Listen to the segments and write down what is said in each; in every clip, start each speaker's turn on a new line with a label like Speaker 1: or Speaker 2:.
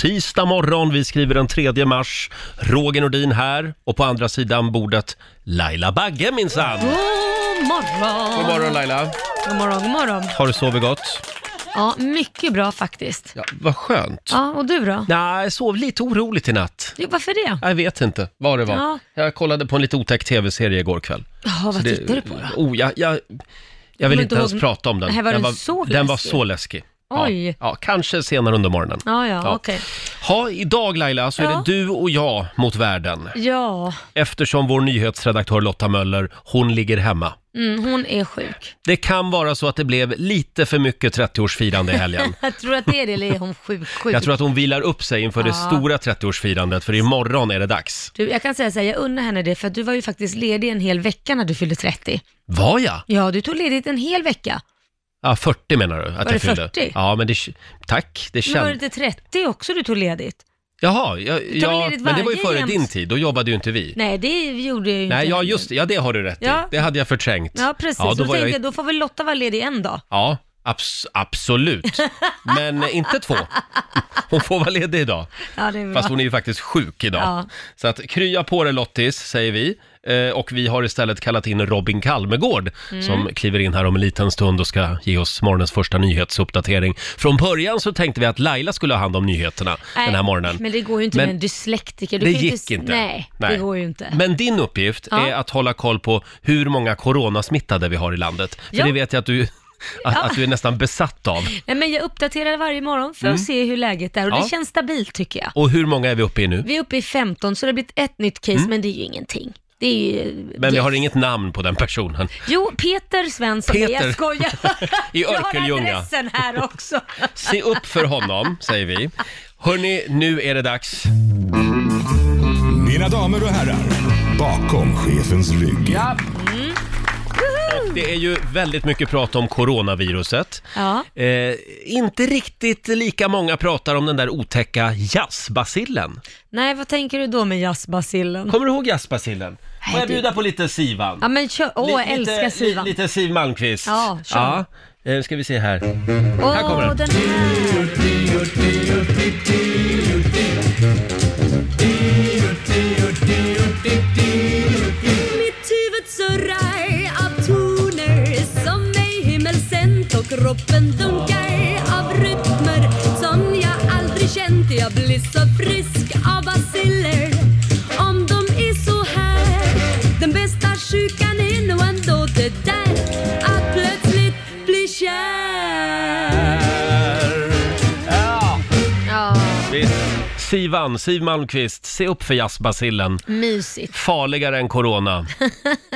Speaker 1: tisdag morgon. Vi skriver den 3 mars. Roger Nordin här och på andra sidan bordet Laila Bagge minsann.
Speaker 2: God morgon!
Speaker 1: God morgon Laila.
Speaker 2: God morgon, god morgon.
Speaker 1: Har du sovit gott?
Speaker 2: Ja, mycket bra faktiskt.
Speaker 1: Ja, vad skönt.
Speaker 2: Ja, och du då?
Speaker 1: Nej, jag sov lite oroligt i natt.
Speaker 2: Jo, varför det?
Speaker 1: Jag vet inte vad det var.
Speaker 2: Ja.
Speaker 1: Jag kollade på en lite otäck tv-serie igår kväll.
Speaker 2: Jaha, vad
Speaker 1: Så det-
Speaker 2: tittar du på då?
Speaker 1: Oh, jag, jag, jag vill
Speaker 2: Kommer
Speaker 1: inte
Speaker 2: du
Speaker 1: ens
Speaker 2: ihåg-
Speaker 1: prata om den.
Speaker 2: Nej, var
Speaker 1: den,
Speaker 2: den så
Speaker 1: den var
Speaker 2: läskig?
Speaker 1: så läskig. Ja,
Speaker 2: Oj.
Speaker 1: ja, kanske senare under morgonen.
Speaker 2: Ja, ja,
Speaker 1: Ja.
Speaker 2: okej.
Speaker 1: Ha, idag Laila så är det
Speaker 2: Ja.
Speaker 1: du och jag mot världen.
Speaker 2: Ja,
Speaker 1: Eftersom vår nyhetsredaktör Lotta Möller, hon ligger hemma.
Speaker 2: mm, hon är sjuk.
Speaker 1: Det kan vara så att det blev lite för mycket 30-årsfirande i helgen.
Speaker 2: Jag tror att det är det, eller är hon sjuk? sjuk?
Speaker 1: Jag tror att hon vilar upp sig inför det
Speaker 2: Ja.
Speaker 1: stora 30-årsfirandet, för imorgon är det dags.
Speaker 2: Du, jag kan säga så här, jag unnar henne det, för att du var ju faktiskt ledig en hel vecka när du fyllde 30.
Speaker 1: Var jag?
Speaker 2: Ja, du tog ledigt en hel vecka.
Speaker 1: Ja, 40 menar du att
Speaker 2: det
Speaker 1: jag fyllde.
Speaker 2: 40?
Speaker 1: Ja, men det... Tack, det
Speaker 2: Men var det
Speaker 1: känns...
Speaker 2: inte 30 också du tog ledigt?
Speaker 1: Jaha, jag,
Speaker 2: tar väl
Speaker 1: ja,
Speaker 2: ledigt
Speaker 1: men det var ju
Speaker 2: varje
Speaker 1: före
Speaker 2: jämt?
Speaker 1: din tid, då jobbade ju inte vi.
Speaker 2: Nej, det gjorde jag ju inte.
Speaker 1: Nej, ja just det. ja det har du rätt
Speaker 2: Ja.
Speaker 1: i. Det hade jag förträngt.
Speaker 2: Ja, precis.
Speaker 1: Ja, då
Speaker 2: då,
Speaker 1: var jag
Speaker 2: tänkte
Speaker 1: i-
Speaker 2: jag, då får väl Lotta vara ledig en dag.
Speaker 1: Ja, abs- absolut. Men inte två. Hon får vara ledig idag.
Speaker 2: Ja, det är bra.
Speaker 1: Fast hon är ju faktiskt sjuk idag.
Speaker 2: Ja.
Speaker 1: Så att krya på dig Lottis, säger vi. Eh, och vi har istället kallat in Robin Kalmegård
Speaker 2: Mm.
Speaker 1: som kliver in här om en liten stund och ska ge oss morgonens första nyhetsuppdatering. Från början så tänkte vi att Laila skulle ha hand om nyheterna den här
Speaker 2: Nej,
Speaker 1: morgonen.
Speaker 2: Men det går ju inte
Speaker 1: Men
Speaker 2: med en dyslektiker. Du
Speaker 1: det
Speaker 2: kan ju
Speaker 1: gick inte.
Speaker 2: Nej,
Speaker 1: Nej.
Speaker 2: det går ju inte.
Speaker 1: Men din uppgift
Speaker 2: Ja.
Speaker 1: är att hålla koll på hur många coronasmittade vi har i landet. För
Speaker 2: Ja.
Speaker 1: det vet jag att du, att, att du är nästan besatt av.
Speaker 2: Nej, men jag uppdaterar varje morgon för att se hur läget är och
Speaker 1: Mm. Ja.
Speaker 2: det känns stabilt tycker jag.
Speaker 1: Och hur många är vi uppe i nu?
Speaker 2: Vi är uppe i 15 så det har blivit ett nytt case
Speaker 1: Mm.
Speaker 2: men det är ju ingenting. Det är ju...
Speaker 1: Men vi
Speaker 2: det-
Speaker 1: har inget namn på den personen.
Speaker 2: Jo, Peter Svensson. Nej,
Speaker 1: Peter.
Speaker 2: Jag skojar.
Speaker 1: I
Speaker 2: Jag har
Speaker 1: Örkelljunga.
Speaker 2: adressen här också.
Speaker 1: Se upp för honom, säger vi. Hörni, nu är det dags.
Speaker 3: Mina damer och herrar, bakom chefens rygg.
Speaker 1: Det är ju väldigt mycket prat om coronaviruset.
Speaker 2: Ja.
Speaker 1: Eh, inte riktigt lika många pratar om den där otäcka jazzbasillen.
Speaker 2: Nej, vad tänker du då med jazzbasillen?
Speaker 1: Kommer du ihåg jazzbasillen? Får jag
Speaker 2: det-
Speaker 1: bjuda på lite Sivan?
Speaker 2: Ja, men kör. Åh, jag
Speaker 1: Li- lite-
Speaker 2: älskar Sivan.
Speaker 1: li- Lite Siv Malmkvist.
Speaker 2: Ja, kör.
Speaker 1: ja. Eh, ska vi se här.
Speaker 2: Åh,
Speaker 1: här kommer den.
Speaker 2: den här.
Speaker 4: Mitt huvud surrar av toner som mig himmelsent och kroppen dunkar av rytmer som jag aldrig känt. Jag blir så frisk av baciller om de är så här. Den bästa sjukan är nog ändå det där att plötsligt bli kär.
Speaker 2: Ja,
Speaker 1: Visst. Sivan, Siv Malmkvist, se upp för jazzbasillen.
Speaker 2: mysigt.
Speaker 1: Farligare än corona.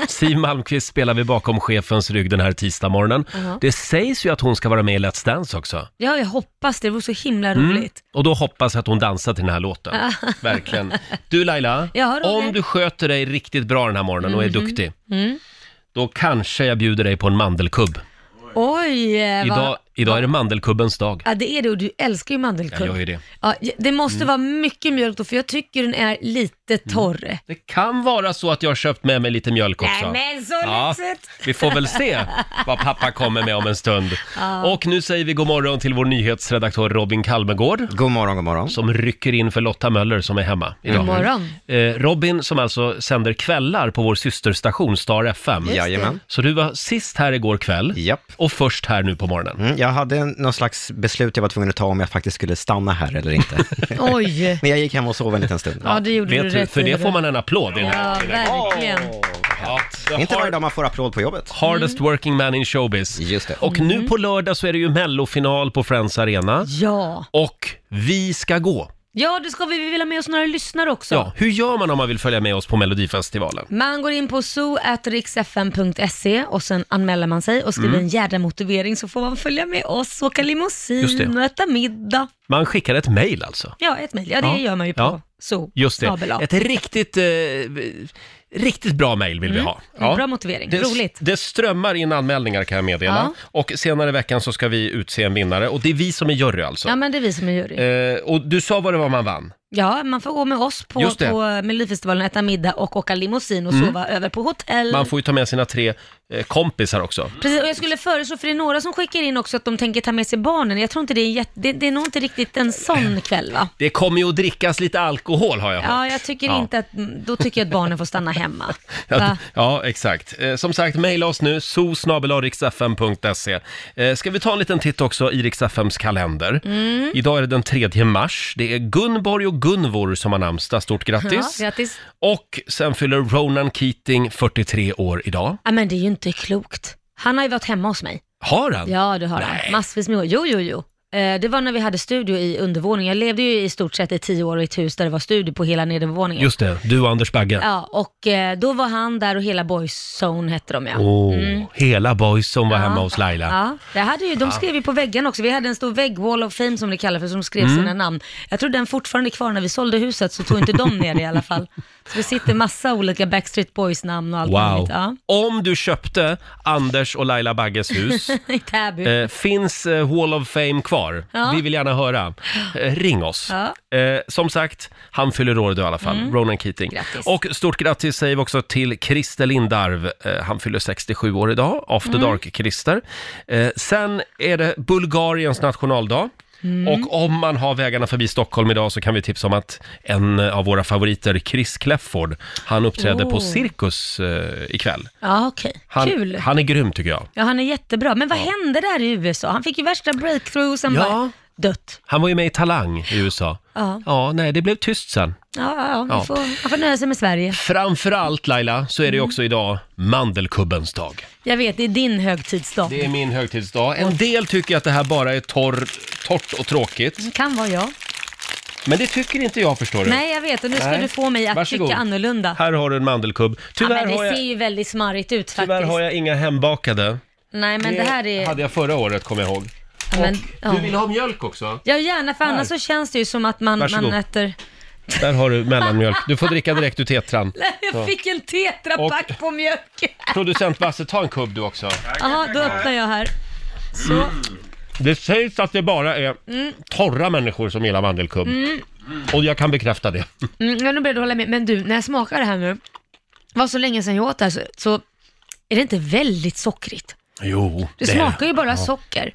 Speaker 1: Siv Malmkvist spelar vi bakom chefens rygg den här tisdagsmorgonen. Det sägs ju att hon ska vara med i Let's Dance också.
Speaker 2: Ja, jag hoppas det. Det vore så himla
Speaker 1: Mm.
Speaker 2: roligt.
Speaker 1: Och då hoppas jag att hon dansar till den här låten. Verkligen. Du Laila,
Speaker 2: Ja, Roger. Mhm.
Speaker 1: om du sköter dig riktigt bra den här morgonen och är
Speaker 2: Mm.
Speaker 1: duktig, då kanske jag bjuder dig på en mandelkubb.
Speaker 2: Oj, eh, Äh, vad...
Speaker 1: Idag, idag är det mandelkubbens dag.
Speaker 2: Ja, det är det och du älskar ju mandelkubb.
Speaker 1: Jag Mm. gör ju det.
Speaker 2: Ja, det måste vara mycket mjölk då, för jag tycker den är lite torr.
Speaker 1: Mm. Det kan vara så att jag har köpt med mig lite mjölk också.
Speaker 2: Nej men så
Speaker 1: Ja,
Speaker 2: lyxigt!
Speaker 1: vi får väl se vad pappa kommer med om en stund. Och nu säger vi god morgon till vår nyhetsredaktör Robin Kalmegård
Speaker 5: God morgon, god morgon.
Speaker 1: som rycker in för Lotta Möller som är hemma idag.
Speaker 2: God morgon.
Speaker 1: Eh, Robin som alltså sänder kvällar på vår systerstation Star FM.
Speaker 5: Jajamän.
Speaker 1: Så du var sist här igår kväll
Speaker 5: Japp.
Speaker 1: och först här nu på morgonen.
Speaker 5: Mm, jag hade en- någon slags beslut jag var tvungen att ta om jag faktiskt skulle stanna här eller inte.
Speaker 2: Oj!
Speaker 5: Men jag gick hem och sov en liten stund.
Speaker 2: Ja, det gjorde du
Speaker 1: Vet du,
Speaker 2: rätt
Speaker 1: för
Speaker 2: i,
Speaker 1: det
Speaker 2: Roger.
Speaker 1: får man en applåd innan.
Speaker 2: Ja, verkligen.
Speaker 1: Ja, the
Speaker 5: Inte varje
Speaker 1: hard-
Speaker 5: dag man får applåd på jobbet.
Speaker 1: Hardest
Speaker 2: Mm.
Speaker 1: working man in showbiz.
Speaker 5: Just det.
Speaker 1: Och nu på lördag så är det ju mellofinal på Friends Arena.
Speaker 2: Ja.
Speaker 1: Och vi ska gå.
Speaker 2: Ja, det ska vi. Vi vill ha med oss några lyssnare också.
Speaker 1: Ja, hur gör man om man vill följa med oss på Melodifestivalen?
Speaker 2: Man går in på zoo.riksfm.se och sen anmäler man sig och skriver
Speaker 1: Mm.
Speaker 2: en jädra motivering så får man följa med oss, åka
Speaker 1: Just det.
Speaker 2: limousin och äta middag.
Speaker 1: Man skickar ett mejl alltså.
Speaker 2: Ja, ett mejl. Ja, det
Speaker 1: Ja.
Speaker 2: gör man ju på
Speaker 1: Ja.
Speaker 2: zoo.
Speaker 1: Just det.
Speaker 2: Snabel-a.
Speaker 1: Ett riktigt, eh, riktigt bra mejl vill vi ha.
Speaker 2: Mm. Bra motivering.
Speaker 1: Det,
Speaker 2: Roligt.
Speaker 1: det strömmar in anmälningar kan jag meddela. Och senare i veckan så ska vi utse en vinnare och det är vi som är jury alltså.
Speaker 2: Ja, men det är vi som är jury.
Speaker 1: Eh, och du sa vad det var man vann.
Speaker 2: Ja, man får gå med oss på,
Speaker 1: Just det. Mm.
Speaker 2: på Melodifestivalen, äta middag och åka limousin och sova över på hotell.
Speaker 1: Man får ju ta med sina tre eh, kompisar också.
Speaker 2: Precis, och jag skulle föreslå, för det är några som skickar in också att de tänker ta med sig barnen. Jag tror inte det är en jätte, det, det är nog inte riktigt en sån kväll va?
Speaker 1: Det kommer ju att drickas lite alkohol har jag hört.
Speaker 2: Ja, jag tycker
Speaker 1: Ja.
Speaker 2: inte att, då tycker jag att barnen får stanna hemma.
Speaker 1: Ja,
Speaker 2: Va?
Speaker 1: ja, exakt. Eh, Som sagt, mejla oss nu, zoosnabelariksfm.se. Eh, Ska vi ta en liten titt också i Riks-FMs kalender?
Speaker 2: Mm.
Speaker 1: Idag är det den 3 mars. Det är Gunborg och Gunvor som har namnsdag. Stort
Speaker 2: Ja,
Speaker 1: grattis!
Speaker 2: grattis.
Speaker 1: och sen fyller Ronan Keating 43 år idag.
Speaker 2: Ja, men det är ju inte klokt. Han har ju varit hemma hos mig.
Speaker 1: Har han?
Speaker 2: Ja, det har
Speaker 1: Nej.
Speaker 2: han. Massvis med år. Jo, jo, jo. Eh, Det var när vi hade studio i undervåningen. Jag levde ju i stort sett i tio år i ett hus där det var studio på hela nedervåningen.
Speaker 1: Just det, du och Anders Bagge.
Speaker 2: Ja, och eh, då var han där och hela Boyzone hette de ja. Mm.
Speaker 1: Åh, hela boys som var
Speaker 2: Ja.
Speaker 1: hemma hos Laila.
Speaker 2: Ja, det hade ju, de skrev ju på väggen också. Vi hade en stor vägg, wall of fame som det kallar för, som skrev sina
Speaker 1: Mm.
Speaker 2: namn. Jag tror den fortfarande är kvar när vi sålde huset, så tog inte de ner det i alla fall. Så det sitter massa olika Backstreet Boys-namn och allt
Speaker 1: Wow.
Speaker 2: möjligt. Ja.
Speaker 1: Om du köpte Anders och Laila Bagges hus,
Speaker 2: I Täby.
Speaker 1: eh, finns eh, Wall of Fame kvar?
Speaker 2: Ja.
Speaker 1: Vi vill gärna höra. Eh, ring oss.
Speaker 2: Ja. Mm.
Speaker 1: Eh, som sagt, han fyller år idag i alla fall, Ronan Keating.
Speaker 2: Grattis.
Speaker 1: Och stort grattis säger vi också till Christer Lindarw. Eh, han fyller 67 år idag,
Speaker 2: Mm.
Speaker 1: After Dark-Christer. Eh, sen är det Bulgariens nationaldag.
Speaker 2: Mm.
Speaker 1: Och om man har vägarna förbi Stockholm idag så kan vi tipsa om att en eh, av våra favoriter, Chris Clefford, han uppträder på
Speaker 2: Oh.
Speaker 1: Cirkus eh, ikväll.
Speaker 2: Ja, okej.
Speaker 1: Han,
Speaker 2: Kul.
Speaker 1: han är grym tycker jag.
Speaker 2: Ja, han är jättebra. Men vad hände där i USA? Han fick ju värsta breakthrough, sen
Speaker 1: Ja.
Speaker 2: bara dött.
Speaker 1: Han var ju med i Talang i USA.
Speaker 2: Ja.
Speaker 1: Ja, nej, det blev tyst sen.
Speaker 2: Ja, ja, ja. Vi
Speaker 1: Ja.
Speaker 2: Får, han får nöja sig med Sverige.
Speaker 1: Framförallt Laila, så är
Speaker 2: Mm.
Speaker 1: det ju också idag mandelkubbens dag.
Speaker 2: Jag vet, det är din högtidsdag.
Speaker 1: Det är min högtidsdag. En del tycker att det här bara är torr, torrt och tråkigt.
Speaker 2: Det kan vara jag.
Speaker 1: Men det tycker inte jag förstår du.
Speaker 2: Mm. Nej, jag vet. Och nu ska
Speaker 1: Nej.
Speaker 2: du få mig att
Speaker 1: Varsågod.
Speaker 2: tycka annorlunda.
Speaker 1: Här har du en mandelkubb.
Speaker 2: ja,
Speaker 1: Tyvärr,
Speaker 2: men det
Speaker 1: har,
Speaker 2: ser
Speaker 1: jag,
Speaker 2: ju väldigt smarrigt ut faktiskt.
Speaker 1: tyvärr har jag inga hembakade.
Speaker 2: Nej, men det, här är...
Speaker 1: hade jag förra året, kommer jag ihåg.
Speaker 2: ja, men, ja.
Speaker 1: Du vill ha mjölk också?
Speaker 2: ja, gärna, för annars så känns det ju som att man,
Speaker 1: Varsågod.
Speaker 2: man äter...
Speaker 1: Där har du mellanmjölk. Du får dricka direkt ur tetran.
Speaker 2: Jag fick en tetrapack på mjölk.
Speaker 1: Producent Basse, ta en kubb du också.
Speaker 2: Jaha, då öppnar jag här. Så. mm,
Speaker 1: Det sägs att det bara är torra människor som gillar mandelkubb. Och jag kan bekräfta det.
Speaker 2: Mm, ja, nu börjar du hålla med. Men du, när jag smakar det här nu, var så länge sedan jag åt det här, så, så är det inte väldigt sockrigt.
Speaker 1: Jo,
Speaker 2: Det, smakar ju bara socker.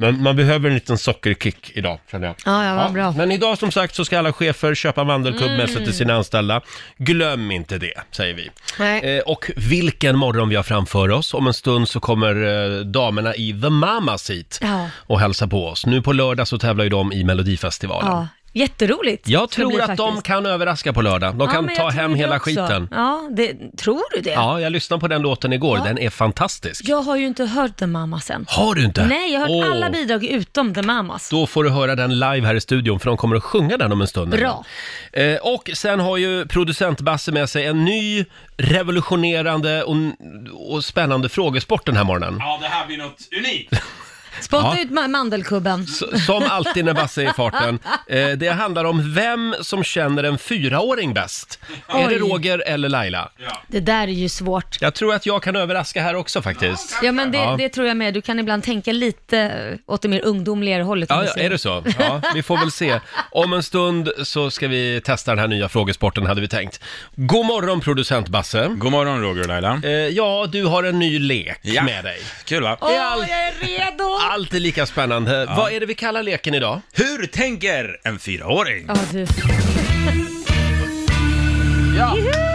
Speaker 1: Men man behöver en liten sockerkick idag, känner jag.
Speaker 2: Ja, ja, vad bra. Mm.
Speaker 1: Men idag som sagt så ska alla chefer köpa mandelkubb med sig till sina anställda. Glöm inte det, säger vi.
Speaker 2: Nej.
Speaker 1: Eh, och vilken morgon vi har framför oss. Om en stund så kommer eh, damerna i The Mamas hit
Speaker 2: Ja.
Speaker 1: och hälsa på oss. Nu på lördag så tävlar ju de i Melodifestivalen.
Speaker 2: Ja, jätteroligt.
Speaker 1: Jag
Speaker 2: ska det bli
Speaker 1: tror att de
Speaker 2: faktiskt.
Speaker 1: kan överraska på lördag. De
Speaker 2: Ja,
Speaker 1: kan
Speaker 2: men jag
Speaker 1: ta
Speaker 2: tror
Speaker 1: hem
Speaker 2: det
Speaker 1: hela
Speaker 2: också.
Speaker 1: skiten.
Speaker 2: Ja, det, tror du det?
Speaker 1: Ja, jag lyssnade på den låten igår. Den är fantastisk.
Speaker 2: Jag har ju inte hört The Mamma sen.
Speaker 1: Har du inte?
Speaker 2: Nej, jag har hört
Speaker 1: Åh.
Speaker 2: alla bidrag utom The Mamas.
Speaker 1: Då får du höra den live här i studion för de kommer att sjunga den om en stund.
Speaker 2: Bra.
Speaker 1: Eh, och sen har ju producent Basse med sig en ny revolutionerande och, och spännande frågesport den här morgonen.
Speaker 6: Ja, det här blir något unikt.
Speaker 2: Spotta
Speaker 1: Ja.
Speaker 2: ut ma- mandelkubben.
Speaker 1: S- Som alltid när Basse är i farten. Eh, det handlar om vem som känner en fyraåring bäst. Är det
Speaker 2: Oj.
Speaker 1: Roger eller Laila?
Speaker 2: Det där är ju svårt.
Speaker 1: Jag tror att jag kan överraska här också faktiskt.
Speaker 2: Ja, men det,
Speaker 1: Ja.
Speaker 2: det tror jag med. Du kan ibland tänka lite åt det mer ungdomligare hållet. om
Speaker 1: Ja,
Speaker 2: du
Speaker 1: ja,
Speaker 2: säger.
Speaker 1: är det så? Ja, vi får väl se. Om en stund så ska vi testa den här nya frågesporten hade vi tänkt. God morgon producent Basse.
Speaker 6: God morgon Roger och Laila.
Speaker 1: Eh, ja, du har en ny lek
Speaker 6: Ja.
Speaker 1: med dig.
Speaker 6: Kul va?
Speaker 2: Åh,
Speaker 1: Det är allt.
Speaker 2: jag är redo!
Speaker 1: Alltid lika spännande. Vad är det vi kallar leken idag?
Speaker 6: Hur tänker en fyraåring?
Speaker 2: Ja, du.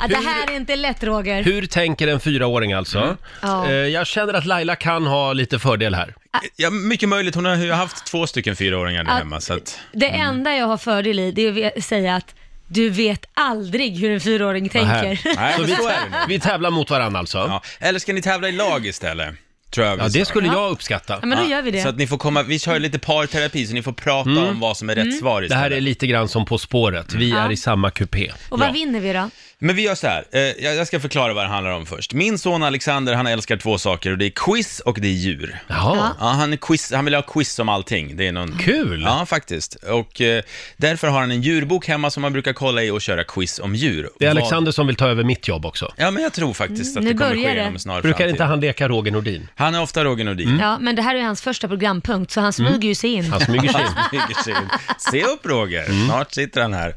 Speaker 2: ja, det här är inte lätt, Roger.
Speaker 1: Hur tänker en fyraåring alltså?
Speaker 6: Mm.
Speaker 2: Ja.
Speaker 1: Eh, jag känner att Laila kan ha lite fördel här.
Speaker 6: Ja, mycket möjligt. Hon har ju haft två stycken fyraåringar där
Speaker 2: Att-
Speaker 6: hemma, så att...
Speaker 2: Det enda jag har fördel i, det är att ve- säga att du vet aldrig hur en fyraåring tänker.
Speaker 6: Nej,
Speaker 1: Så
Speaker 6: men
Speaker 1: vi,
Speaker 6: så är det nu.
Speaker 1: vi tävlar mot varandra alltså. Ja,
Speaker 6: Ja. Eller ska ni tävla i lag istället? Tror jag vi sa.
Speaker 1: det skulle jag uppskatta.
Speaker 2: Ja, men då gör vi det.
Speaker 6: Så att ni får komma, vi kör lite parterapi, så ni får prata om vad som är rätt
Speaker 2: Mm.
Speaker 6: svar
Speaker 1: Mm. Det
Speaker 6: istället.
Speaker 1: här är lite grann som På spåret. Vi är i samma kupé.
Speaker 2: Och vad
Speaker 6: Ja.
Speaker 2: vinner vi då?
Speaker 6: Men vi gör så här, eh, jag jag ska förklara vad det handlar om först. Min son Alexander, han älskar två saker och det är quiz och det är djur.
Speaker 1: Jaha,
Speaker 6: Ja, han, är quiz, han vill ha quiz om allting. Det är någon...
Speaker 1: kul!
Speaker 6: Ja, faktiskt. Och eh, därför har han en djurbok hemma som man brukar kolla i och köra quiz om djur.
Speaker 1: Det är
Speaker 6: Vad-
Speaker 1: Alexander som vill ta över mitt jobb också.
Speaker 6: Ja, men jag tror faktiskt att
Speaker 2: Mm, nu
Speaker 6: det kommer
Speaker 2: börjar
Speaker 6: ske
Speaker 2: det.
Speaker 6: inom en snar
Speaker 1: Brukar
Speaker 6: framtid.
Speaker 1: inte han leka Roger Nordin? Mm.
Speaker 6: Han är ofta Roger Nordin.
Speaker 2: Ja, men det här är hans första programpunkt, så han smyger ju sig in.
Speaker 1: Han smyger sig in. Mm.
Speaker 6: Smyger sig in. Se upp Roger, snart sitter han här.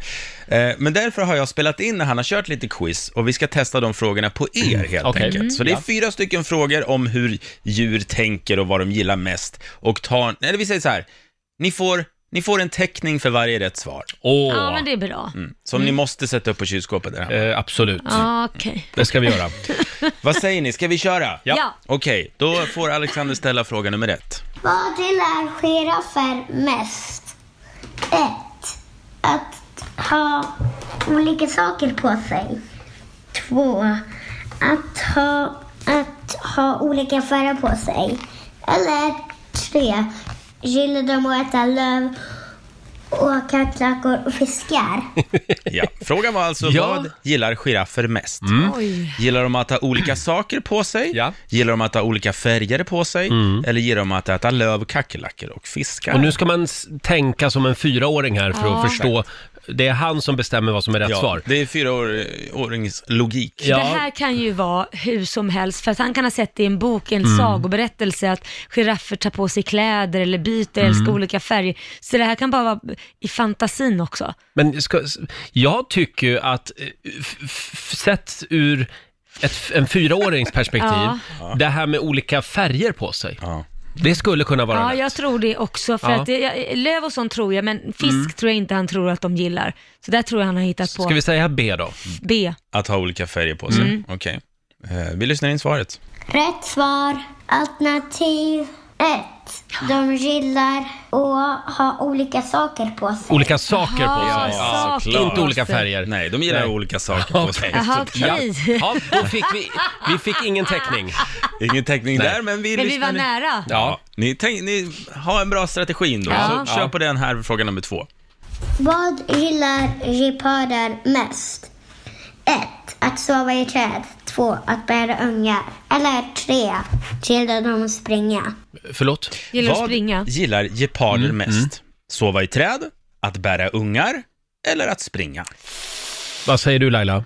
Speaker 6: Eh, Men därför har jag spelat in när han har kört lite quiz och vi ska testa de frågorna på er helt
Speaker 1: Mm. Okej.
Speaker 6: enkelt. Så det är
Speaker 1: Ja.
Speaker 6: fyra stycken frågor om hur djur tänker och vad de gillar mest. Och ta, eller vi säger så här, ni får, ni får en teckning för varje rätt svar.
Speaker 1: Åh, Mm.
Speaker 2: Ja, men det är bra.
Speaker 6: Som ni måste sätta upp på kylskåpet där hemma.
Speaker 1: eh, absolut.
Speaker 2: Ja, okej.
Speaker 1: Det ska vi göra.
Speaker 6: Vad säger ni, ska vi köra?
Speaker 2: Ja. Ja.
Speaker 6: Okej, då får Alexander ställa fråga nummer ett.
Speaker 7: Vad gillar giraffer mest? 1. Att ha olika saker på sig. 2. Att ha, att ha olika färger på sig. Eller 3. Gillar de att äta löv, åka klackor och fiskar?
Speaker 6: Ja. Frågan var alltså,
Speaker 1: Ja. Mm.
Speaker 6: vad gillar giraffer mest?
Speaker 2: Oj.
Speaker 6: Gillar de att ha olika saker på sig?
Speaker 1: Ja. Mm.
Speaker 6: Gillar de att ha olika färger på sig? Eller gillar de att äta löv, kackerlackor och fiskar?
Speaker 1: Och nu ska man s- tänka som en fyraåring här för att förstå. Det är han som bestämmer vad som är rätt
Speaker 6: ja,
Speaker 1: svar.
Speaker 6: det är fyraårings logik.
Speaker 1: Ja.
Speaker 2: Det här kan ju vara hur som helst, för att han kan ha sett det i en bok, i
Speaker 1: Mm.
Speaker 2: en sagoberättelse, att giraffer tar på sig kläder eller byter,
Speaker 1: Mm.
Speaker 2: älskar olika färger. Så det här kan bara vara i fantasin också.
Speaker 1: Men ska, s- jag tycker ju att, eh, f- f- sett ur ett, f- en fyraårings perspektiv, det här med olika färger på sig,
Speaker 6: Ja.
Speaker 1: det skulle kunna vara
Speaker 2: Ja,
Speaker 1: rätt.
Speaker 2: jag tror det också. För
Speaker 1: Ja. Mm.
Speaker 2: att det, jag, löv och sånt tror jag, men fisk tror jag inte han tror att de gillar. Så där tror jag han har hittat på
Speaker 1: Ska vi säga B då?
Speaker 2: B. Mm.
Speaker 6: Att ha olika färger på sig. Okej. Eh, vi lyssnar in svaret.
Speaker 7: Rätt svar, alternativ 1. De gillar att ha olika saker på sig.
Speaker 1: Olika saker
Speaker 2: Jaha,
Speaker 1: på sig.
Speaker 2: saker
Speaker 1: Inte
Speaker 2: på
Speaker 1: olika
Speaker 2: sig.
Speaker 1: färger.
Speaker 6: Nej, de gillar
Speaker 1: Nej.
Speaker 6: olika saker på sig.
Speaker 2: Jaha,
Speaker 1: Ja,
Speaker 2: okej.
Speaker 1: ja, då fick vi, vi fick ingen täckning.
Speaker 6: Ingen täckning där, men vi
Speaker 2: Men vi
Speaker 6: lyssnar
Speaker 2: var
Speaker 6: in.
Speaker 2: nära.
Speaker 6: Ja, ni, tänk, ni har en bra strategi ändå,
Speaker 2: Ah. Ja.
Speaker 6: så kör på den här fråga nummer två.
Speaker 7: Vad gillar geparder mest? 1. Att sova i träd. 2. Att bära ungar. Eller 3. Gillar de att springa?
Speaker 1: Förlåt? Mm,
Speaker 2: Gillar att
Speaker 6: Vad
Speaker 2: springa.
Speaker 6: gillar geparder mest? Sova i träd, att bära ungar eller att springa?
Speaker 1: Vad säger du Laila?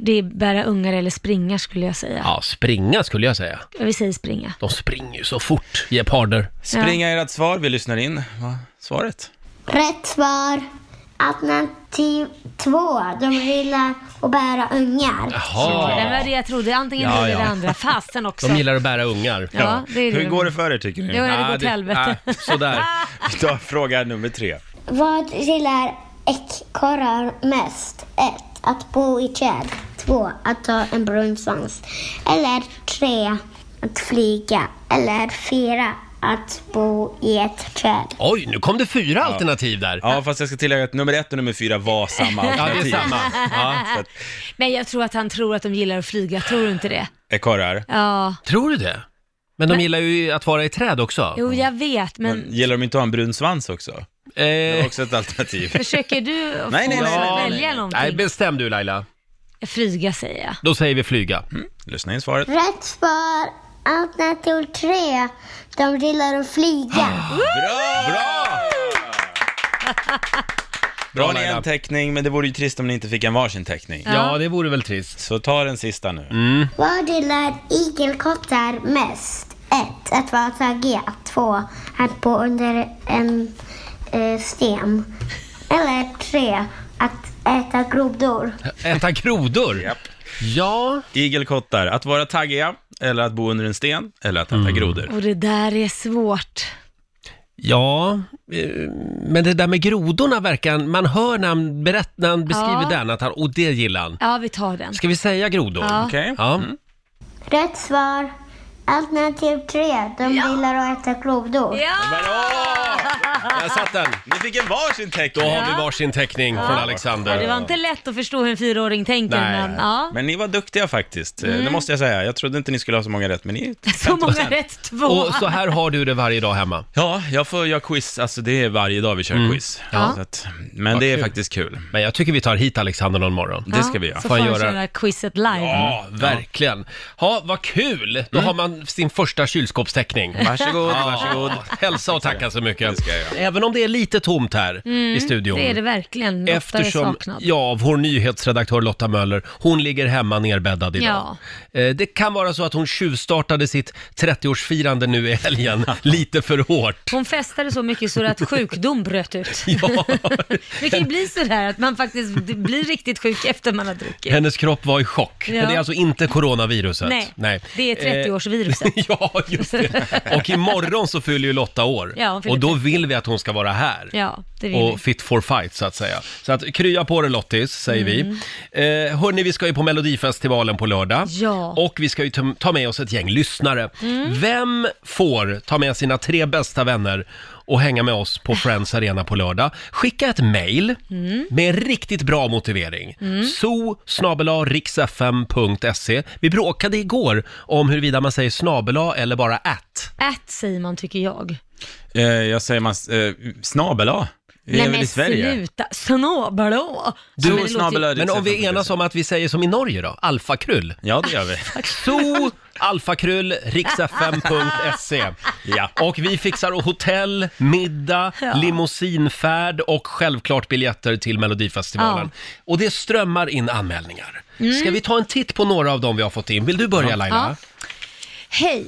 Speaker 2: Det är bära ungar eller springa skulle jag säga.
Speaker 1: Ja, springa skulle jag säga.
Speaker 2: Vi säger springa.
Speaker 1: De springer ju så fort, geparder.
Speaker 6: Springa ert svar, vi lyssnar in va? svaret.
Speaker 7: Rätt svar. Alternativ 2. De gillar att bära ungar.
Speaker 2: Ja,
Speaker 1: Jaha,
Speaker 2: det var det jag trodde. Antingen
Speaker 1: Ja,
Speaker 2: det eller
Speaker 1: ja.
Speaker 2: det andra. Fasen också.
Speaker 1: de gillar att bära ungar.
Speaker 2: Ja, det är det.
Speaker 6: Hur går det för er tycker ni?
Speaker 2: Jo, ja, det
Speaker 1: Ah,
Speaker 2: går till helvete.
Speaker 1: ah, sådär.
Speaker 6: Vi tar fråga nummer tre.
Speaker 7: Vad gillar ekorrar mest? 1. Att bo i träd. 2. Att ha en brun svans. Eller 3. Att flyga. Eller 4. Att bo i ett träd.
Speaker 1: Oj, nu kom det fyra alternativ där.
Speaker 6: Ja, fast jag ska tillägga att nummer ett och nummer fyra var samma
Speaker 1: Ja, det är
Speaker 6: alternativ.
Speaker 1: samma. Ja.
Speaker 6: Så att,
Speaker 2: Men jag tror att han tror att de gillar att flyga. Tror du inte det?
Speaker 6: Ekorrar,
Speaker 2: Ja.
Speaker 1: Tror du det? Men de gillar ju att vara i träd också.
Speaker 2: Jo, jag vet, men
Speaker 6: gillar de inte att ha en brun svans också? Det var
Speaker 1: Eh,
Speaker 6: också ett alternativ.
Speaker 2: försöker du att
Speaker 6: Nej,
Speaker 2: få
Speaker 6: nej,
Speaker 2: oss
Speaker 6: nej,
Speaker 2: att
Speaker 6: nej, nej,
Speaker 2: välja
Speaker 6: nej.
Speaker 1: nej,
Speaker 2: någonting?
Speaker 1: bestäm du Laila.
Speaker 2: Flyga säger jag.
Speaker 1: Då säger vi flyga.
Speaker 6: Mm, Lyssna in svaret.
Speaker 7: Rätt svar. Alternativ 3. De gillar att flyga.
Speaker 6: Bra! Bra! Bra ni
Speaker 1: Laila.
Speaker 6: en teckning, men det vore ju trist om ni inte fick en varsin teckning.
Speaker 1: Ja, det vore väl trist. Mm.
Speaker 6: Så ta den sista nu.
Speaker 7: Vad gillar igelkottar mest? 1. Att vara taggiga. 2. Att bo under en eh, sten. Eller 3. Att äta grodor.
Speaker 1: Äta grodor?
Speaker 6: Japp.
Speaker 1: Ja,
Speaker 6: Igelkottar, att vara taggiga, eller att bo under en sten, eller att äta
Speaker 1: Mm.
Speaker 6: grodor.
Speaker 2: Och det där är svårt.
Speaker 1: ja, eh, men det där med grodorna verkar, han- man hör när han, berätt, när han beskriver
Speaker 2: Ja.
Speaker 1: den att han, och det gillar han.
Speaker 2: Ja, vi tar den.
Speaker 1: Ska vi säga grodor?
Speaker 2: Ja.
Speaker 6: Okej?
Speaker 1: Ja.
Speaker 7: Rätt svar. Alternativ 3. De gillar att äta grodor.
Speaker 2: Ja!
Speaker 1: Där satt den!
Speaker 6: Ni fick en varsin
Speaker 1: Då
Speaker 6: teckning.
Speaker 1: har vi varsin teckning från
Speaker 2: ja! Det var
Speaker 1: Alexander.
Speaker 2: inte lätt att förstå hur en fyraåring tänker,
Speaker 1: Nej.
Speaker 2: men ja. Mm.
Speaker 6: Men ni var duktiga faktiskt, Eh, det måste jag säga. Jag trodde inte ni skulle ha så många rätt, men ni...
Speaker 2: Så många rätt två.
Speaker 1: Och så här har du det varje dag hemma. Mm.
Speaker 6: Ja, jag får göra quiz, alltså det är varje dag vi kör quiz.
Speaker 2: Ja.
Speaker 6: Så att, men det är
Speaker 1: kul.
Speaker 6: faktiskt kul.
Speaker 1: Men jag tycker vi tar hit Alexander någon morgon.
Speaker 6: Det ska vi göra.
Speaker 1: Får
Speaker 2: Så får
Speaker 1: jag
Speaker 2: han
Speaker 1: göra-
Speaker 2: köra quizet live. Mm.
Speaker 1: Ja, verkligen. Ja, vad kul! Då har man sin, sin första kylskåpsteckning.
Speaker 6: Varsågod, varsågod.
Speaker 1: Hälsa och tacka så mycket.
Speaker 6: Det ska jag göra.
Speaker 1: Även om det är lite tomt här i studion.
Speaker 2: Mm, Det är det verkligen. Lotta är
Speaker 1: Eftersom,
Speaker 2: saknad.
Speaker 1: ja, vår nyhetsredaktör Lotta Möller, hon ligger hemma nerbäddad idag. Eh, Det kan vara så att hon tjuvstartade sitt 30-årsfirande nu i helgen lite för hårt.
Speaker 2: Hon festade så mycket så att sjukdom bröt ut.
Speaker 1: Ja.
Speaker 2: Det kan ju bli sådär att man faktiskt blir riktigt sjuk efter man har druckit.
Speaker 1: Hennes kropp var i chock.
Speaker 2: Ja.
Speaker 1: Det är alltså inte coronaviruset.
Speaker 2: Nej, det är 30-årsviruset.
Speaker 1: Eh, ja, just det. Och imorgon så fyller ju Lotta år.
Speaker 2: Ja, hon fyller
Speaker 1: och då vill vi att hon ska vara här.
Speaker 2: Ja, det vill vi.
Speaker 1: och fit for fight så att säga. Så att krya på dig Lottis, säger
Speaker 2: Mm.
Speaker 1: vi. Eh, hörni, vi ska ju på Melodifestivalen på lördag.
Speaker 2: Ja. Mm.
Speaker 1: Och vi ska ju ta- ta med oss ett gäng lyssnare. Vem får ta med sina tre bästa vänner och hänga med oss på Friends Arena på lördag? Skicka ett mail
Speaker 2: Mm.
Speaker 1: med en riktigt bra motivering. Mm. so riksfm.se. Vi bråkade igår om huruvida man säger snabela eller bara att.
Speaker 2: Ät säger man tycker jag.
Speaker 6: Eh, jag säger man, eh, snabel A. Vi är väl i Sverige?
Speaker 2: sluta. Snabel-å. Ja, men det
Speaker 6: Du,
Speaker 2: låter ju-
Speaker 6: snabel A,
Speaker 1: Men om vi enas om att vi säger som i Norge då, alfakrull.
Speaker 6: Ja, det gör vi.
Speaker 1: So, alfakrull, riksfm.se.
Speaker 6: Ja.
Speaker 1: Och vi fixar hotell, middag, limousinfärd och självklart biljetter till Melodifestivalen. Och det strömmar in anmälningar.
Speaker 2: Mm.
Speaker 1: Ska vi ta en titt på några av dem vi har fått in? Vill du börja Laila?
Speaker 2: Hej!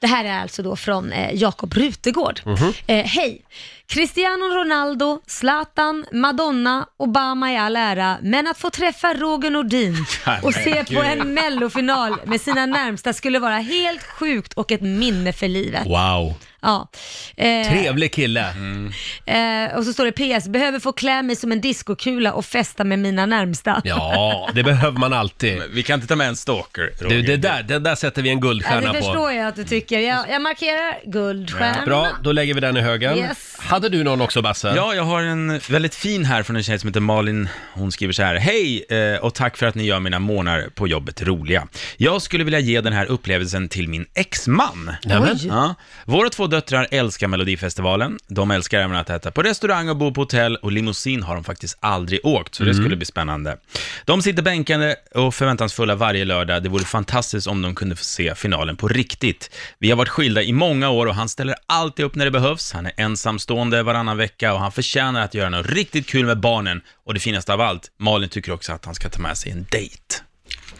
Speaker 2: Det här är alltså då från eh, Jakob Rutegård.
Speaker 1: Mhm.
Speaker 2: Eh, hej! Cristiano Ronaldo, Zlatan, Madonna, Obama i all ära, men att få träffa Roger Nordin och se på en mellofinal med sina närmsta skulle vara helt sjukt och ett minne för livet.
Speaker 1: Wow,
Speaker 2: Ja. Eh,
Speaker 1: trevlig kille.
Speaker 6: Mm.
Speaker 2: eh, och så står det PS, behöver få klä mig som en discokula och festa med mina närmsta.
Speaker 1: Ja, det behöver man alltid.
Speaker 6: Vi kan inte ta med en stalker, Roger.
Speaker 1: Du, det där, det där sätter vi en
Speaker 2: Ja,
Speaker 1: guldstjärna
Speaker 2: det
Speaker 1: på.
Speaker 2: förstår jag att du tycker. Jag, jag markerar guldstjärna.
Speaker 1: Bra, då lägger vi den i högen.
Speaker 2: Yes.
Speaker 1: Hade du någon också Basse?
Speaker 6: Ja, jag har en väldigt fin här från en tjej som heter Malin. Hon skriver så här. Hej eh, och tack för att ni gör mina månader på jobbet roliga. Jag skulle vilja ge den här upplevelsen till min exman.
Speaker 1: Nämen.
Speaker 2: Oj.
Speaker 6: Ja. Våra två döttrar älskar Melodifestivalen. De älskar även att äta på restaurang och bo på hotell och limousin har de faktiskt aldrig åkt, så det skulle bli spännande. De sitter bänkade och förväntansfulla varje lördag. Det vore fantastiskt om de kunde få se finalen på riktigt. Vi har varit skilda i många år och han ställer alltid upp när det behövs. Han är ensamstående varannan vecka och han förtjänar att göra något riktigt kul med barnen. Och det finaste av allt, Malin tycker också att han ska ta med sig en dejt.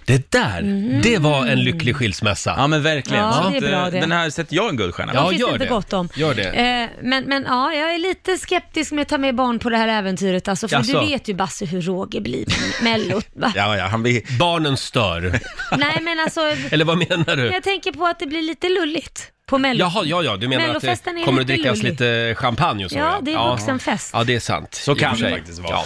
Speaker 1: Det där,
Speaker 2: Mhm.
Speaker 1: det var en lycklig skilsmässa.
Speaker 6: Ja men verkligen.
Speaker 2: Ja,
Speaker 6: Så
Speaker 2: det är
Speaker 6: att, eh,
Speaker 2: bra det.
Speaker 6: Den här sätter jag en guldstjärna på.
Speaker 1: Ja,
Speaker 2: Det finns
Speaker 1: gör
Speaker 2: det inte
Speaker 1: det.
Speaker 2: gott om.
Speaker 1: Gör det.
Speaker 2: Eh, men, men ja, jag är lite skeptisk med att ta med barn på det här äventyret alltså, för
Speaker 1: Jaså?
Speaker 2: du vet ju Basse hur Roger blir med mellot. va?
Speaker 6: Ja, ja, han blir...
Speaker 1: Barnen stör.
Speaker 2: Nej men alltså,
Speaker 1: Eller vad menar du?
Speaker 2: jag tänker på att det blir lite lulligt på mellot.
Speaker 1: Jaha, ja, ja, du menar att
Speaker 2: Mellofesten
Speaker 1: det
Speaker 2: är
Speaker 1: kommer att
Speaker 2: lite
Speaker 1: drickas
Speaker 2: lullig.
Speaker 1: lite champagne och så?
Speaker 2: Ja, det är vuxenfest.
Speaker 1: Ja, det är sant.
Speaker 6: Så
Speaker 1: i och
Speaker 6: kan
Speaker 1: för
Speaker 6: det
Speaker 1: sig.
Speaker 6: faktiskt vara.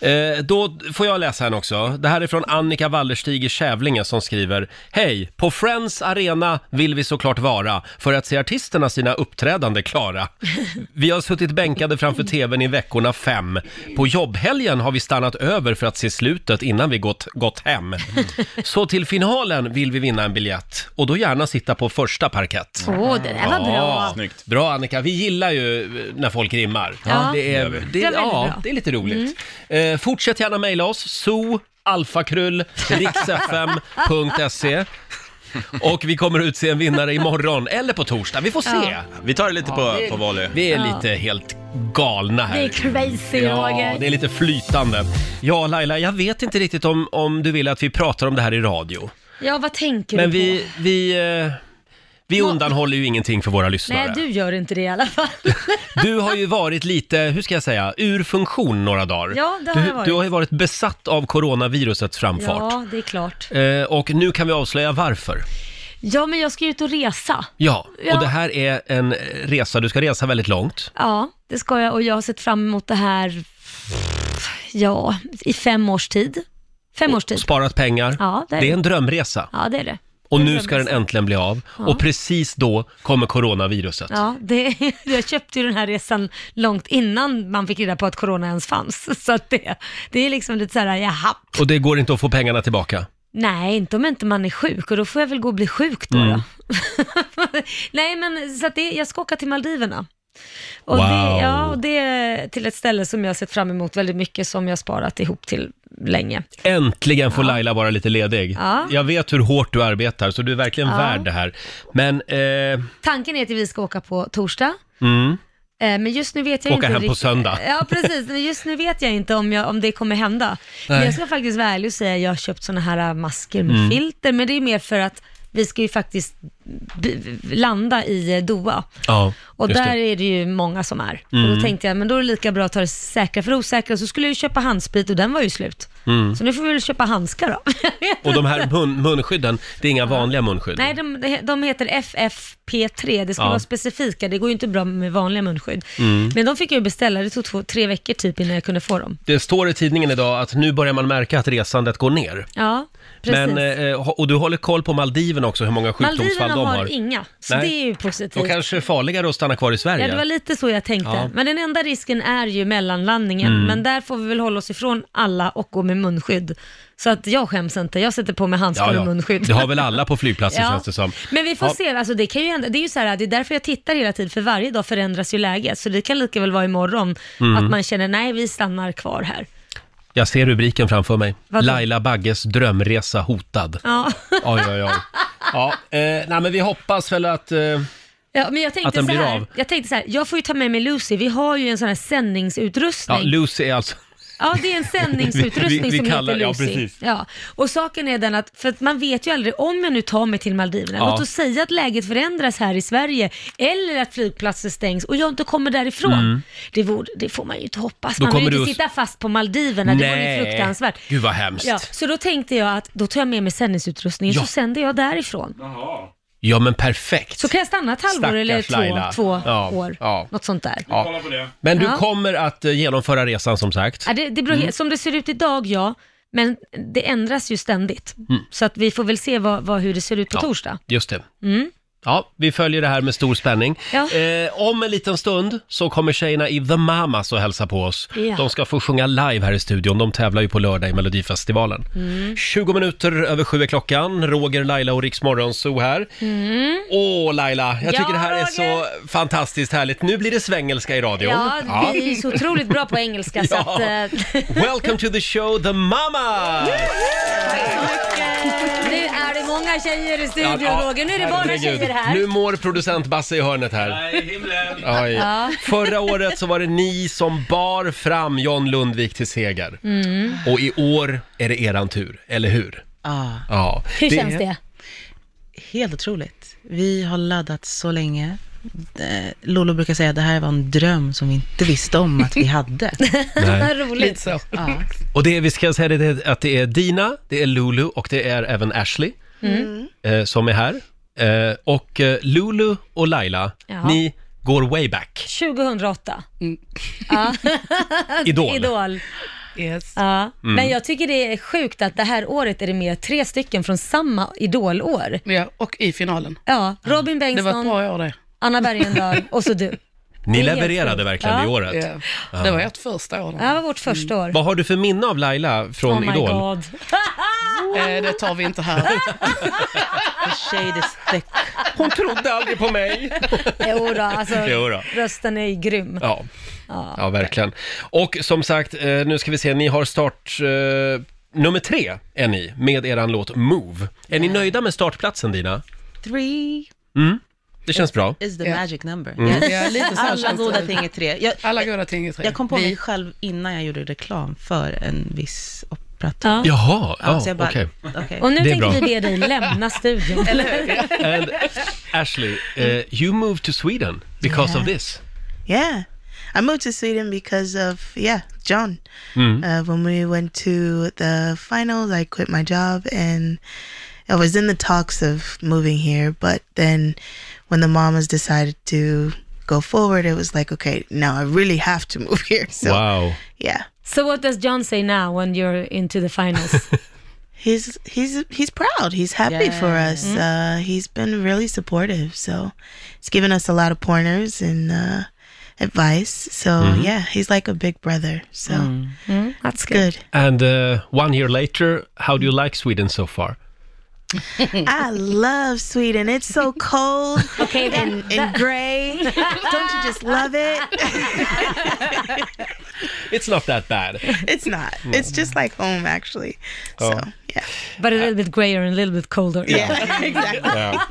Speaker 1: Ja. Eh, då får jag läsa en också. Det här är från Annika Wallerstig i Kävlinge som skriver Hej! På Friends Arena vill vi såklart vara för att se artisterna sina uppträdande klara. Vi har suttit bänkade framför TVn i veckorna fem. På jobbhelgen har vi stannat över för att se slutet innan vi gått, gått hem. Så till finalen vill vi vinna en biljett och då gärna sitta på första parkett.
Speaker 2: Åh, det där var bra.
Speaker 6: Snyggt.
Speaker 1: Bra Annika, vi gillar ju eh, när folk rimmar.
Speaker 2: Ja.
Speaker 1: det, är, det,
Speaker 2: Det är väldigt
Speaker 1: ja,
Speaker 2: bra. Mm.
Speaker 1: det är lite roligt. Eh, fortsätt gärna mejla oss, so alfakrull riksfm.se E. och vi kommer utse en vinnare imorgon eller på torsdag, vi får se.
Speaker 2: Ja.
Speaker 6: Vi tar det lite på, på volley.
Speaker 1: Vi är
Speaker 2: Ja.
Speaker 1: lite helt galna här.
Speaker 2: Det är crazy
Speaker 1: Ja,
Speaker 2: Roger.
Speaker 1: det är lite flytande. Ja, Laila, jag vet inte riktigt om, om du vill att vi pratar om det här i radio.
Speaker 2: Ja, vad tänker
Speaker 1: Men
Speaker 2: du på?
Speaker 1: vi, vi, eh, vi undanhåller ju ingenting för våra lyssnare.
Speaker 2: Nej, du gör inte det i alla fall.
Speaker 1: Du har ju varit lite, hur ska jag säga, ur funktion några dagar.
Speaker 2: Ja, det har
Speaker 1: du,
Speaker 2: jag varit.
Speaker 1: du har ju varit besatt av coronavirusets framfart.
Speaker 2: ja, det är klart.
Speaker 1: Eh, och nu kan vi avslöja varför.
Speaker 2: Ja, men jag ska ju ut och resa.
Speaker 1: Ja,
Speaker 2: Ja.
Speaker 1: och det här är en resa, du ska resa väldigt långt.
Speaker 2: Ja, det ska jag och jag har sett fram emot det här, ja, i fem års tid. Fem års tid.
Speaker 1: Sparat pengar.
Speaker 2: Typ. Ja, det är
Speaker 1: är en drömresa.
Speaker 2: Ja, det är det.
Speaker 1: Och
Speaker 2: Det är
Speaker 1: nu
Speaker 2: en
Speaker 1: ska den
Speaker 2: drömresa.
Speaker 1: äntligen bli av. Och precis då kommer coronaviruset.
Speaker 2: Ja, det, jag köpte ju den här resan långt innan man fick reda på att corona ens fanns. Så att det, det är liksom lite så här, jaha,
Speaker 1: Och det går inte att få pengarna tillbaka.
Speaker 2: nej, inte om inte man är sjuk och då
Speaker 1: Mm.
Speaker 2: får jag väl gå och bli sjuk då. då. nej, men så att det, jag ska åka till Maldiverna. Och
Speaker 1: Wow.
Speaker 2: det, ja, och det är till ett ställe som jag har sett fram emot väldigt mycket, som jag har sparat ihop till länge.
Speaker 1: Äntligen får Laila vara lite ledig.
Speaker 2: Ja.
Speaker 1: Jag vet hur hårt du arbetar, så du är verkligen
Speaker 2: Ja.
Speaker 1: värd det här. Men, eh,
Speaker 2: Tanken är att vi ska åka på torsdag.
Speaker 1: mm,
Speaker 2: Eh, Men just nu vet jag
Speaker 1: Åka
Speaker 2: inte
Speaker 1: hem på
Speaker 2: rikt-
Speaker 1: söndag.
Speaker 2: Ja, precis. Men just nu vet jag inte om, jag, om det kommer hända. Men
Speaker 1: Nej.
Speaker 2: jag ska faktiskt vara ärlig och säga att jag har köpt sådana här eh, masker med
Speaker 1: Mm.
Speaker 2: filter, men det är mer för att vi ska ju faktiskt b- landa i eh, Doha.
Speaker 1: ja,
Speaker 2: Och
Speaker 1: just
Speaker 2: där
Speaker 1: det.
Speaker 2: är det ju många som är. Och
Speaker 1: Mm.
Speaker 2: då tänkte jag, men då är det lika bra att ta det säkra för det osäkra. Så skulle jag ju köpa handsprit och den var ju slut.
Speaker 1: Mm.
Speaker 2: Så nu får vi väl köpa handskar då.
Speaker 1: Och de här mun, munskydden, det är inga vanliga munskydd.
Speaker 2: Nej, de, de heter FFP3. Det ska
Speaker 1: Ja.
Speaker 2: vara specifika. Det går ju inte bra med vanliga munskydd.
Speaker 1: Mm.
Speaker 2: Men de fick jag ju beställa. Det tog två, tre veckor typ innan jag kunde få dem.
Speaker 1: Det står i tidningen idag att nu börjar man märka att resandet går ner.
Speaker 2: Ja, precis.
Speaker 1: Men, eh, och du håller koll på Maldiverna också, hur många sjukdomsfall
Speaker 2: Maldiverna
Speaker 1: de har.
Speaker 2: har inga, så
Speaker 1: Nej.
Speaker 2: det är ju positivt.
Speaker 1: De kanske är farligare att stanna kvar i Sverige.
Speaker 2: Ja, det var lite så jag tänkte.
Speaker 1: Ja.
Speaker 2: Men den enda risken är ju mellanlandningen.
Speaker 1: Mm.
Speaker 2: Men där får vi väl hålla oss ifrån alla och gå med munskydd. Så att jag skäms inte. Jag sätter på mig handskar
Speaker 1: Ja, ja.
Speaker 2: och munskydd.
Speaker 1: Det har väl alla på flygplatser
Speaker 2: Ja.
Speaker 1: känns det som.
Speaker 2: Men vi får
Speaker 1: Ja.
Speaker 2: se, alltså det kan ju ändå, det är ju så här, det är därför jag tittar hela tiden, för varje dag förändras ju läget. Så det kan lika väl vara imorgon,
Speaker 1: Mm.
Speaker 2: att man känner, nej vi stannar kvar här.
Speaker 1: Jag ser rubriken framför mig.
Speaker 2: Vadå?
Speaker 1: Laila Bagges drömresa hotad.
Speaker 2: Ja.
Speaker 1: Oj, oj, oj. Ja, eh, nej, men vi hoppas väl att... Eh,
Speaker 2: Ja, men jag tänkte,
Speaker 1: Att den
Speaker 2: så
Speaker 1: blir
Speaker 2: här,
Speaker 1: av.
Speaker 2: jag tänkte så här, jag får ju ta med mig Lucy, vi har ju en sån här sändningsutrustning.
Speaker 1: ja, Lucy är alltså...
Speaker 2: Ja, det är en sändningsutrustning
Speaker 1: Vi- vi
Speaker 2: som
Speaker 1: kallar-
Speaker 2: heter
Speaker 1: ja,
Speaker 2: Lucy.
Speaker 1: precis.
Speaker 2: Ja. Och saken är den att, för att man vet ju aldrig om jag nu tar mig till Maldiverna,
Speaker 1: Ja.
Speaker 2: låt oss säga att läget förändras här i Sverige, eller att flygplatser stängs och jag inte kommer därifrån.
Speaker 1: Mm.
Speaker 2: Det, vore, det får man ju inte hoppas.
Speaker 1: Då
Speaker 2: man vill
Speaker 1: kommer
Speaker 2: ju
Speaker 1: du
Speaker 2: inte
Speaker 1: att-
Speaker 2: sitta fast på Maldiverna, det vore ju fruktansvärt.
Speaker 1: Gud vad hemskt.
Speaker 2: Ja,
Speaker 1: Ja.
Speaker 2: så då tänkte jag att då tar jag med mig sändningsutrustningen,
Speaker 1: Ja.
Speaker 2: så sänder jag därifrån.
Speaker 1: men perfekt.
Speaker 2: Så kan jag stanna ett halvår eller
Speaker 1: Stackars Laila.
Speaker 2: två, två
Speaker 1: Ja,
Speaker 2: år,
Speaker 1: ja.
Speaker 2: något sånt där.
Speaker 1: Ja. Men du
Speaker 2: Ja.
Speaker 1: kommer att eh, genomföra resan som sagt.
Speaker 2: Ja, det, det
Speaker 1: Mm.
Speaker 2: beror, Som det ser ut idag, ja. Men det ändras ju ständigt.
Speaker 1: Mm.
Speaker 2: Så att vi får väl se vad, vad, hur det ser ut på
Speaker 1: Ja.
Speaker 2: torsdag.
Speaker 1: Just det.
Speaker 2: Mm.
Speaker 1: Ja, vi följer det här med stor spänning.
Speaker 2: Ja.
Speaker 1: Eh, om en liten stund så kommer tjejerna i The Mamas och hälsa på oss.
Speaker 2: Ja.
Speaker 1: De ska få sjunga live här i studion. De tävlar ju på lördag i Melodifestivalen. 20 minuter över sju är klockan. Roger, Laila och Rix Morgonzoo här.
Speaker 2: Mm.
Speaker 1: Åh Laila, jag
Speaker 2: Ja,
Speaker 1: tycker det här är så
Speaker 2: Roger.
Speaker 1: fantastiskt härligt. Nu blir det svengelska i radion.
Speaker 2: Ja,
Speaker 1: Ja.
Speaker 2: vi är så otroligt bra på engelska så
Speaker 1: Ja.
Speaker 2: att... eh,
Speaker 1: Welcome to the show, The Mamas!
Speaker 2: nu är det många tjejer i studion
Speaker 1: Ja,
Speaker 2: Roger, nu är det bara
Speaker 1: herregud.
Speaker 2: tjejer här.
Speaker 1: Nu mår producent Basse i hörnet här. Oj.
Speaker 2: Ja.
Speaker 1: Förra året så var det ni som bar fram John Lundvik till seger.
Speaker 8: Mm.
Speaker 1: Och i år är det eran tur, eller hur?
Speaker 8: Ja.
Speaker 1: Ja.
Speaker 8: Ah. Helt otroligt. Vi har laddat så länge. Eh, Lolo brukar säga att det här var en dröm som vi inte visste om att vi hade.
Speaker 1: Nej.
Speaker 2: Roligt.
Speaker 8: Ja.
Speaker 1: Och det, vi ska säga det, det, att det är Dina, det är Lulu och det är även Ashley
Speaker 2: Mm.
Speaker 1: eh, som är här. Eh, och eh, Lulu och Laila,
Speaker 2: Ja.
Speaker 1: ni går way back.
Speaker 2: 2008.
Speaker 9: Mm.
Speaker 2: Ja.
Speaker 1: Idol.
Speaker 2: Idol.
Speaker 8: Yes.
Speaker 2: Ja.
Speaker 1: Mm.
Speaker 2: Men jag tycker det är sjukt att det här året är det med tre stycken från samma idolår.
Speaker 9: Ja, och i finalen.
Speaker 2: Ja, Robin
Speaker 9: Det var ett
Speaker 2: Bengtsson,
Speaker 9: bra år det.
Speaker 2: Anna Bergendahl och så du.
Speaker 1: Ni
Speaker 2: Det är helt
Speaker 1: levererade
Speaker 2: sjukt.
Speaker 1: verkligen
Speaker 2: Ja.
Speaker 1: det året.
Speaker 9: Ja. Det var ett första år.
Speaker 2: Ja, Det var vårt första år.
Speaker 1: Vad har du för minne av Laila från
Speaker 2: oh my
Speaker 1: Idol?
Speaker 2: god.
Speaker 9: Eh, det tar vi inte här.
Speaker 1: Hon trodde aldrig på mig.
Speaker 2: Jo då, alltså,
Speaker 1: Jo då.
Speaker 2: rösten är ju grym.
Speaker 1: Ja,
Speaker 2: Ja.
Speaker 1: ja verkligen. Och som sagt, eh, nu ska vi se, ni har start... Eh, nummer tre är ni med eran låt Move. Är ni nöjda med startplatsen Dina?
Speaker 8: Three
Speaker 1: Mm, det känns bra.
Speaker 8: is the
Speaker 9: Ja.
Speaker 8: magic number.
Speaker 1: Mm.
Speaker 9: Ja, lite så
Speaker 8: Alla
Speaker 9: känns
Speaker 8: goda
Speaker 9: det.
Speaker 8: ting är tre. Jag,
Speaker 9: Alla goda ting är tre.
Speaker 8: jag kom på
Speaker 9: Vi-
Speaker 8: mig själv innan jag gjorde reklam för en viss operatör.
Speaker 2: Ja.
Speaker 1: Jaha, ja,
Speaker 8: så jag bara,
Speaker 1: okej.
Speaker 8: okej.
Speaker 2: Och nu
Speaker 1: Det är
Speaker 2: tänker
Speaker 1: bra.
Speaker 2: vi be dig lämna studion.
Speaker 1: And Ashley, eh, you moved to Sweden because of this.
Speaker 10: Yeah. I moved to Sweden because of, yeah, John.
Speaker 1: Mm.
Speaker 10: Uh, when we went to the finals, I quit my job and I was in the talks of moving here. But then when the mamas decided to go forward, it was like, okay, now I really have to move here. So,
Speaker 1: Wow.
Speaker 10: yeah.
Speaker 2: So what does John say now when you're into the finals?
Speaker 10: He's he's he's proud. He's happy for us. Uh, he's been really supportive. So he's given us a lot of pointers and uh, advice. So yeah, he's like a big brother. So
Speaker 1: Mm-hmm.
Speaker 2: Mm, that's
Speaker 10: it's good.
Speaker 1: And uh, one year later, how do you like Sweden so far?
Speaker 10: I love Sweden. It's so cold and, and gray. Don't you just love it?
Speaker 1: It's not that bad.
Speaker 10: It's not. It's just like home, actually.
Speaker 1: Ja.
Speaker 2: But a little bit grayer and a little bit colder.
Speaker 10: Yeah, exactly.
Speaker 1: Ja.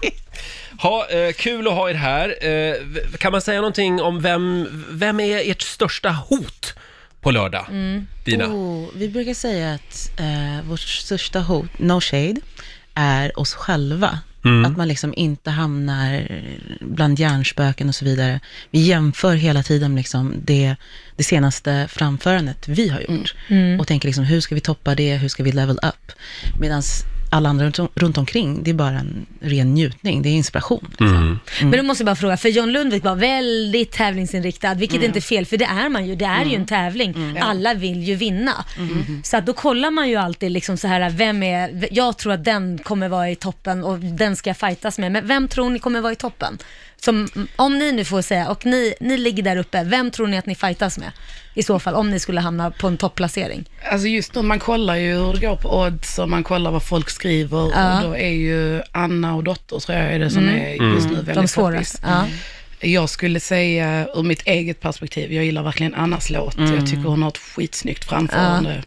Speaker 1: Ha, eh, kul att ha er här. Eh, v- kan man säga någonting om vem, vem är ert största hot på lördag? Dina?
Speaker 8: Oh, vi brukar säga att eh, vårt största hot, no shade, är oss själva.
Speaker 1: Mm.
Speaker 8: Att man liksom inte hamnar bland hjärnspöken och så vidare. Vi jämför hela tiden liksom det, det senaste framförandet vi har gjort.
Speaker 2: Mm.
Speaker 8: Och tänker liksom, hur ska vi toppa det, hur ska vi level up? Medan alla andra runt, om- runt omkring, det är bara en ren njutning, det är inspiration.
Speaker 11: Mm.
Speaker 2: Men då måste jag bara fråga, för John Lundvik var väldigt tävlingsinriktad, vilket
Speaker 8: Mm.
Speaker 2: inte är fel, för det är man ju. Det är ju
Speaker 1: Mm.
Speaker 2: en tävling. Alla vill ju vinna. Mm. Så att då kollar man ju alltid liksom så här, vem är, jag tror att den kommer vara i toppen och den ska jag fightas med, men vem tror ni kommer vara i toppen? Som, om ni nu får säga, och ni, ni ligger där uppe, vem tror ni att ni fightas med? I så fall, om ni skulle hamna på en topplacering.
Speaker 9: Alltså just nu, man kollar ju hur det går på odds och man kollar vad folk skriver
Speaker 2: Ja.
Speaker 9: och då är ju Anna och Dotter tror jag är det som
Speaker 2: Mm.
Speaker 9: är just nu
Speaker 2: Mm.
Speaker 9: väldigt
Speaker 2: De svåraste,
Speaker 9: poppis.
Speaker 2: ja.
Speaker 9: Jag skulle säga ur mitt eget perspektiv, jag gillar verkligen Annas låt.
Speaker 2: Mm.
Speaker 9: Jag tycker hon har ett skitsnyggt framförande.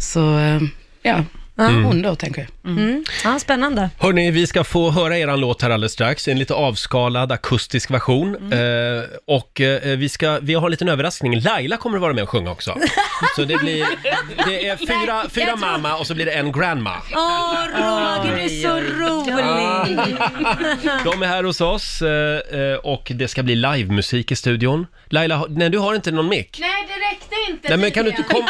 Speaker 9: Så eh, ja,
Speaker 1: Ja. Mm.
Speaker 9: hon då tänker jag.
Speaker 2: Mm. Ja, spännande.
Speaker 1: Hörni, vi ska få höra eran låt här alldeles strax, i en lite avskalad akustisk version.
Speaker 2: Mm.
Speaker 1: Eh, och eh, vi, ska, vi har en liten överraskning, Laila kommer att vara med och sjunga också. Så det blir, det är fyra, fyra mamma och så blir det en grandma.
Speaker 2: Åh, Roger, du är så rolig!
Speaker 1: De är här hos oss eh, eh, och det ska bli livemusik i studion. Laila, har- nej du har inte någon mick.
Speaker 12: Nej, det räckte inte.
Speaker 1: Nej, men kan du inte
Speaker 12: tydligen.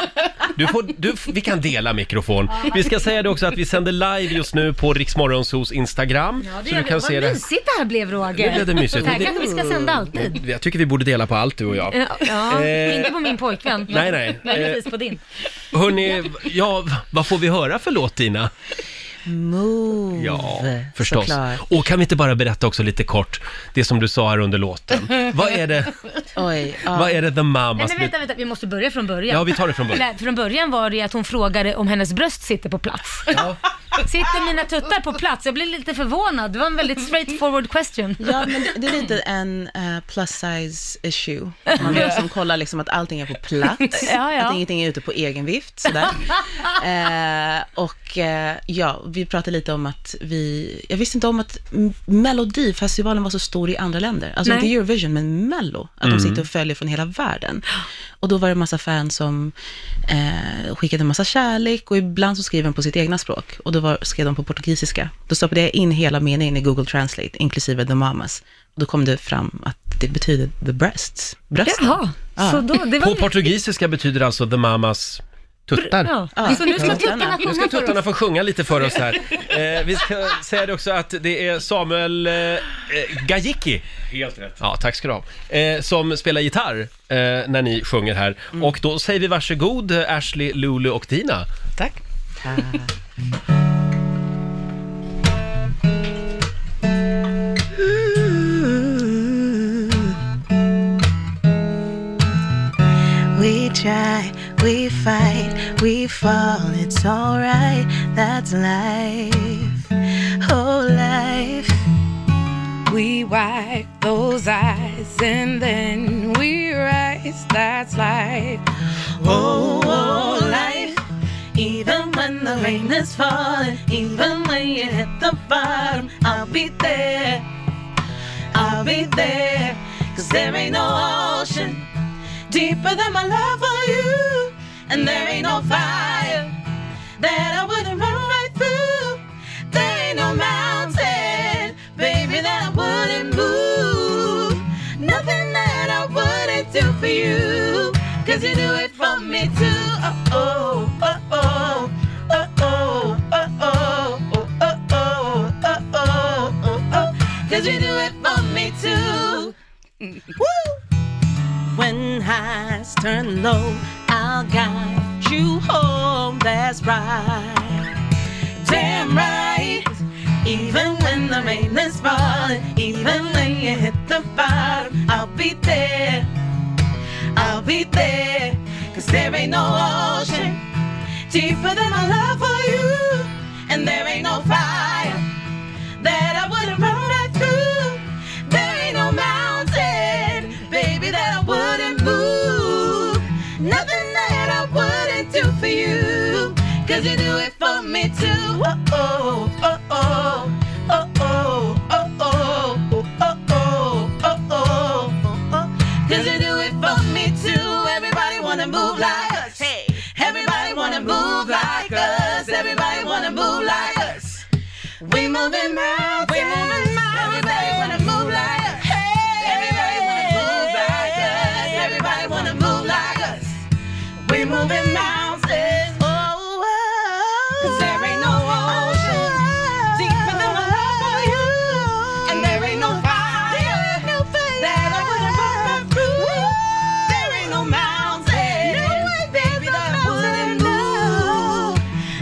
Speaker 1: Du får, du, vi kan dela mikrofon. Vi ska säga det också att vi sänder live just nu på Riksmorgonsos Instagram.
Speaker 2: Ja, det
Speaker 1: så
Speaker 2: gör
Speaker 1: du
Speaker 2: vi.
Speaker 1: kan
Speaker 2: Vad
Speaker 1: se det.
Speaker 2: mysigt det här blev Roger.
Speaker 1: Nu blev det mysigt.
Speaker 2: Det här kanske vi ska sända alltid.
Speaker 1: Jag tycker vi borde dela på allt du och jag.
Speaker 2: Ja, ja
Speaker 1: Eh,
Speaker 2: inte på min pojkvän.
Speaker 1: nej, nej. Eh,
Speaker 2: Möjligtvis på din.
Speaker 1: Hörni, ja, vad får vi höra för låt Dina?
Speaker 8: Move,
Speaker 1: Ja, förstås.
Speaker 8: såklart.
Speaker 1: Och kan vi inte bara berätta också lite kort, det som du sa här under låten. Vad är det,
Speaker 8: Oj,
Speaker 1: vad är det The
Speaker 2: Nej,
Speaker 1: Mamas...
Speaker 2: men vänta, vänta, vi måste börja från början.
Speaker 1: Ja, vi tar det från början.
Speaker 2: Nej, Från början var det ju att hon frågade om hennes bröst sitter på plats. Sitter mina tuttar på plats? Jag blev lite förvånad. Det var en väldigt straight forward question.
Speaker 8: Ja, men det är lite en eh, plus size issue. Man vill liksom kolla liksom att allting är på plats,
Speaker 2: Ja, ja.
Speaker 8: att ingenting är ute på egen vift. Sådär. Eh, och eh, ja, vi pratade lite om att vi, jag visste inte om att M- Melodifestivalen var så stor i andra länder. Alltså
Speaker 2: Nej.
Speaker 8: inte Eurovision, men Mello. Att
Speaker 2: Mm.
Speaker 8: de sitter och följer från hela världen. Och då var det en massa fans som eh, skickade en massa kärlek och ibland så skrev de på sitt egna språk. Och då var, skrev de på portugisiska. Då stoppade jag in hela meningen i Google Translate, inklusive the mamas. Och då kom det fram att det betyder the breasts, brösten.
Speaker 2: Jaha, så då- det var
Speaker 1: På
Speaker 2: ju-
Speaker 1: portugisiska betyder alltså The Mamas tuttar.
Speaker 2: Ja. Så nu ska tuttarna
Speaker 1: Nu ska
Speaker 2: sjunga för
Speaker 1: tuttarna
Speaker 2: oss.
Speaker 1: få sjunga lite för oss här. Eh, vi ska säga det också att det är Samuel eh, eh, Gajicki.
Speaker 6: Helt rätt.
Speaker 1: Ja, tack ska du ha. Eh, som spelar gitarr eh, när ni sjunger här. Och då säger vi varsågod eh, Ashley, Lulu och Dina.
Speaker 9: Tack.
Speaker 1: Ah.
Speaker 10: We try, we fight, we fall, it's alright, that's life. Oh, life.
Speaker 11: We wipe those eyes and then we rise. That's life. Oh, oh life.
Speaker 8: Even when the rain is falling, even when you hit the bottom, I'll be there. I'll be there. Cause there ain't no ocean deeper than my love for you. And there ain't no fire that I wouldn't run right through. There ain't no mountain, baby, that I wouldn't move. Nothing that I wouldn't do for you. Cause you do it for me too. Oh, oh, oh, oh. Oh, oh, oh, oh, oh, oh, oh, oh, oh, oh, oh. Cause you do it for me too. Woo! When highs turn low, I'll guide you home. That's right. Damn right. Even when the rain is falling, even when you hit the bottom, I'll be there. I'll be there. Cause there ain't no ocean deeper than my love for you. And there ain't no fire do for you. Cause you do it for me too. Oh, oh, oh, oh, oh, oh, oh, oh, oh, oh, oh, oh, oh, oh. Cause you do it for me too. Everybody wanna move like us. Hey, everybody wanna move like us. Everybody wanna move like us. We moving mountains. We moving mountains. Everybody wanna move like us. Hey, everybody wanna move like us. Everybody wanna move like us. We moving mountains. Oh, oh, Cause there ain't no ocean deeper than my love for you. And there ain't no fire that I wouldn't burn through. There ain't no mountain, baby, that I wouldn't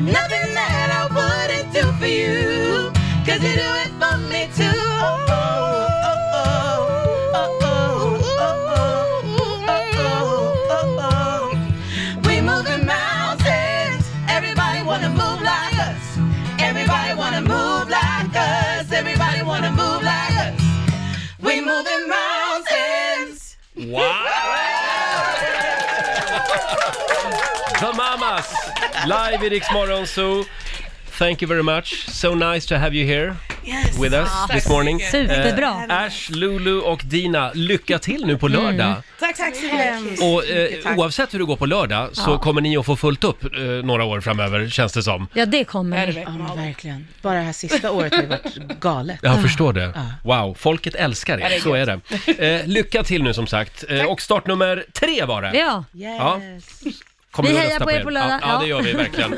Speaker 8: move. Nothing that I wouldn't do for you. Cause you do it for me too. Oh, oh, oh, oh, oh, oh, oh, oh, oh. We moving mountains. Everybody wanna move like us. Everybody wanna move like us. Everybody wanna move like us. We moving mountains.
Speaker 1: The Mamas, live i Rix Morgon Zoo. Thank you very much. So nice to have you here
Speaker 2: Yes.
Speaker 1: with us
Speaker 2: Ja,
Speaker 1: this
Speaker 2: tack
Speaker 1: morning.
Speaker 2: så mycket. Superbra.
Speaker 1: Eh, Ash, Lulu och Dina, lycka till nu på
Speaker 2: Mm.
Speaker 1: lördag.
Speaker 9: Tack, tack så hemskt
Speaker 1: Och
Speaker 9: mycket,
Speaker 1: eh,
Speaker 9: tack.
Speaker 1: oavsett hur det går på lördag så
Speaker 9: Ja.
Speaker 1: kommer ni att få fullt upp eh, några år framöver, känns det som.
Speaker 2: Ja, det kommer
Speaker 9: ni. Ja, men verkligen. Bara det här sista året har ju varit galet.
Speaker 2: Ah.
Speaker 1: Jag förstår det. Wow, folket älskar
Speaker 9: Ja, det
Speaker 1: er,
Speaker 9: är
Speaker 1: så är det. Eh, lycka till nu som sagt. Eh, och startnummer tre var det.
Speaker 2: Ja.
Speaker 1: Ja. Kommer
Speaker 2: vi
Speaker 1: att
Speaker 2: hejar
Speaker 1: rösta
Speaker 2: på er på lördag.
Speaker 1: Ja, ja, det gör vi verkligen.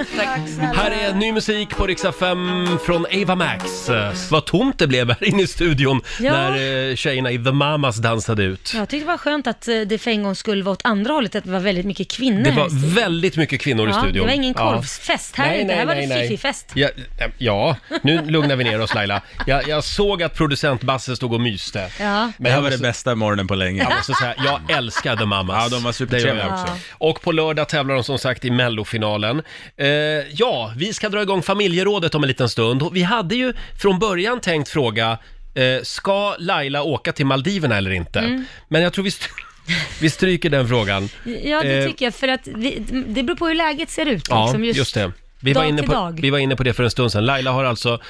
Speaker 1: Här är ny musik på Riksdag 5 från Ava Max. Eh, Vad tomt det blev här inne i studion
Speaker 2: Ja.
Speaker 1: när eh, tjejerna i The Mamas dansade ut.
Speaker 2: Jag tyckte det var skönt att eh, det för en gång skulle vara åt andra hållet, att det var väldigt mycket kvinnor.
Speaker 1: Det
Speaker 2: här i studion.
Speaker 1: var väldigt mycket kvinnor i
Speaker 2: Ja,
Speaker 1: studion.
Speaker 2: Det var ingen
Speaker 1: Ja.
Speaker 2: korvfest här inte, här var det fiffifest.
Speaker 1: Ja, eh, ja, nu lugnar vi ner oss Laila. Jag, jag såg att producent Basse stod och myste.
Speaker 2: Ja.
Speaker 6: Det här var
Speaker 1: den bästa morgonen på länge. Jag måste säga, jag älskade Mamas.
Speaker 6: Ja, de var supertrevliga också.
Speaker 1: Och på lördag tävlar de som sagt i mellofinalen. Eh, ja, vi ska dra igång familjerådet om en liten stund. Vi hade ju från början tänkt fråga, eh, ska Laila åka till Maldiverna eller inte?
Speaker 2: Mm.
Speaker 1: Men jag tror vi, st- vi stryker den frågan.
Speaker 2: Ja, det
Speaker 1: Eh,
Speaker 2: tycker jag, för att vi, det beror på hur läget ser ut.
Speaker 1: Ja,
Speaker 2: liksom,
Speaker 1: just, det. Vi var,
Speaker 2: dag
Speaker 1: inne
Speaker 2: till
Speaker 1: på,
Speaker 2: dag.
Speaker 1: vi var inne på det för en stund sedan. Laila har alltså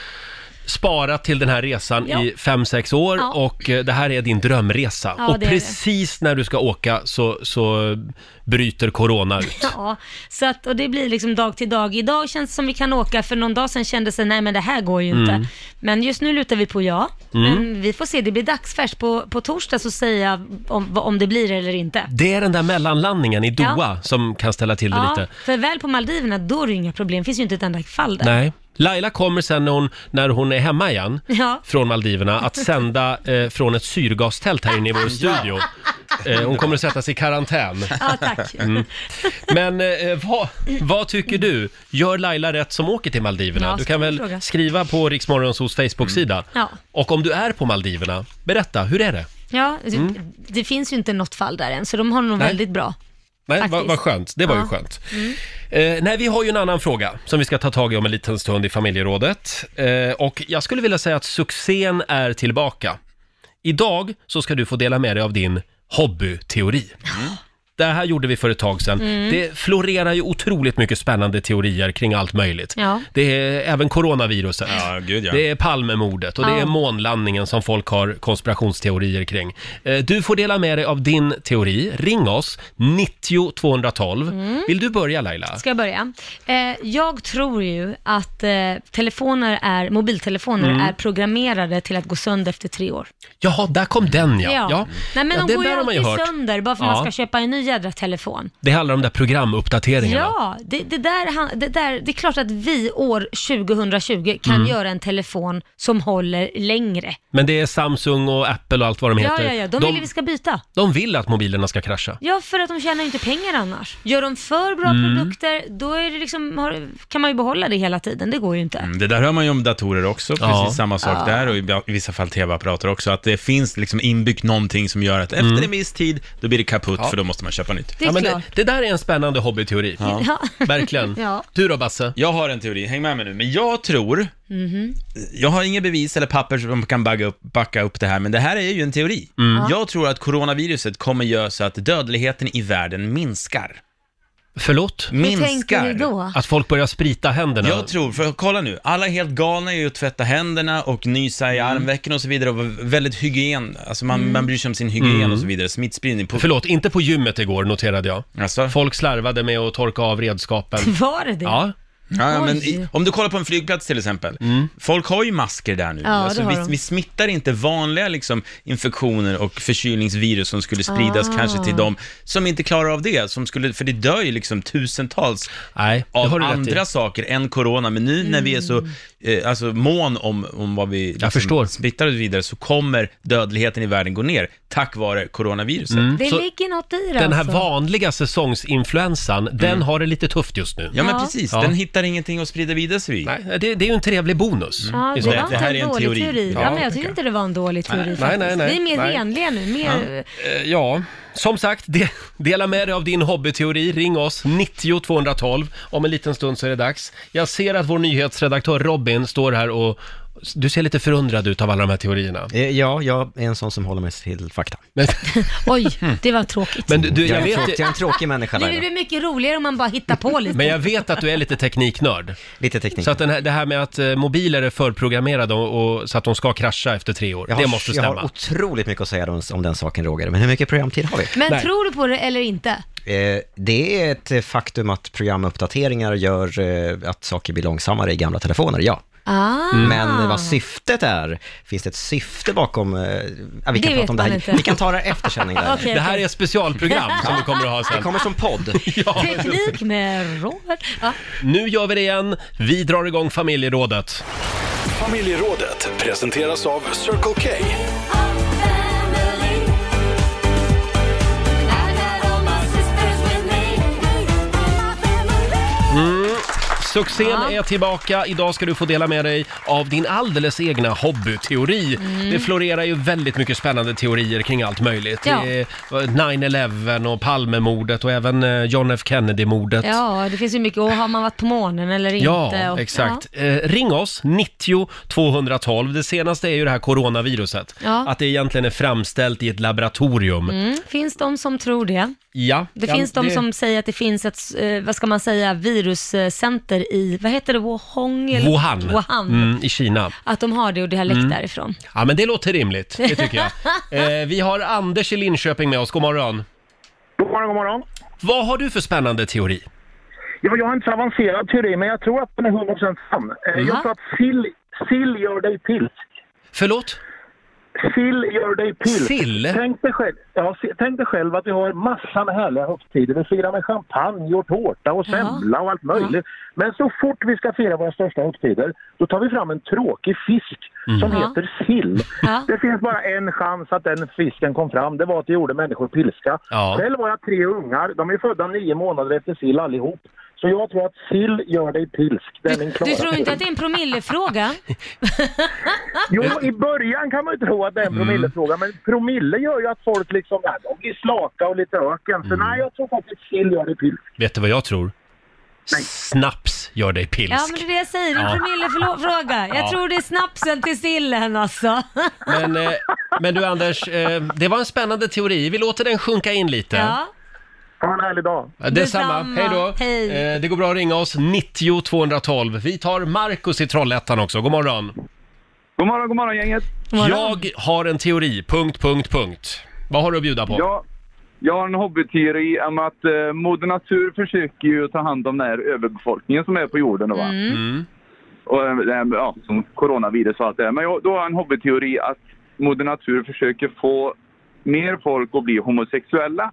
Speaker 1: sparat till den här resan
Speaker 2: Ja.
Speaker 1: i fem sex år
Speaker 2: Ja.
Speaker 1: och eh, det här är din drömresa.
Speaker 2: Ja,
Speaker 1: och
Speaker 2: det är det.
Speaker 1: precis när du ska åka så, så bryter corona ut.
Speaker 2: Ja, så att, och det blir liksom dag till dag. Idag känns det som vi kan åka, för någon dag sedan kändes det, nej men det här går ju inte.
Speaker 1: Mm.
Speaker 2: Men just nu lutar vi på ja.
Speaker 1: Mm.
Speaker 2: Men vi får se, det blir dagsfärskt på, på torsdag så säger jag om, om det blir eller inte.
Speaker 1: Det är den där mellanlandningen i Doha
Speaker 2: Ja.
Speaker 1: som kan ställa till det
Speaker 2: Ja,
Speaker 1: lite.
Speaker 2: för väl på Maldiverna, då är det ju inga problem. finns ju inte ett enda fall där.
Speaker 1: Nej. Laila kommer sen när hon, när hon är hemma igen
Speaker 2: Ja.
Speaker 1: från Maldiverna att sända eh, från ett syrgastält här inne i vår studio. Eh, hon kommer att sätta sig i karantän.
Speaker 2: Ja, tack.
Speaker 1: Mm. Men eh, vad, vad tycker du? Gör Laila rätt som åker till Maldiverna?
Speaker 2: Ja,
Speaker 1: du kan väl
Speaker 2: fråga. Mm.
Speaker 1: skriva på Riksmorgonsos Facebook-sida.
Speaker 2: Ja.
Speaker 1: Och om du är på Maldiverna, berätta, hur är det?
Speaker 2: Ja, det,
Speaker 1: Mm.
Speaker 2: det finns ju inte något fall där än, så de har nog
Speaker 1: Nej.
Speaker 2: väldigt bra.
Speaker 1: Nej, vad
Speaker 2: Faktiskt.
Speaker 1: vad skönt. Det var ju
Speaker 2: Ja.
Speaker 1: skönt.
Speaker 2: Mm.
Speaker 1: Eh, nej, vi har ju en annan fråga som vi ska ta tag i om en liten stund i familjerådet. Eh, och jag skulle vilja säga att succén är tillbaka. Idag så ska du få dela med dig av din hobbyteori. Det här gjorde vi för ett tag sedan.
Speaker 2: Mm.
Speaker 1: Det florerar ju otroligt mycket spännande teorier kring allt möjligt.
Speaker 2: Ja.
Speaker 1: Det är även coronaviruset. Det är Palmemordet och det
Speaker 2: Ja.
Speaker 1: är månlandningen som folk har konspirationsteorier kring. Eh, Du får dela med dig av din teori. Ring oss, 90 212.
Speaker 2: Mm.
Speaker 1: Vill du börja Laila?
Speaker 2: Ska jag börja? Eh, jag tror ju att eh, telefoner är, mobiltelefoner
Speaker 1: Mm.
Speaker 2: är programmerade till att gå sönder efter tre år.
Speaker 1: Jaha, där kom den ja.
Speaker 2: Nej men
Speaker 1: Ja,
Speaker 2: de går ju
Speaker 1: där har man
Speaker 2: alltid sönder bara för att
Speaker 1: Ja.
Speaker 2: man ska köpa en ny jädra telefon.
Speaker 1: Det handlar om de där programuppdateringarna.
Speaker 2: Ja, det, det, där, han- det där, det är klart att vi år 2020 kan
Speaker 1: Mm.
Speaker 2: göra en telefon som håller längre.
Speaker 1: Men det är Samsung och Apple och allt vad de
Speaker 2: Ja,
Speaker 1: heter.
Speaker 2: ja, ja, de, vill ju vi ska byta.
Speaker 1: de vill att mobilerna ska krascha.
Speaker 2: Ja, för att de tjänar ju inte pengar annars. Gör de för bra
Speaker 6: Mm.
Speaker 2: produkter, då är det liksom, har, kan man ju behålla det hela tiden. Det går ju inte.
Speaker 6: Mm, Det där hör man ju om datorer också, precis
Speaker 1: Ja.
Speaker 6: samma sak
Speaker 2: Ja.
Speaker 6: där och i ba- i vissa fall tv-apparater också, att det finns liksom inbyggt någonting som gör att efter
Speaker 1: Mm.
Speaker 6: en viss tid, då blir det kaputt
Speaker 1: Ja.
Speaker 6: för då måste man köpa nytt.
Speaker 2: Det är Ja, men det- klart.
Speaker 1: det där är en spännande hobbyteori.
Speaker 2: Ja.
Speaker 1: Verkligen.
Speaker 2: Ja.
Speaker 1: Du då Basse?
Speaker 6: Jag har en teori, häng med mig nu, men jag tror
Speaker 2: Mhm.
Speaker 6: jag har inga bevis eller papper som kan backa upp, backa upp det här, men det här är ju en teori.
Speaker 1: Mm.
Speaker 6: Jag tror att coronaviruset kommer göra så att dödligheten i världen minskar.
Speaker 1: Förlåt?
Speaker 6: Hur tänker Minskar. du då?
Speaker 1: Att folk börjar sprita händerna?
Speaker 6: Jag tror, för kolla nu, alla är helt galna i att tvätta händerna och nysa i
Speaker 1: Mm.
Speaker 6: armvecken och så vidare och vara väldigt hygien, alltså man, man bryr sig om sin hygien
Speaker 1: Mm.
Speaker 6: och så vidare, smittspridning. På...
Speaker 1: Förlåt, inte på gymmet igår noterade jag. Folk slarvade med att torka av redskapen.
Speaker 2: Var det det?
Speaker 1: Ja.
Speaker 6: Ja, ja, men
Speaker 2: Oj.
Speaker 6: i, om du kollar på en flygplats till exempel,
Speaker 1: Mm.
Speaker 6: folk har ju masker där nu.
Speaker 2: Ja, det
Speaker 6: alltså,
Speaker 2: har
Speaker 6: vi,
Speaker 2: de.
Speaker 6: vi smittar inte vanliga liksom, infektioner och förkylningsvirus som skulle spridas
Speaker 1: Ah.
Speaker 6: kanske till de som inte klarar av det, som skulle, för det dör ju liksom tusentals
Speaker 1: har
Speaker 6: av
Speaker 1: du rätt
Speaker 6: andra
Speaker 1: i.
Speaker 6: saker än corona. Men nu när vi är
Speaker 2: Mm.
Speaker 6: så eh, alltså, mån om, om vad vi liksom, smittar och vidare så kommer dödligheten i världen gå ner tack vare coronaviruset.
Speaker 2: Det ligger något i det
Speaker 1: Mm. Den här
Speaker 2: alltså.
Speaker 1: vanliga säsongsinfluensan, den har det lite tufft just nu.
Speaker 6: Mm. Ja, men Ja. precis. Den hittar ingenting att sprida vidare sig vid.
Speaker 1: Nej, det, det är ju en trevlig bonus.
Speaker 2: Ja, det,
Speaker 1: i Mm. så
Speaker 2: var
Speaker 1: fall.
Speaker 2: inte en dålig teori. Ja, men jag tycker inte det var en dålig teori
Speaker 1: Nej,
Speaker 2: faktiskt.
Speaker 1: nej, nej,
Speaker 2: Vi är mer
Speaker 1: nej.
Speaker 2: renliga nu. Mer...
Speaker 1: Eh, Ja, som sagt, de, dela med dig av din hobbyteori. Ring oss, 90 212. Om en liten stund så är det dags. Jag ser att vår nyhetsredaktör Robin står här och du ser lite förundrad ut av alla de här teorierna.
Speaker 5: Eh, Ja, jag är en sån som håller mig till fakta.
Speaker 1: Men, Mm.
Speaker 2: Oj, det var tråkigt.
Speaker 1: Men du- du,
Speaker 5: jag,
Speaker 1: jag
Speaker 5: är en
Speaker 1: vet-
Speaker 5: tråkig, jag är en tråkig människa,
Speaker 2: Det
Speaker 5: Laila.
Speaker 2: blir mycket roligare om man bara hittar på lite.
Speaker 1: Men jag vet att du är lite tekniknörd.
Speaker 5: Lite teknik.
Speaker 1: Så att den här, det här med att eh, mobiler är förprogrammerade och, och, så att de ska krascha efter tre år,
Speaker 5: Jag
Speaker 1: det
Speaker 5: har-
Speaker 1: måste
Speaker 5: Jag
Speaker 1: stämma.
Speaker 5: har otroligt mycket att säga om, om den saken, Roger. Men hur mycket programtid har vi?
Speaker 2: Men tror du på det eller inte?
Speaker 5: Eh, Det är ett eh, faktum att programuppdateringar gör eh, att saker blir långsammare i gamla telefoner, ja.
Speaker 2: Ah.
Speaker 5: Men eh, vad syftet är, finns det ett syfte bakom... eh, Ja, vi,
Speaker 2: Det
Speaker 5: kan
Speaker 2: vet
Speaker 5: prata om det
Speaker 2: man
Speaker 5: här.
Speaker 2: inte.
Speaker 5: vi kan ta det här efter sändning. där.
Speaker 2: Okej, Det här okej. är
Speaker 1: ett specialprogram som vi kommer att ha sen.
Speaker 5: Det kommer som podd.
Speaker 2: Teknik med Robert. Ja.
Speaker 1: Nu gör vi det igen. Vi drar igång familjerådet.
Speaker 3: Familjerådet presenteras av Circle K.
Speaker 1: Mm. Succén
Speaker 2: Ja.
Speaker 1: är tillbaka. Idag ska du få dela med dig av din alldeles egna hobbyteori.
Speaker 2: Mm.
Speaker 1: Det florerar ju väldigt mycket spännande teorier kring allt möjligt.
Speaker 2: Ja.
Speaker 1: Det är, eh, 9-11 och Palmemordet och även eh, John F Kennedy-mordet.
Speaker 2: ja, det finns ju mycket. Och har man varit på månen eller inte?
Speaker 1: Ja,
Speaker 2: och,
Speaker 1: exakt. Eh, ring oss, 90 212. Det senaste är ju det här coronaviruset.
Speaker 2: Ja.
Speaker 1: Att det egentligen är framställt i ett laboratorium.
Speaker 2: Ja. Mm. Finns de som tror det?
Speaker 1: Ja.
Speaker 2: Det
Speaker 1: ja,
Speaker 2: finns de som säger att det finns ett, eh, vad ska man säga, viruscenter i, vad heter det, Wuhan? Eller?
Speaker 1: Wuhan,
Speaker 2: Wuhan.
Speaker 1: Mm, i Kina.
Speaker 2: Att de har det och det har läckt
Speaker 1: Mm.
Speaker 2: därifrån.
Speaker 1: Ja, men det låter rimligt. Det tycker jag. Eh, vi har Anders i Linköping med oss. God morgon.
Speaker 12: God morgon, god morgon.
Speaker 1: Vad har du för spännande teori?
Speaker 12: Ja, jag har inte så avancerad teori, men jag tror att den är 100% sann. Eh,
Speaker 1: Ja.
Speaker 12: Jag tror att sill, sill gör dig pilsk.
Speaker 1: Förlåt?
Speaker 12: Sill gör dig pilsk.
Speaker 1: Sill?
Speaker 12: Tänk dig själv, ja, se- tänk dig själv att vi har massor med härliga högtider. Vi firar med champagne och tårta och semla och allt möjligt. Men så fort vi ska fira våra största högtider, då tar vi fram en tråkig fisk som
Speaker 1: Mm.
Speaker 13: Ja.
Speaker 12: heter sill. Det finns bara en chans att den fisken kom fram. Det var att det gjorde människor pilska.
Speaker 13: Ja.
Speaker 12: Själv har jag tre ungar. De är födda nio månader efter sill allihop. Så jag tror att sill gör dig pilsk. Det är min klara
Speaker 2: Du tror inte
Speaker 12: teori.
Speaker 2: att det är en promillefråga?
Speaker 12: Jo, i början kan man ju tro att det är en promillefråga, men promille gör ju att folk liksom, ja, de blir slaka och lite öken. Så nej, jag tror faktiskt sill gör det pilsk.
Speaker 1: Vet du vad jag tror? Snaps gör dig pilsk.
Speaker 2: Ja, men det är det jag säger. Det är
Speaker 1: Ja.
Speaker 2: en promillefråga. Jag
Speaker 1: Ja.
Speaker 2: tror det är snapsen till sillen alltså.
Speaker 1: Men, eh, men du Anders, eh, det var en spännande teori. Vi låter den sjunka in lite.
Speaker 2: Ja.
Speaker 12: Ha en härlig dag.
Speaker 1: Detsamma.
Speaker 2: Detsamma.
Speaker 1: Hej då.
Speaker 2: Hej.
Speaker 1: Eh, det går bra att ringa oss, 90 212. Vi tar Markus i Trollhättan också. God morgon.
Speaker 14: God morgon, god morgon gänget.
Speaker 1: Jag har en teori, punkt, punkt, punkt. Vad har du att bjuda på?
Speaker 14: Jag, jag har en hobbyteori om att eh, Moder Natur försöker ju ta hand om den här överbefolkningen som är på jorden. Då, va?
Speaker 13: Mm. Mm.
Speaker 14: Och, eh, det här med, ja, som coronavirus och allt det här. Men jag, då har jag en hobbyteori att Moder Natur försöker få mer folk att bli homosexuella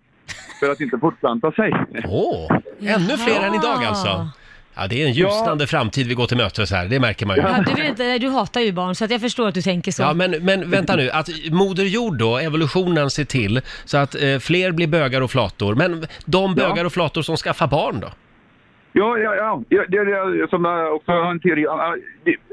Speaker 14: för att inte fortplanta sig.
Speaker 1: Åh, ännu fler än idag alltså. Ja, det är en ljusnande framtid vi går till mötes här, det märker man ju.
Speaker 2: Ja, du, vill inte, du hatar ju barn så att jag förstår att du tänker så.
Speaker 1: Ja, men, men vänta nu, att Moder Jord då, evolutionen ser till så att eh, fler blir bögar och flator. Men de
Speaker 14: Ja.
Speaker 1: bögar och flator som skaffar barn då?
Speaker 14: Ja, ja, ja. ja det är det som jag också har en teori om.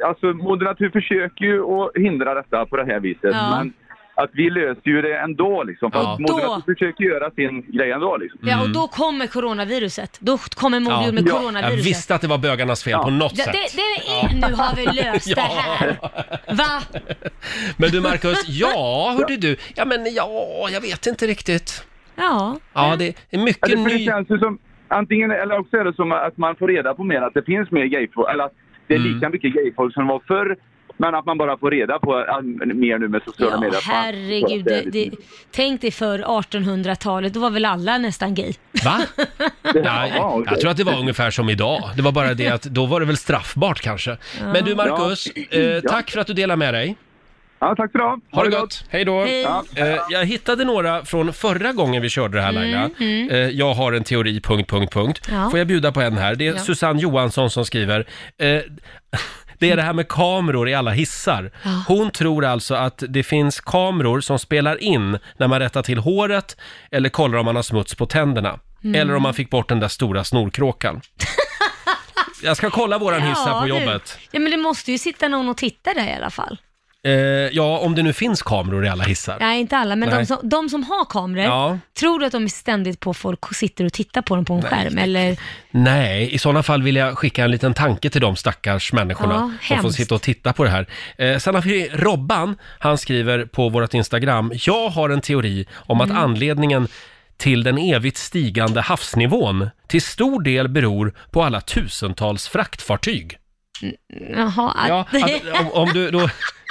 Speaker 14: Alltså, Moder Natur försöker ju att hindra detta på det här viset.
Speaker 2: Ja.
Speaker 14: Men att vi löser ju det ändå liksom. För
Speaker 2: Ja.
Speaker 14: att Moder
Speaker 2: Då.
Speaker 14: Natur försöker göra sin grej ändå liksom.
Speaker 2: Ja, och då kommer coronaviruset. Då kommer
Speaker 1: Mm. Ja.
Speaker 2: modul med
Speaker 1: Jag
Speaker 2: coronaviruset.
Speaker 1: visste att det var bögarnas fel på något
Speaker 2: Ja,
Speaker 1: sätt.
Speaker 2: det, det är, Nu har vi löst det här. Va?
Speaker 1: Men du Marcus, ja hörde du, ja men ja, jag vet inte riktigt.
Speaker 2: Ja.
Speaker 1: Ja, det är mycket
Speaker 14: Ja, det, för det
Speaker 1: ny...
Speaker 14: känns ju som, antingen, eller också är det som att man får reda på mer att det finns mer gayfolk, eller att det
Speaker 1: Mm.
Speaker 14: är lika mycket gayfolk som det var förr. Men att man bara får reda på äh, mer nu med sociala
Speaker 2: Ja,
Speaker 14: medier. att man-
Speaker 2: herregud. Det, det, tänk dig för 1800-talet, då var väl alla nästan gay.
Speaker 1: Va? Nej, jag tror att det var ungefär som idag. Det var bara det att då var det väl straffbart kanske. Men du Marcus,
Speaker 14: Ja.
Speaker 1: eh, tack för att du delade med dig.
Speaker 14: Ja, tack för idag.
Speaker 1: Ha det gott. Hej då.
Speaker 14: Hej. Ja.
Speaker 1: Eh, jag hittade några från förra gången vi körde det här Laila.
Speaker 14: mm.
Speaker 1: Eh, jag har en teori, punkt, punkt, punkt.
Speaker 14: Ja.
Speaker 1: Får jag bjuda på en här? Det är
Speaker 14: Ja.
Speaker 1: Susanne Johansson som skriver. Eh, det är det här med kameror i alla hissar. Hon tror alltså att det finns kameror som spelar in när man rättar till håret eller kollar om man har smuts på tänderna.
Speaker 2: Mm.
Speaker 1: Eller om man fick bort den där stora snorkråkan. Jag ska kolla våran hiss här på
Speaker 2: du.
Speaker 1: jobbet.
Speaker 2: Ja, men det måste ju sitta någon och titta där i alla fall.
Speaker 1: Eh, ja, om det nu finns kameror i alla hissar.
Speaker 2: Nej, inte alla, men de
Speaker 1: Nej.
Speaker 2: som, de som har kameror,
Speaker 1: Ja.
Speaker 2: tror du att de är ständigt på folk och sitter och tittar på dem på en
Speaker 1: Nej.
Speaker 2: skärm? Eller?
Speaker 1: Nej, i sådana fall vill jag skicka en liten tanke till de stackars
Speaker 2: Ja,
Speaker 1: människorna som får
Speaker 2: hemskt.
Speaker 1: sitta och titta på det här. Eh, sen har vi Robban, han skriver på vårt Instagram, jag har en teori om att
Speaker 13: Mm.
Speaker 1: anledningen till den evigt stigande havsnivån till stor del beror på alla tusentals fraktfartyg.
Speaker 2: Mm, Jaha, att...
Speaker 1: Ja, att, om, om du då,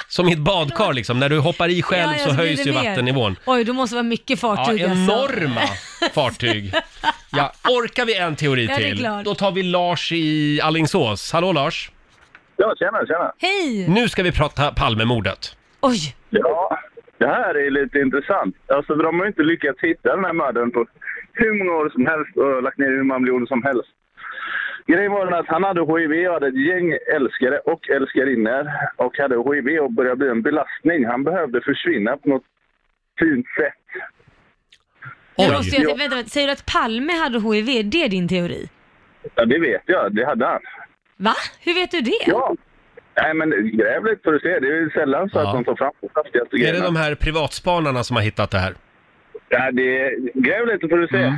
Speaker 1: som i ett badkar liksom, när du hoppar i själv
Speaker 2: Ja, ja,
Speaker 1: så
Speaker 2: blir
Speaker 1: höjs
Speaker 2: det
Speaker 1: ju
Speaker 2: mer.
Speaker 1: vattennivån.
Speaker 2: Oj, då måste det vara mycket
Speaker 1: Ja,
Speaker 2: fartyg
Speaker 1: enorma
Speaker 2: alltså.
Speaker 1: fartyg. Ja, orkar vi en teori
Speaker 2: Ja, det är
Speaker 1: till?
Speaker 2: klart.
Speaker 1: Då tar vi Lars i Allingsås. Hallå Lars!
Speaker 12: Ja, tjena, tjena!
Speaker 2: Hej!
Speaker 1: Nu ska vi prata Palmemordet.
Speaker 2: Oj!
Speaker 12: Ja,
Speaker 14: Det här är lite intressant. Alltså, för de har ju inte lyckats hitta den här mördaren på hur många år som helst och lagt ner hur många miljoner som helst. Grejen var den att han hade HIV och hade ett gäng älskare och älskarinnor och hade HIV och började bli en belastning. Han behövde försvinna på något fint sätt.
Speaker 2: Nu måste jag, vänta, vänta, säger du att Palme hade HIV? Det är det din teori?
Speaker 14: Ja, det vet jag. Det hade han.
Speaker 2: Va? Hur vet du det?
Speaker 14: Ja. Nej, men gräv lite får du se. Det är ju sällan så
Speaker 1: Ja.
Speaker 14: att de tar fram de saftigaste
Speaker 1: Är det
Speaker 14: grejerna.
Speaker 1: de här privatspanarna som har hittat det här? Mm,
Speaker 14: Ja, det... Gräv lite får du se.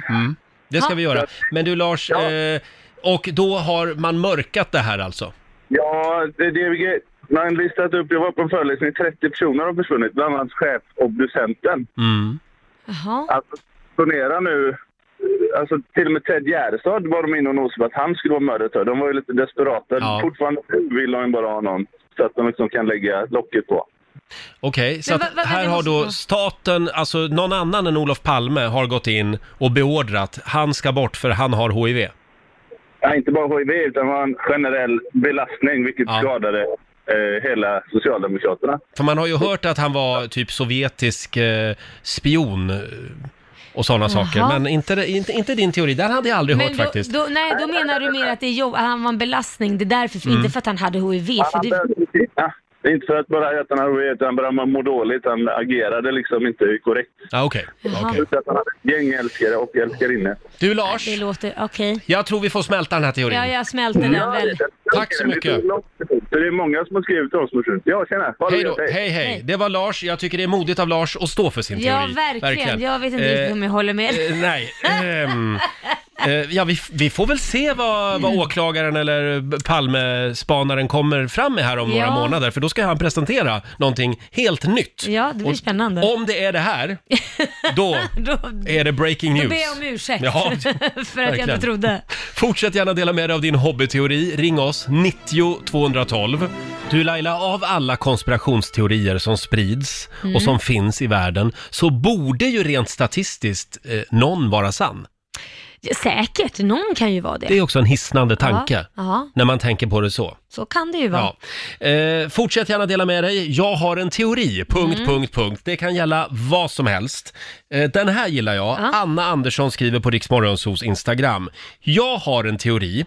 Speaker 1: Det ska vi göra. Men du Lars, eh, och då har man mörkat det här alltså?
Speaker 14: Ja, det, det är grej. Man listat upp, jag var på en föreläsning, 30 personer har försvunnit, bland annat chefobducenten.
Speaker 1: Mm.
Speaker 14: Alltså, ponera nu, alltså till och med Ted Gärdestad var de inne och nosade på att han skulle vara mördare. De var ju lite desperata.
Speaker 1: Ja.
Speaker 14: Fortfarande vill de ju bara ha någon så att de liksom kan lägga locket på.
Speaker 1: Okej, så
Speaker 14: Men
Speaker 1: att
Speaker 14: vad- vad-
Speaker 1: här
Speaker 14: vad-
Speaker 1: har då
Speaker 14: måste-
Speaker 1: staten, alltså någon annan än Olof Palme har gått in och beordrat, han ska bort för han har HIV.
Speaker 14: Ja, inte bara HIV, utan det var en generell belastning, vilket skadade eh, hela Socialdemokraterna.
Speaker 1: För man har ju hört att han var typ sovjetisk eh, spion eh, och sådana
Speaker 2: Jaha.
Speaker 1: saker, men inte, det- inte, inte din teori, den hade jag aldrig
Speaker 2: Men
Speaker 1: hört
Speaker 2: då,
Speaker 1: faktiskt.
Speaker 2: Då, nej, då menar du mer att det är jobb, att han var en belastning, det är därför, för-
Speaker 1: Mm.
Speaker 2: inte för att han hade HIV. För det,
Speaker 14: Ja, det är inte för att bara att han har HIV, utan bara man mår dåligt. Han agerade liksom inte korrekt.
Speaker 1: Ja, okej.
Speaker 2: Jaha.
Speaker 14: Plus att han hade ett gäng älskare och älskarinnor.
Speaker 1: Du Lars,
Speaker 2: det låter, okej.
Speaker 1: jag tror vi får smälta den här teorin.
Speaker 2: Ja, jag smälter den väl.
Speaker 1: Tack så mycket.
Speaker 14: För det är många som har skrivit till oss. som har skrivit. Ja, tjena. Ha det
Speaker 1: Hej då.
Speaker 14: gött,
Speaker 1: Hej, hej. Det var Lars. Jag tycker det är modigt av Lars att stå för sin
Speaker 2: Ja,
Speaker 1: teori.
Speaker 2: verkligen. Jag vet inte riktigt om jag håller med.
Speaker 1: Eh, nej. Ehm, eh, ja, vi, vi får väl se vad,
Speaker 2: Mm.
Speaker 1: vad åklagaren eller Palmespanaren kommer fram med här om några
Speaker 2: Ja.
Speaker 1: månader, för då ska han presentera någonting helt nytt.
Speaker 2: Ja, det blir
Speaker 1: Och
Speaker 2: spännande.
Speaker 1: Om det är det här, då
Speaker 2: Då,
Speaker 1: är det breaking
Speaker 2: då
Speaker 1: news.
Speaker 2: ber jag om ursäkt
Speaker 1: Ja,
Speaker 2: för att jag
Speaker 1: verkligen.
Speaker 2: inte trodde.
Speaker 1: Fortsätt gärna dela med dig av din hobbyteori. Ring oss, 90 212. Du Laila, av alla konspirationsteorier som sprids
Speaker 2: Mm.
Speaker 1: och som finns i världen så borde ju rent statistiskt eh, någon vara sann.
Speaker 2: Ja, säkert, någon kan ju vara det.
Speaker 1: Det är också en hisnande tanke
Speaker 2: Ja, ja,
Speaker 1: när man tänker på det så.
Speaker 2: så kan det ju vara.
Speaker 1: Ja. Eh, fortsätt gärna dela med dig. Jag har en teori, punkt,
Speaker 2: Mm.
Speaker 1: punkt, punkt. Det kan gälla vad som helst. Eh, den här gillar jag. Anna Andersson skriver på Riksmorgonsos Instagram. Jag har en teori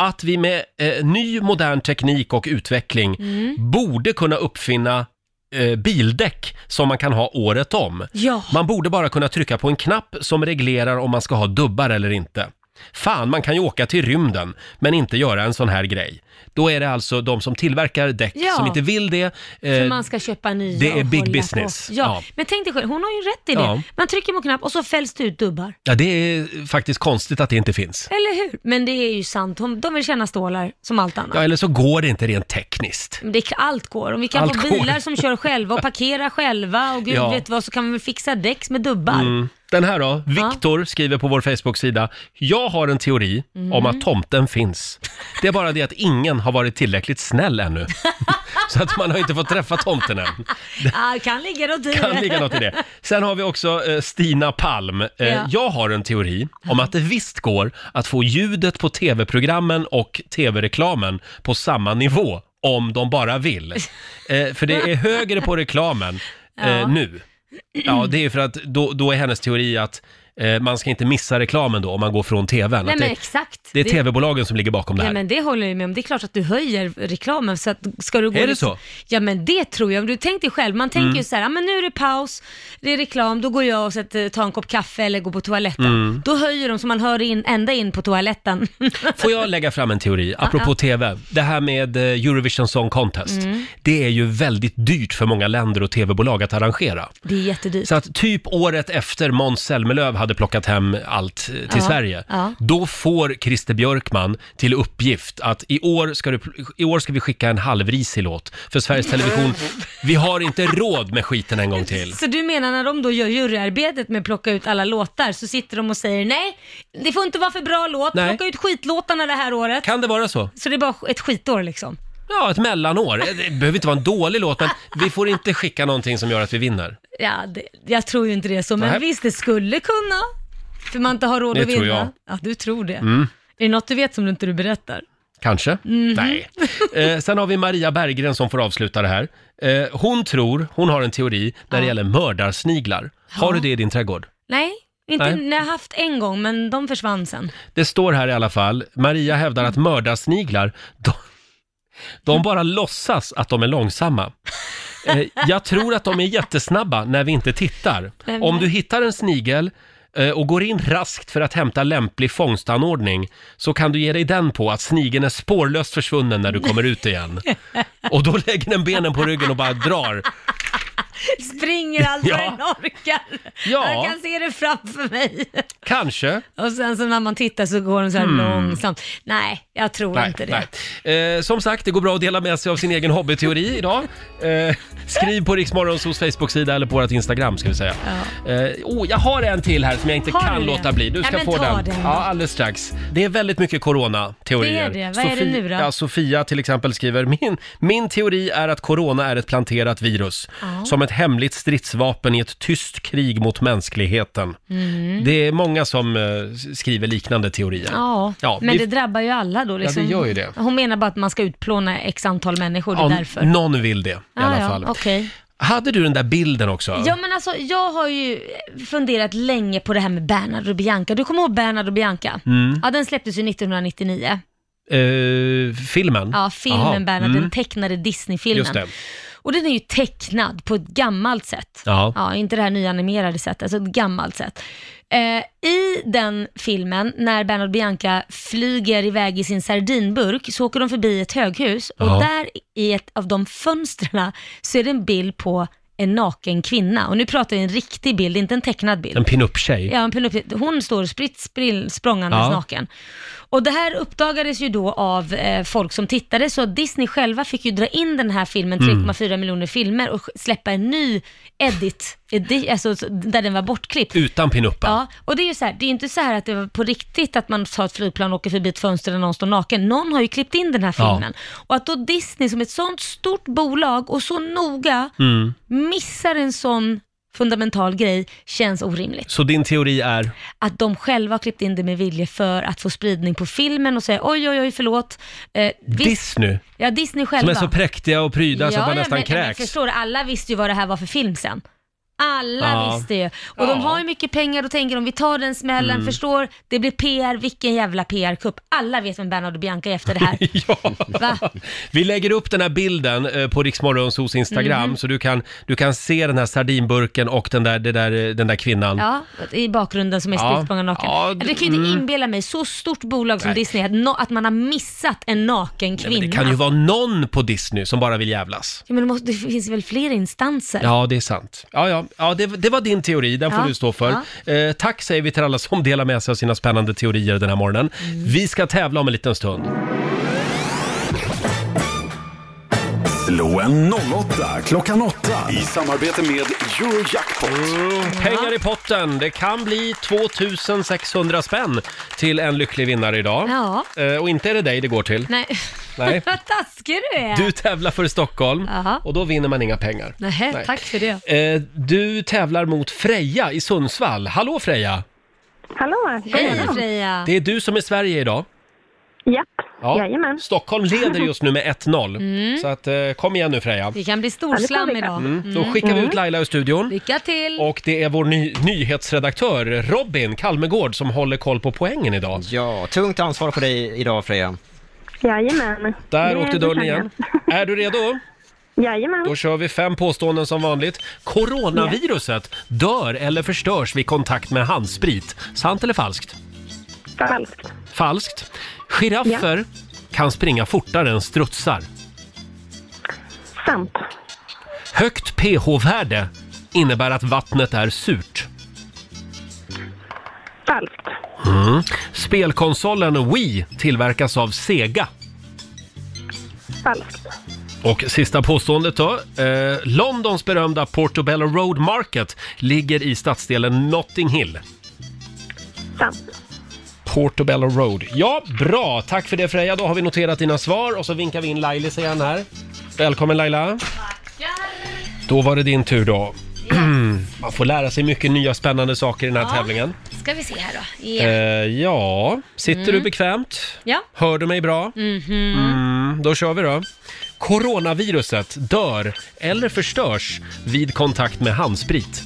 Speaker 1: att vi med eh, ny modern teknik och utveckling
Speaker 2: Mm.
Speaker 1: borde kunna uppfinna eh, bildäck som man kan ha året om.
Speaker 2: Ja.
Speaker 1: Man borde bara kunna trycka på en knapp som reglerar om man ska ha dubbar eller inte. Fan, man kan ju åka till rymden, men inte göra en sån här grej. Då är det alltså de som tillverkar däck
Speaker 2: Ja.
Speaker 1: som inte vill det.
Speaker 2: För
Speaker 1: Eh,
Speaker 2: man ska köpa nya
Speaker 1: det är
Speaker 2: och
Speaker 1: big
Speaker 2: hålla
Speaker 1: business.
Speaker 2: På. Ja.
Speaker 1: Ja.
Speaker 2: men tänk dig själv, hon har ju rätt i det.
Speaker 1: Ja.
Speaker 2: Man trycker på en knapp och så fälls det ut dubbar.
Speaker 1: ja, det är faktiskt konstigt att det inte finns.
Speaker 2: Eller hur? Men det är ju sant, hon, de vill tjäna stålar som allt annat.
Speaker 1: Ja, eller så går det inte rent tekniskt.
Speaker 2: Men det, allt går. Om vi kan
Speaker 1: Allt
Speaker 2: få
Speaker 1: går.
Speaker 2: bilar som kör själva och parkerar själva och gud
Speaker 1: Ja.
Speaker 2: vet vad, så kan vi väl fixa däck med dubbar.
Speaker 1: Mm. Den här då?
Speaker 2: Ja.
Speaker 1: Viktor skriver på vår Facebook-sida. Jag har en teori
Speaker 2: Mm.
Speaker 1: om att tomten finns. Det är bara det att ingen har varit tillräckligt snäll ännu. Så att man har inte fått träffa tomten än.
Speaker 2: Ah, kan ligga något i det.
Speaker 1: kan ligga något i det. Sen har vi också eh, Stina Palm. Eh,
Speaker 2: Ja.
Speaker 1: Jag har en teori om att det visst går att få ljudet på tv-programmen och tv-reklamen på samma nivå om de bara vill. Eh, för det är högre på reklamen eh,
Speaker 2: Ja.
Speaker 1: nu. Ja, det är för att då, då är hennes teori att eh, man ska inte missa reklamen då om man går från tvn.
Speaker 2: Nej
Speaker 1: Att
Speaker 2: men
Speaker 1: det,
Speaker 2: exakt.
Speaker 1: det är tv-bolagen som ligger bakom det
Speaker 2: Nej
Speaker 1: här.
Speaker 2: men det håller jag ju med om. Det är klart att du höjer reklamen. Så att, ska du gå
Speaker 1: Är det så?
Speaker 2: Ja men det tror jag. Om du tänker dig själv, man tänker
Speaker 1: Mm.
Speaker 2: ju så här, ah, men nu är det paus, det är reklam, då går jag och sätter, tar en kopp kaffe eller går på toaletten.
Speaker 1: Mm.
Speaker 2: Då höjer de så man hör in, ända in på toaletten.
Speaker 1: Får jag lägga fram en teori, apropå
Speaker 2: ja.
Speaker 1: TV? Det här med eh, Eurovision Song Contest.
Speaker 2: Mm.
Speaker 1: Det är ju väldigt dyrt för många länder och TV-bolag att arrangera.
Speaker 2: det är jättedyrt.
Speaker 1: Så att typ året efter Måns Zelmerlöw hade plockat hem allt eh, till
Speaker 2: Ja,
Speaker 1: Sverige,
Speaker 2: ja.
Speaker 1: då får Christer Björkman till uppgift att i år ska, du, i år ska vi skicka en halvrisig låt för Sveriges Television. Vi har inte råd med skiten en gång till.
Speaker 2: Så du menar när de då gör juryarbetet med att plocka ut alla låtar så sitter de och säger nej, det får inte vara för bra låt,
Speaker 1: Nej.
Speaker 2: plocka ut skitlåtarna det här året.
Speaker 1: Kan det vara så?
Speaker 2: Så det är bara ett skitår liksom.
Speaker 1: Ja, ett mellanår. Det behöver inte vara en dålig låt, men vi får inte skicka någonting som gör att vi vinner.
Speaker 2: Ja, det, jag tror ju inte det är så, men
Speaker 1: Nej.
Speaker 2: visst det skulle kunna. För man inte har råd
Speaker 1: Det
Speaker 2: att vinna.
Speaker 1: tror jag.
Speaker 2: Ja, du tror det.
Speaker 1: Mm.
Speaker 2: Är det något du vet som du inte du berättar?
Speaker 1: Kanske?
Speaker 2: Mhm.
Speaker 1: Nej. Eh, sen har vi Maria Berggren som får avsluta det här. Eh, hon tror, hon har en teori när det gäller mördarsniglar. Har du det i din trädgård?
Speaker 2: Nej, inte,
Speaker 1: Nej.
Speaker 2: nej. jag har haft en gång, men de försvann sen.
Speaker 1: Det står här i alla fall, Maria hävdar att mördarsniglar, de, de bara låtsas att de är långsamma. Eh, jag tror att de är jättesnabba när vi inte tittar.
Speaker 2: Men-
Speaker 1: Om du hittar en snigel eh, och går in raskt för att hämta lämplig fångstanordning så kan du ge dig den på att snigeln är spårlöst försvunnen när du kommer ut igen. Och då lägger den benen på ryggen och bara drar.
Speaker 2: Springer allt vad
Speaker 1: Ja.
Speaker 2: den orkar.
Speaker 1: Ja.
Speaker 2: Jag kan se det framför mig.
Speaker 1: Kanske.
Speaker 2: Och sen så när man tittar så går de så här
Speaker 1: Hmm.
Speaker 2: långsamt. Nej, jag tror inte det.
Speaker 1: nej. Eh, som sagt, det går bra att dela med sig av sin egen hobbyteori idag. Eh, skriv på Riksmorgonsos Facebook-sida eller på vårt Instagram ska vi säga. Eh, oh, jag har en till här som jag inte
Speaker 2: Har
Speaker 1: kan
Speaker 2: du det?
Speaker 1: låta bli. Du
Speaker 2: Ja,
Speaker 1: ska
Speaker 2: men
Speaker 1: få
Speaker 2: ta
Speaker 1: den.
Speaker 2: den.
Speaker 1: Ja, alldeles strax. Det är väldigt mycket corona-teorier.
Speaker 2: Det är det. Vad är det nu då?
Speaker 1: Ja, Sofia till exempel skriver, min, min teori är att corona är ett planterat virus.
Speaker 2: Ja.
Speaker 1: Som ett hemligt stridsvapen i ett tyst krig mot mänskligheten.
Speaker 2: Mm.
Speaker 1: Det är många som eh, skriver liknande teorier.
Speaker 2: Ja, men
Speaker 1: vi-
Speaker 2: det drabbar ju alla då.
Speaker 1: det
Speaker 2: Liksom.
Speaker 1: gör ju det.
Speaker 2: Hon menar bara att man ska utplåna x antal människor, det är
Speaker 1: Om
Speaker 2: därför. Ah,
Speaker 1: någon vill det i alla fall.
Speaker 2: Ja, okej.
Speaker 1: Hade du den där bilden också?
Speaker 2: Ja men alltså jag har ju funderat länge på det här med Bernard och Bianca. Du kommer ihåg Bernard och Bianca?
Speaker 1: Mm.
Speaker 2: Ja den släpptes ju 1999.
Speaker 1: Eh, filmen?
Speaker 2: Ja, filmen
Speaker 1: Jaha,
Speaker 2: Bernard,
Speaker 1: mm.
Speaker 2: den tecknade
Speaker 1: Just
Speaker 2: Disney-filmen.
Speaker 1: det.
Speaker 2: Och den är ju tecknad på ett gammalt sätt.
Speaker 1: Ja.
Speaker 2: inte det här nyanimerade sättet, alltså ett gammalt sätt. Eh, I den filmen, när Bernard och Bianca flyger iväg i sin sardinburk, så åker de förbi ett höghus och
Speaker 11: Ja.
Speaker 2: där i ett av de fönstren så är det en bild på en naken kvinna. Och nu pratar vi en riktig bild, inte en tecknad bild.
Speaker 1: En pinup-tjej?
Speaker 2: Ja, en pinup. Hon står spritt sprill- språngandes
Speaker 1: Ja.
Speaker 2: naken. Och det här uppdagades ju då av eh, folk som tittade, så Disney själva fick ju dra in den här filmen,
Speaker 11: Mm.
Speaker 2: 3,4 miljoner filmer, och släppa en ny edit, edi- alltså så- där den var bortklippt.
Speaker 1: Utan pinuppa?
Speaker 2: Ja, och det är ju så här, det är ju inte så här att det var på riktigt att man tar ett flygplan och åker förbi ett fönster där någon står naken. Någon har ju klippt in den här
Speaker 1: Ja.
Speaker 2: filmen. Och att då Disney som ett sånt stort bolag och så noga
Speaker 1: Mm.
Speaker 2: missar en sån fundamental grej känns orimligt
Speaker 1: Så din teori är?
Speaker 2: att de själva har klippt in det med vilje för att få spridning på filmen och säga oj, oj, oj, förlåt. Eh, visst-
Speaker 1: Disney?
Speaker 2: Ja, Disney själva.
Speaker 1: Som är så präktiga och pryda så att man
Speaker 2: ja,
Speaker 1: nästan
Speaker 2: men, Men
Speaker 1: kräks?
Speaker 2: förstår du, alla visste ju vad det här var för film sen. Alla
Speaker 13: Ja.
Speaker 2: visste ju. Och de har ju mycket pengar, då tänker de vi tar den smällen,
Speaker 13: Mm.
Speaker 2: förstår? Det blir PR, vilken jävla PR-kupp. Alla vet vem Bernhard och Bianca är efter det här. Va?
Speaker 1: Vi lägger upp den här bilden eh, på Riksmorgonsos Instagram
Speaker 2: Mhm.
Speaker 1: så du kan, du kan se den här sardinburken och den där, det där, eh, den där kvinnan.
Speaker 2: Ja, i bakgrunden som är
Speaker 1: Ja.
Speaker 2: strikt ja. naken.
Speaker 1: Ja,
Speaker 2: du kan ju inte
Speaker 1: mm.
Speaker 2: inbilla mig, så stort bolag som
Speaker 1: Nej.
Speaker 2: Disney, att, nå- att man har missat en naken kvinna.
Speaker 1: Men det kan ju vara någon på Disney som bara vill jävlas.
Speaker 2: Ja, men det, måste, det finns väl fler instanser?
Speaker 1: Ja, det är sant. Ja, ja. ja det, det var din teori, den får
Speaker 2: Ja.
Speaker 1: du stå för. Eh, tack säger vi till alla som delar med sig av sina spännande teorier den här morgonen.
Speaker 2: Mm.
Speaker 1: Vi ska tävla om en liten stund.
Speaker 3: Slå en 08 klockan 8 i samarbete med Eurojackpot.
Speaker 15: Mm.
Speaker 1: Pengar i potten! Det kan bli 2600 spänn till en lycklig vinnare idag.
Speaker 2: Ja.
Speaker 1: Eh, och inte är det dig det går till.
Speaker 2: Nej.
Speaker 1: Nej.
Speaker 2: Vad taskig du är.
Speaker 1: Du tävlar för Stockholm
Speaker 2: Jaha.
Speaker 1: och då vinner man inga pengar.
Speaker 2: Nähä,
Speaker 1: Nej.
Speaker 2: tack för det.
Speaker 1: Eh, du tävlar mot Freja i Sundsvall. Hallå Freja!
Speaker 16: Hallå!
Speaker 2: Hej Freja!
Speaker 1: Det är du som är Sverige idag.
Speaker 16: Japp,
Speaker 1: Ja.
Speaker 16: jajamän.
Speaker 1: Stockholm leder just nu med 1-0.
Speaker 2: Mm.
Speaker 1: Så att, eh, kom igen nu Freja.
Speaker 2: Det kan bli storslam idag.
Speaker 1: Mm. Då skickar vi ut Laila ur studion.
Speaker 2: Lycka till!
Speaker 1: Och det är vår ny- nyhetsredaktör Robin Kalmegård som håller koll på poängen idag.
Speaker 5: Ja, tungt ansvar på dig idag Freja.
Speaker 16: Jajamän.
Speaker 1: Där
Speaker 16: Det
Speaker 1: åkte
Speaker 16: är
Speaker 1: dörren
Speaker 16: designen.
Speaker 1: igen. Är du redo?
Speaker 16: Jajamän.
Speaker 1: Då kör vi fem påståenden som vanligt. Coronaviruset dör eller förstörs vid kontakt med handsprit. Sant eller falskt?
Speaker 16: Falskt.
Speaker 1: Falskt. Giraffer kan springa fortare än strutsar.
Speaker 16: Sant.
Speaker 1: Högt pH-värde innebär att vattnet är surt.
Speaker 16: Falskt.
Speaker 1: Mm. Spelkonsolen Wii tillverkas av Sega.
Speaker 16: Falskt.
Speaker 1: Och sista påståendet då. Eh, Londons berömda Portobello Road Market ligger i stadsdelen Notting Hill.
Speaker 16: Sant.
Speaker 1: Portobello Road. Ja, bra! Tack för det Freja. Då har vi noterat dina svar och så vinkar vi in Lailis igen här. Välkommen Laila! Då var det din tur då. Man får lära sig mycket nya spännande saker i den här
Speaker 2: Ja.
Speaker 1: tävlingen.
Speaker 2: Ska vi se här då. Ja.
Speaker 1: Eh, ja, sitter
Speaker 2: Mm.
Speaker 1: du bekvämt?
Speaker 2: ja.
Speaker 1: Hör du mig bra?
Speaker 2: Mhm.
Speaker 1: Mm, då kör vi då. Coronaviruset dör eller förstörs vid kontakt med handsprit.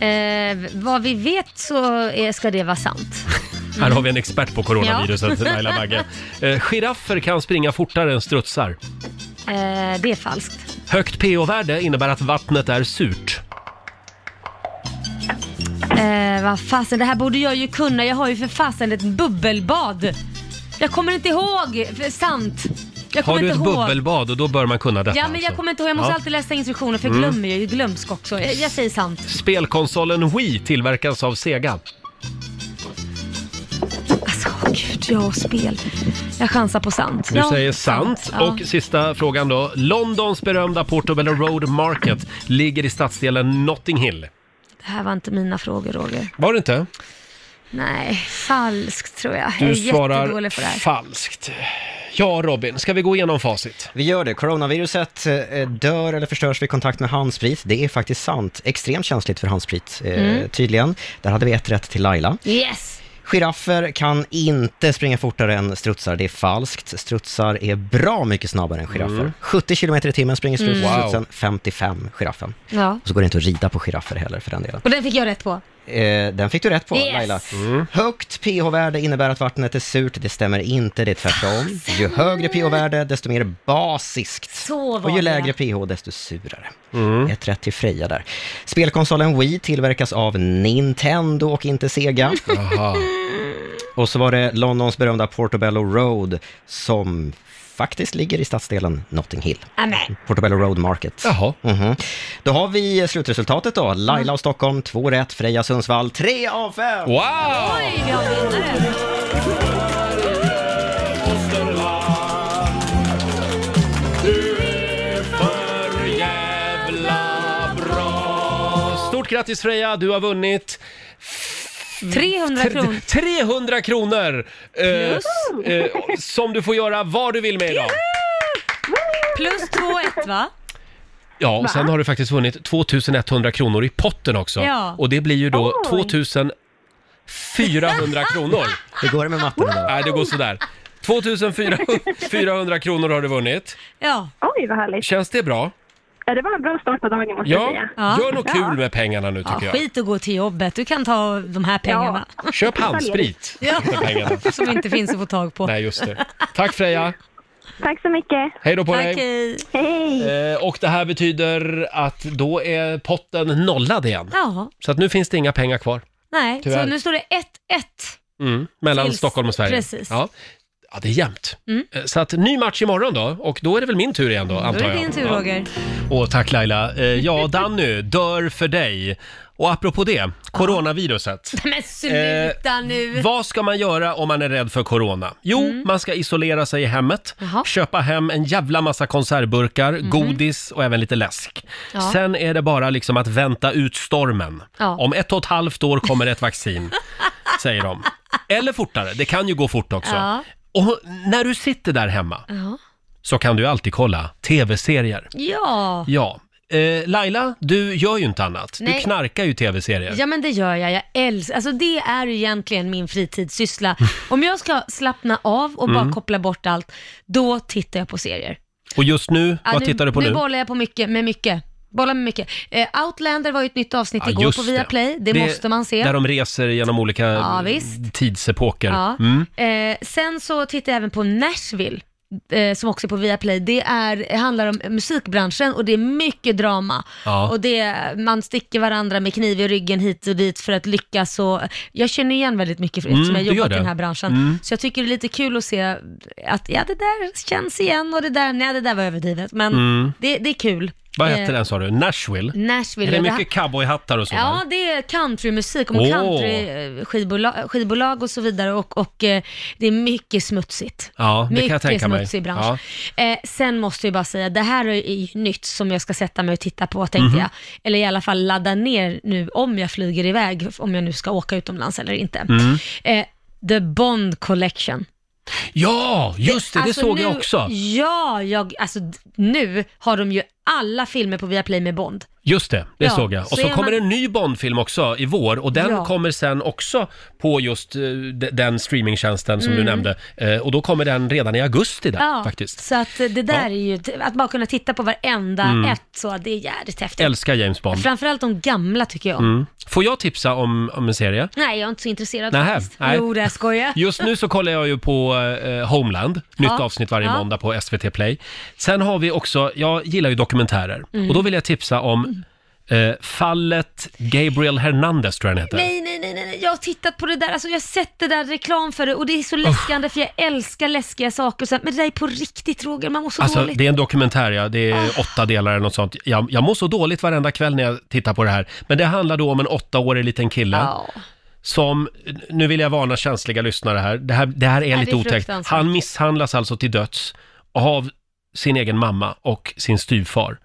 Speaker 2: Eh, vad vi vet så är, ska det vara sant.
Speaker 1: Här har vi en expert på coronaviruset,
Speaker 2: Ja.
Speaker 1: Laila Bagge. Eh, giraffer kan springa fortare än strutsar.
Speaker 2: Eh, det är falskt.
Speaker 1: Högt pH-värde innebär att vattnet är surt.
Speaker 2: Eh, vad fasen, det här borde jag ju kunna. Jag har ju för fasen ett bubbelbad. Jag kommer inte ihåg. För- Sant. Jag kommer
Speaker 1: Har du
Speaker 2: inte
Speaker 1: ett
Speaker 2: ihåg.
Speaker 1: bubbelbad och då bör man kunna detta.
Speaker 2: Ja, men jag
Speaker 1: alltså.
Speaker 2: kommer inte ihåg. Jag måste
Speaker 1: Ja.
Speaker 2: alltid läsa instruktioner för jag
Speaker 1: Mm.
Speaker 2: glömmer ju. Jag är glömsk också. Jag, jag säger sant.
Speaker 1: Spelkonsolen Wii tillverkas av Sega.
Speaker 2: Åh gud, jag och spel. Jag chansar på sant.
Speaker 1: Du
Speaker 2: Ja,
Speaker 1: säger sant.
Speaker 2: Ja.
Speaker 1: Och sista frågan då. Londons berömda Portobello Road Market ligger i stadsdelen Notting Hill.
Speaker 2: Det här var inte mina frågor, Roger.
Speaker 1: Var det inte?
Speaker 2: Nej, falskt tror jag.
Speaker 1: Du
Speaker 2: jag är
Speaker 1: svarar
Speaker 2: jättedålig på det här.
Speaker 1: falskt. Ja, Robin, ska vi gå igenom facit?
Speaker 5: Vi gör det. Coronaviruset eh, dör eller förstörs vid kontakt med handsprit. Det är faktiskt sant. Extremt känsligt för handsprit, eh,
Speaker 2: Mm.
Speaker 5: tydligen. Där hade vi ett rätt till Laila.
Speaker 2: Yes!
Speaker 5: Giraffer kan inte springa fortare än strutsar, det är falskt. Strutsar är bra mycket snabbare än giraffer.
Speaker 2: Mm.
Speaker 5: 70 km i timmen springer
Speaker 2: Mm.
Speaker 5: strutsen,
Speaker 2: Wow.
Speaker 5: 55 giraffen.
Speaker 2: Ja.
Speaker 5: Och så går det inte att rida på giraffer heller för den delen.
Speaker 2: Och den fick jag rätt på.
Speaker 5: Eh, den fick du rätt på,
Speaker 2: Yes.
Speaker 5: Laila. Högt pH-värde innebär att vattnet är surt. Det stämmer inte, det är tvärtom. Ju högre pH-värde, desto mer basiskt.
Speaker 2: Så var
Speaker 5: Och ju
Speaker 2: det.
Speaker 5: lägre pH, desto surare. Ett rätt till Freja där. Spelkonsolen Wii tillverkas av Nintendo och inte Sega. Och så var det Londons berömda Portobello Road som faktiskt ligger i stadsdelen Notting Hill.
Speaker 2: Amen.
Speaker 5: Portobello Road Market. Mhm.
Speaker 1: Jaha.
Speaker 5: Då har vi slutresultatet då. Laila av Stockholm, två rätt. Freja Sundsvall, tre av fem.
Speaker 1: Wow!
Speaker 2: Oj, vi har vinnare.
Speaker 1: Stort grattis Freja, du har vunnit
Speaker 2: 300 kronor.
Speaker 1: 300 kronor! eh,
Speaker 2: Plus.
Speaker 1: eh, som du får göra vad du vill med idag.
Speaker 2: Plus 2-1 va?
Speaker 1: Ja, och sen
Speaker 2: Va?
Speaker 1: har du faktiskt vunnit 2100 kronor i potten också.
Speaker 2: Ja.
Speaker 1: Och det blir ju då
Speaker 2: Oj.
Speaker 1: 2400 kronor.
Speaker 5: Hur går det med matten idag?
Speaker 1: Nej, det går sådär. 2400 kronor har du vunnit.
Speaker 2: Ja.
Speaker 16: Oj, vad härligt.
Speaker 1: Känns det bra?
Speaker 16: Ja, Det var en bra start på dagen måste jag
Speaker 1: Ja,
Speaker 16: säga.
Speaker 1: gör något kul med pengarna nu
Speaker 2: Ja,
Speaker 1: tycker jag.
Speaker 2: skit och gå till jobbet. Du kan ta de här pengarna.
Speaker 1: Köp handsprit
Speaker 2: Ja.
Speaker 1: för pengarna.
Speaker 2: Som inte finns att få tag på.
Speaker 1: Nej, just det. Tack Freja!
Speaker 16: Tack så mycket.
Speaker 1: Hej då på dig.
Speaker 16: Hej.
Speaker 1: Eh, och det här betyder att då är potten nollad igen.
Speaker 2: Ja,
Speaker 1: Så att nu finns det inga pengar kvar.
Speaker 2: nej.
Speaker 1: Tyvärr.
Speaker 2: Så nu står det 1-1.
Speaker 1: Mm, mellan
Speaker 2: Tills-
Speaker 1: Stockholm och Sverige.
Speaker 2: precis.
Speaker 1: Ja. ja, det är jämnt.
Speaker 2: Mm.
Speaker 1: Eh, Så att ny match imorgon då, och då är det väl min tur igen då,
Speaker 2: Då är
Speaker 1: antar
Speaker 2: det
Speaker 1: jag.
Speaker 2: din tur
Speaker 1: Ja.
Speaker 2: Roger.
Speaker 1: Åh, tack Laila. Eh, ja, Danny, dör för dig. Och apropå det, coronaviruset.
Speaker 2: Men sluta
Speaker 1: Eh,
Speaker 2: nu!
Speaker 1: Vad ska man göra om man är rädd för corona? Jo,
Speaker 2: Mm.
Speaker 1: man ska isolera sig i hemmet, köpa hem en jävla massa konservburkar,
Speaker 2: Mm-hmm.
Speaker 1: godis och även lite läsk.
Speaker 2: Ja.
Speaker 1: Sen är det bara liksom att vänta ut stormen.
Speaker 2: Ja.
Speaker 1: Om ett och ett halvt år kommer ett vaccin, säger de. Eller fortare, det kan ju gå fort också.
Speaker 2: Ja.
Speaker 1: Och när du sitter där hemma
Speaker 2: Ja.
Speaker 1: så kan du alltid kolla tv-serier.
Speaker 2: Ja.
Speaker 1: Ja. Eh, Laila, du gör ju inte annat. Du
Speaker 2: Nej.
Speaker 1: knarkar ju tv-serier.
Speaker 2: Ja men det gör jag, jag älskar, alltså det är ju egentligen min fritidssyssla. Om jag ska slappna av och bara
Speaker 1: Mm.
Speaker 2: koppla bort allt, då tittar jag på serier.
Speaker 1: Och just nu,
Speaker 2: Ja,
Speaker 1: vad tittar du på nu?
Speaker 2: Nu bollar jag på mycket, med mycket. Bollar med mycket. Eh, Outlander var ju ett nytt avsnitt
Speaker 1: Ja,
Speaker 2: igår
Speaker 1: just
Speaker 2: på Viaplay, det, måste man se.
Speaker 1: Där de reser genom olika
Speaker 2: Ja, visst.
Speaker 1: tidsepoker.
Speaker 2: Ja.
Speaker 1: Mm.
Speaker 2: Eh, sen så tittar jag även på Nashville, eh, som också är på Viaplay. Det är, handlar om musikbranschen och det är mycket drama.
Speaker 4: Ja.
Speaker 2: Och det, man sticker varandra med kniv i ryggen hit och dit för att lyckas. Och, jag känner igen väldigt mycket för
Speaker 4: Mm,
Speaker 2: eftersom jag
Speaker 4: du gör
Speaker 2: jobbat i
Speaker 4: det.
Speaker 2: den här branschen.
Speaker 4: Mm.
Speaker 2: Så jag tycker det är lite kul att se att ja, det där känns igen och det där, nej det där var överdrivet. Men
Speaker 1: Mm.
Speaker 2: det, det är kul.
Speaker 1: Vad hette
Speaker 2: Eh,
Speaker 1: den sa du? Nashville?
Speaker 2: Nashville,
Speaker 1: Är det
Speaker 2: ja, det
Speaker 1: mycket cowboyhattar och så?
Speaker 2: Ja,
Speaker 1: där?
Speaker 2: det är countrymusik och
Speaker 1: Åh.
Speaker 2: countryskivbolag skivbolag och så vidare och, och eh, det är mycket smutsigt.
Speaker 1: ja det
Speaker 2: mycket
Speaker 1: kan jag tänka mig.
Speaker 2: smutsig bransch.
Speaker 1: Ja.
Speaker 2: Eh, sen måste jag bara säga, det här är ju nytt som jag ska sätta mig och titta på tänkte
Speaker 1: Mhm.
Speaker 2: jag. Eller i alla fall ladda ner nu om jag flyger iväg, om jag nu ska åka utomlands eller inte.
Speaker 1: Mm.
Speaker 2: Eh, The Bond Collection.
Speaker 1: ja, just det, det
Speaker 2: Alltså
Speaker 1: såg
Speaker 2: nu,
Speaker 1: jag också.
Speaker 2: Ja, jag, alltså d- nu har de ju alla filmer på Viaplay med Bond.
Speaker 1: Just det, det
Speaker 2: Ja,
Speaker 1: såg jag. Och
Speaker 2: så
Speaker 1: så,
Speaker 2: är
Speaker 1: kommer
Speaker 2: man-
Speaker 1: en ny Bondfilm också i vår och den
Speaker 2: Ja.
Speaker 1: kommer sen också på just eh, de- den streamingtjänsten som du
Speaker 2: Mm.
Speaker 1: nämnde. Eh, Och då kommer den redan i augusti där faktiskt.
Speaker 2: Så att eh, det där
Speaker 1: Ja.
Speaker 2: är ju, att bara kunna titta på varenda
Speaker 1: Mm.
Speaker 2: ett så, det är jävligt häftigt.
Speaker 1: Älskar James Bond.
Speaker 2: Framförallt de gamla tycker jag.
Speaker 1: Mm. Får jag tipsa om, om en serie?
Speaker 2: Nej, jag är inte så intresserad
Speaker 1: Nähä,
Speaker 2: faktiskt.
Speaker 1: nej.
Speaker 2: Jo, det jag skojar.
Speaker 1: Just nu så kollar jag ju på eh, Homeland, nytt
Speaker 2: Ja,
Speaker 1: avsnitt varje
Speaker 2: ja.
Speaker 1: måndag på SVT Play. Sen har vi också, jag gillar ju dokumentärer,
Speaker 2: Mm.
Speaker 1: och då vill jag tipsa om eh, fallet Gabriel Hernandez tror jag den heter.
Speaker 2: Nej, nej, nej, nej, nej, jag har tittat på det där, alltså jag har sett det där reklam för det och det är så läskande för jag älskar läskiga saker. Så, men det där är på riktigt Roger, man mår så
Speaker 1: Alltså,
Speaker 2: dåligt. Ah.
Speaker 1: det är en dokumentär, ja. det är åtta delar eller något sånt. Jag, jag mår så dåligt varenda kväll när jag tittar på det här. Men det handlar då om en åttaårig liten kille. Som, nu vill jag varna känsliga lyssnare här, det här, det här är
Speaker 2: Ja,
Speaker 1: lite
Speaker 2: det är
Speaker 1: otäckt.
Speaker 2: fruktansvärt.
Speaker 1: Han misshandlas alltså till döds av sin egen mamma och sin styvfar.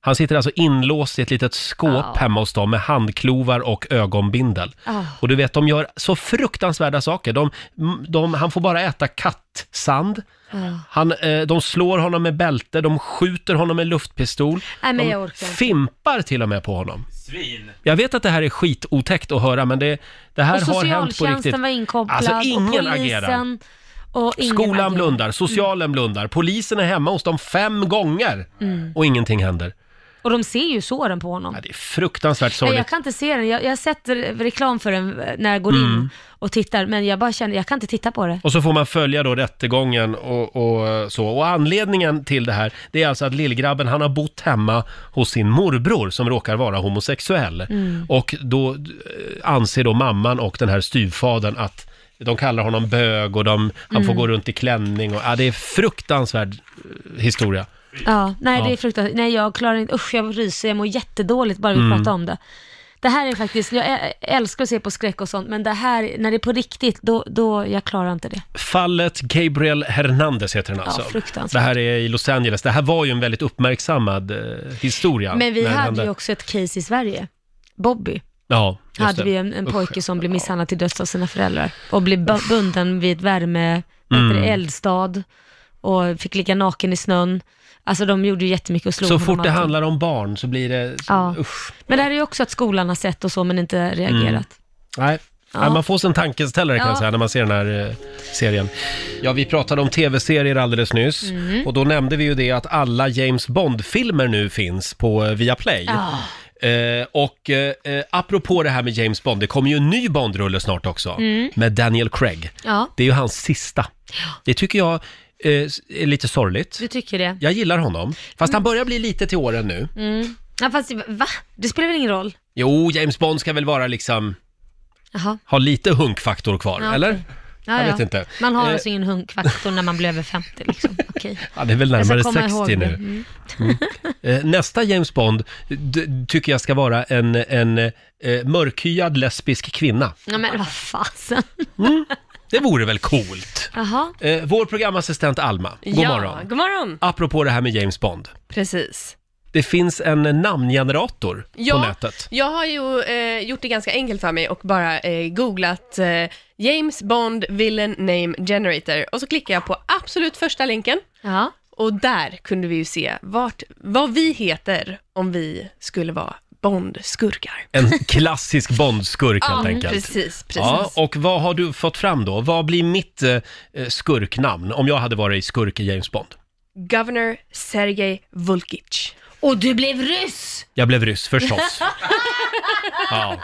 Speaker 1: Han sitter alltså inlåst i ett litet skåp
Speaker 2: Ja.
Speaker 1: hemma hos dem med handklovar och ögonbindel.
Speaker 2: Ah.
Speaker 1: Och du vet, de gör så fruktansvärda saker. De, de, han får bara äta kattsand.
Speaker 2: Ja.
Speaker 1: Han, eh, de slår honom med bälte, de skjuter honom med luftpistol.
Speaker 2: Nej, men
Speaker 1: de
Speaker 2: jag orkar inte.
Speaker 1: fimpar till och med på honom. Svin. Jag vet att det här är skitotäckt att höra, men det, det här
Speaker 2: och
Speaker 1: har hänt på riktigt.
Speaker 2: socialtjänsten var inkopplad
Speaker 1: Alltså,
Speaker 2: och
Speaker 1: ingen
Speaker 2: polisen
Speaker 1: agerar.
Speaker 2: och ingen Mm.
Speaker 1: Skolan
Speaker 2: agerar.
Speaker 1: blundar, socialen blundar, polisen är hemma hos dem fem gånger
Speaker 2: Mm.
Speaker 1: och ingenting händer.
Speaker 2: Och de ser ju såren på honom.
Speaker 1: Fruktansvärt
Speaker 2: Nej, jag
Speaker 1: sorgligt.
Speaker 2: kan inte se den. Jag, jag har sett re- reklam för den eh, när jag går
Speaker 1: Mm.
Speaker 2: in och tittar, men jag bara känner, jag kan inte titta på det.
Speaker 1: Och så får man följa då rättegången och, och så. Och anledningen till det här, det är alltså att lillgrabben han har bott hemma hos sin morbror som råkar vara homosexuell.
Speaker 2: Mm.
Speaker 1: Och då eh, anser då mamman och den här styvfadern att de kallar honom bög och de, han får
Speaker 2: Mm.
Speaker 1: gå runt i klänning och ja, det är fruktansvärd eh, historia.
Speaker 2: Ja, nej
Speaker 1: Ja.
Speaker 2: det är fruktansvärt. Nej jag klarar inte, usch jag ryser, jag mår jättedåligt bara vi
Speaker 1: Mm.
Speaker 2: pratar om det. Det här är faktiskt, jag ä- älskar att se på skräck och sånt, men det här, när det är på riktigt, då, då jag klarar inte det.
Speaker 1: Fallet Gabriel Hernandez heter den alltså.
Speaker 2: fruktansvärt.
Speaker 1: det här är i Los Angeles. Det här var ju en väldigt uppmärksammad eh, historia.
Speaker 2: men vi
Speaker 1: när det
Speaker 2: hade
Speaker 1: hände.
Speaker 2: ju också ett case i Sverige, Bobby.
Speaker 1: Ja, just
Speaker 2: hade
Speaker 1: det.
Speaker 2: vi en, en
Speaker 1: Usch.
Speaker 2: pojke som blev misshandlad till döds av sina föräldrar och blev bu- bunden vid ett värme, vad heter det,
Speaker 1: Mm.
Speaker 2: eldstad och fick ligga naken i snön. Alltså de gjorde ju jättemycket och slog
Speaker 1: Så
Speaker 2: honom
Speaker 1: fort det
Speaker 2: alltid.
Speaker 1: handlar om barn så blir det...
Speaker 2: Ja.
Speaker 1: Usch.
Speaker 2: Men det här är ju också att skolan har sett och så men inte reagerat.
Speaker 1: Mm. Nej, Ja. man får sin tankeställare kan
Speaker 2: Ja.
Speaker 1: jag säga när man ser den här eh, serien. Ja, vi pratade om tv-serier alldeles nyss
Speaker 2: Mm.
Speaker 1: och då nämnde vi ju det att alla James Bond-filmer nu finns på eh, Viaplay.
Speaker 2: Ja.
Speaker 1: Eh, och eh, eh, apropå det här med James Bond, det kommer ju en ny Bond-rulle snart också
Speaker 2: Mm.
Speaker 1: med Daniel Craig.
Speaker 2: Ja,
Speaker 1: Det är ju hans sista. Det tycker jag eh, är lite sorgligt.
Speaker 2: du tycker det.
Speaker 1: Jag gillar honom, fast han börjar bli lite till åren nu.
Speaker 2: Mm. Ja, fast va? Det spelar väl ingen roll?
Speaker 1: Jo, James Bond ska väl vara liksom,
Speaker 2: Jaha.
Speaker 1: ha lite hunkfaktor kvar,
Speaker 2: Ja,
Speaker 1: eller?
Speaker 2: okej. Ja,
Speaker 1: jag
Speaker 2: ja.
Speaker 1: vet inte.
Speaker 2: Man har
Speaker 1: Eh,
Speaker 2: alltså ingen hunkfaktor när man blir över 50 liksom. Okej.
Speaker 1: Ja, det är väl
Speaker 2: Jag ska
Speaker 1: närmare
Speaker 2: komma
Speaker 1: 60
Speaker 2: ihåg det.
Speaker 1: nu.
Speaker 2: Mm.
Speaker 1: Eh, Nästa James Bond d- tycker jag ska vara en, en eh, mörkhyad lesbisk kvinna.
Speaker 2: Ja, men vad fasen.
Speaker 1: Det vore väl coolt?
Speaker 2: Jaha.
Speaker 1: Eh, Vår programassistent Alma, god
Speaker 13: ja,
Speaker 1: morgon.
Speaker 13: God morgon.
Speaker 1: Apropå det här med James Bond.
Speaker 13: Precis.
Speaker 1: Det finns en namngenerator på
Speaker 13: Ja,
Speaker 1: nätet.
Speaker 13: jag har ju eh, gjort det ganska enkelt för mig och bara eh, googlat eh, James Bond Villain Name Generator och så klickar jag på absolut första länken. Och där kunde vi ju se vart, vad vi heter om vi skulle vara Bond-skurkar.
Speaker 1: En klassisk Bondskurk helt
Speaker 13: Ja,
Speaker 1: enkelt.
Speaker 13: precis, precis.
Speaker 1: Ja, och vad har du fått fram då? Vad blir mitt eh, eh, skurknamn om jag hade varit skurk i James Bond?
Speaker 13: Governor Sergej Vulkic.
Speaker 2: Och du blev ryss!
Speaker 1: Jag blev ryss förstås. Ja.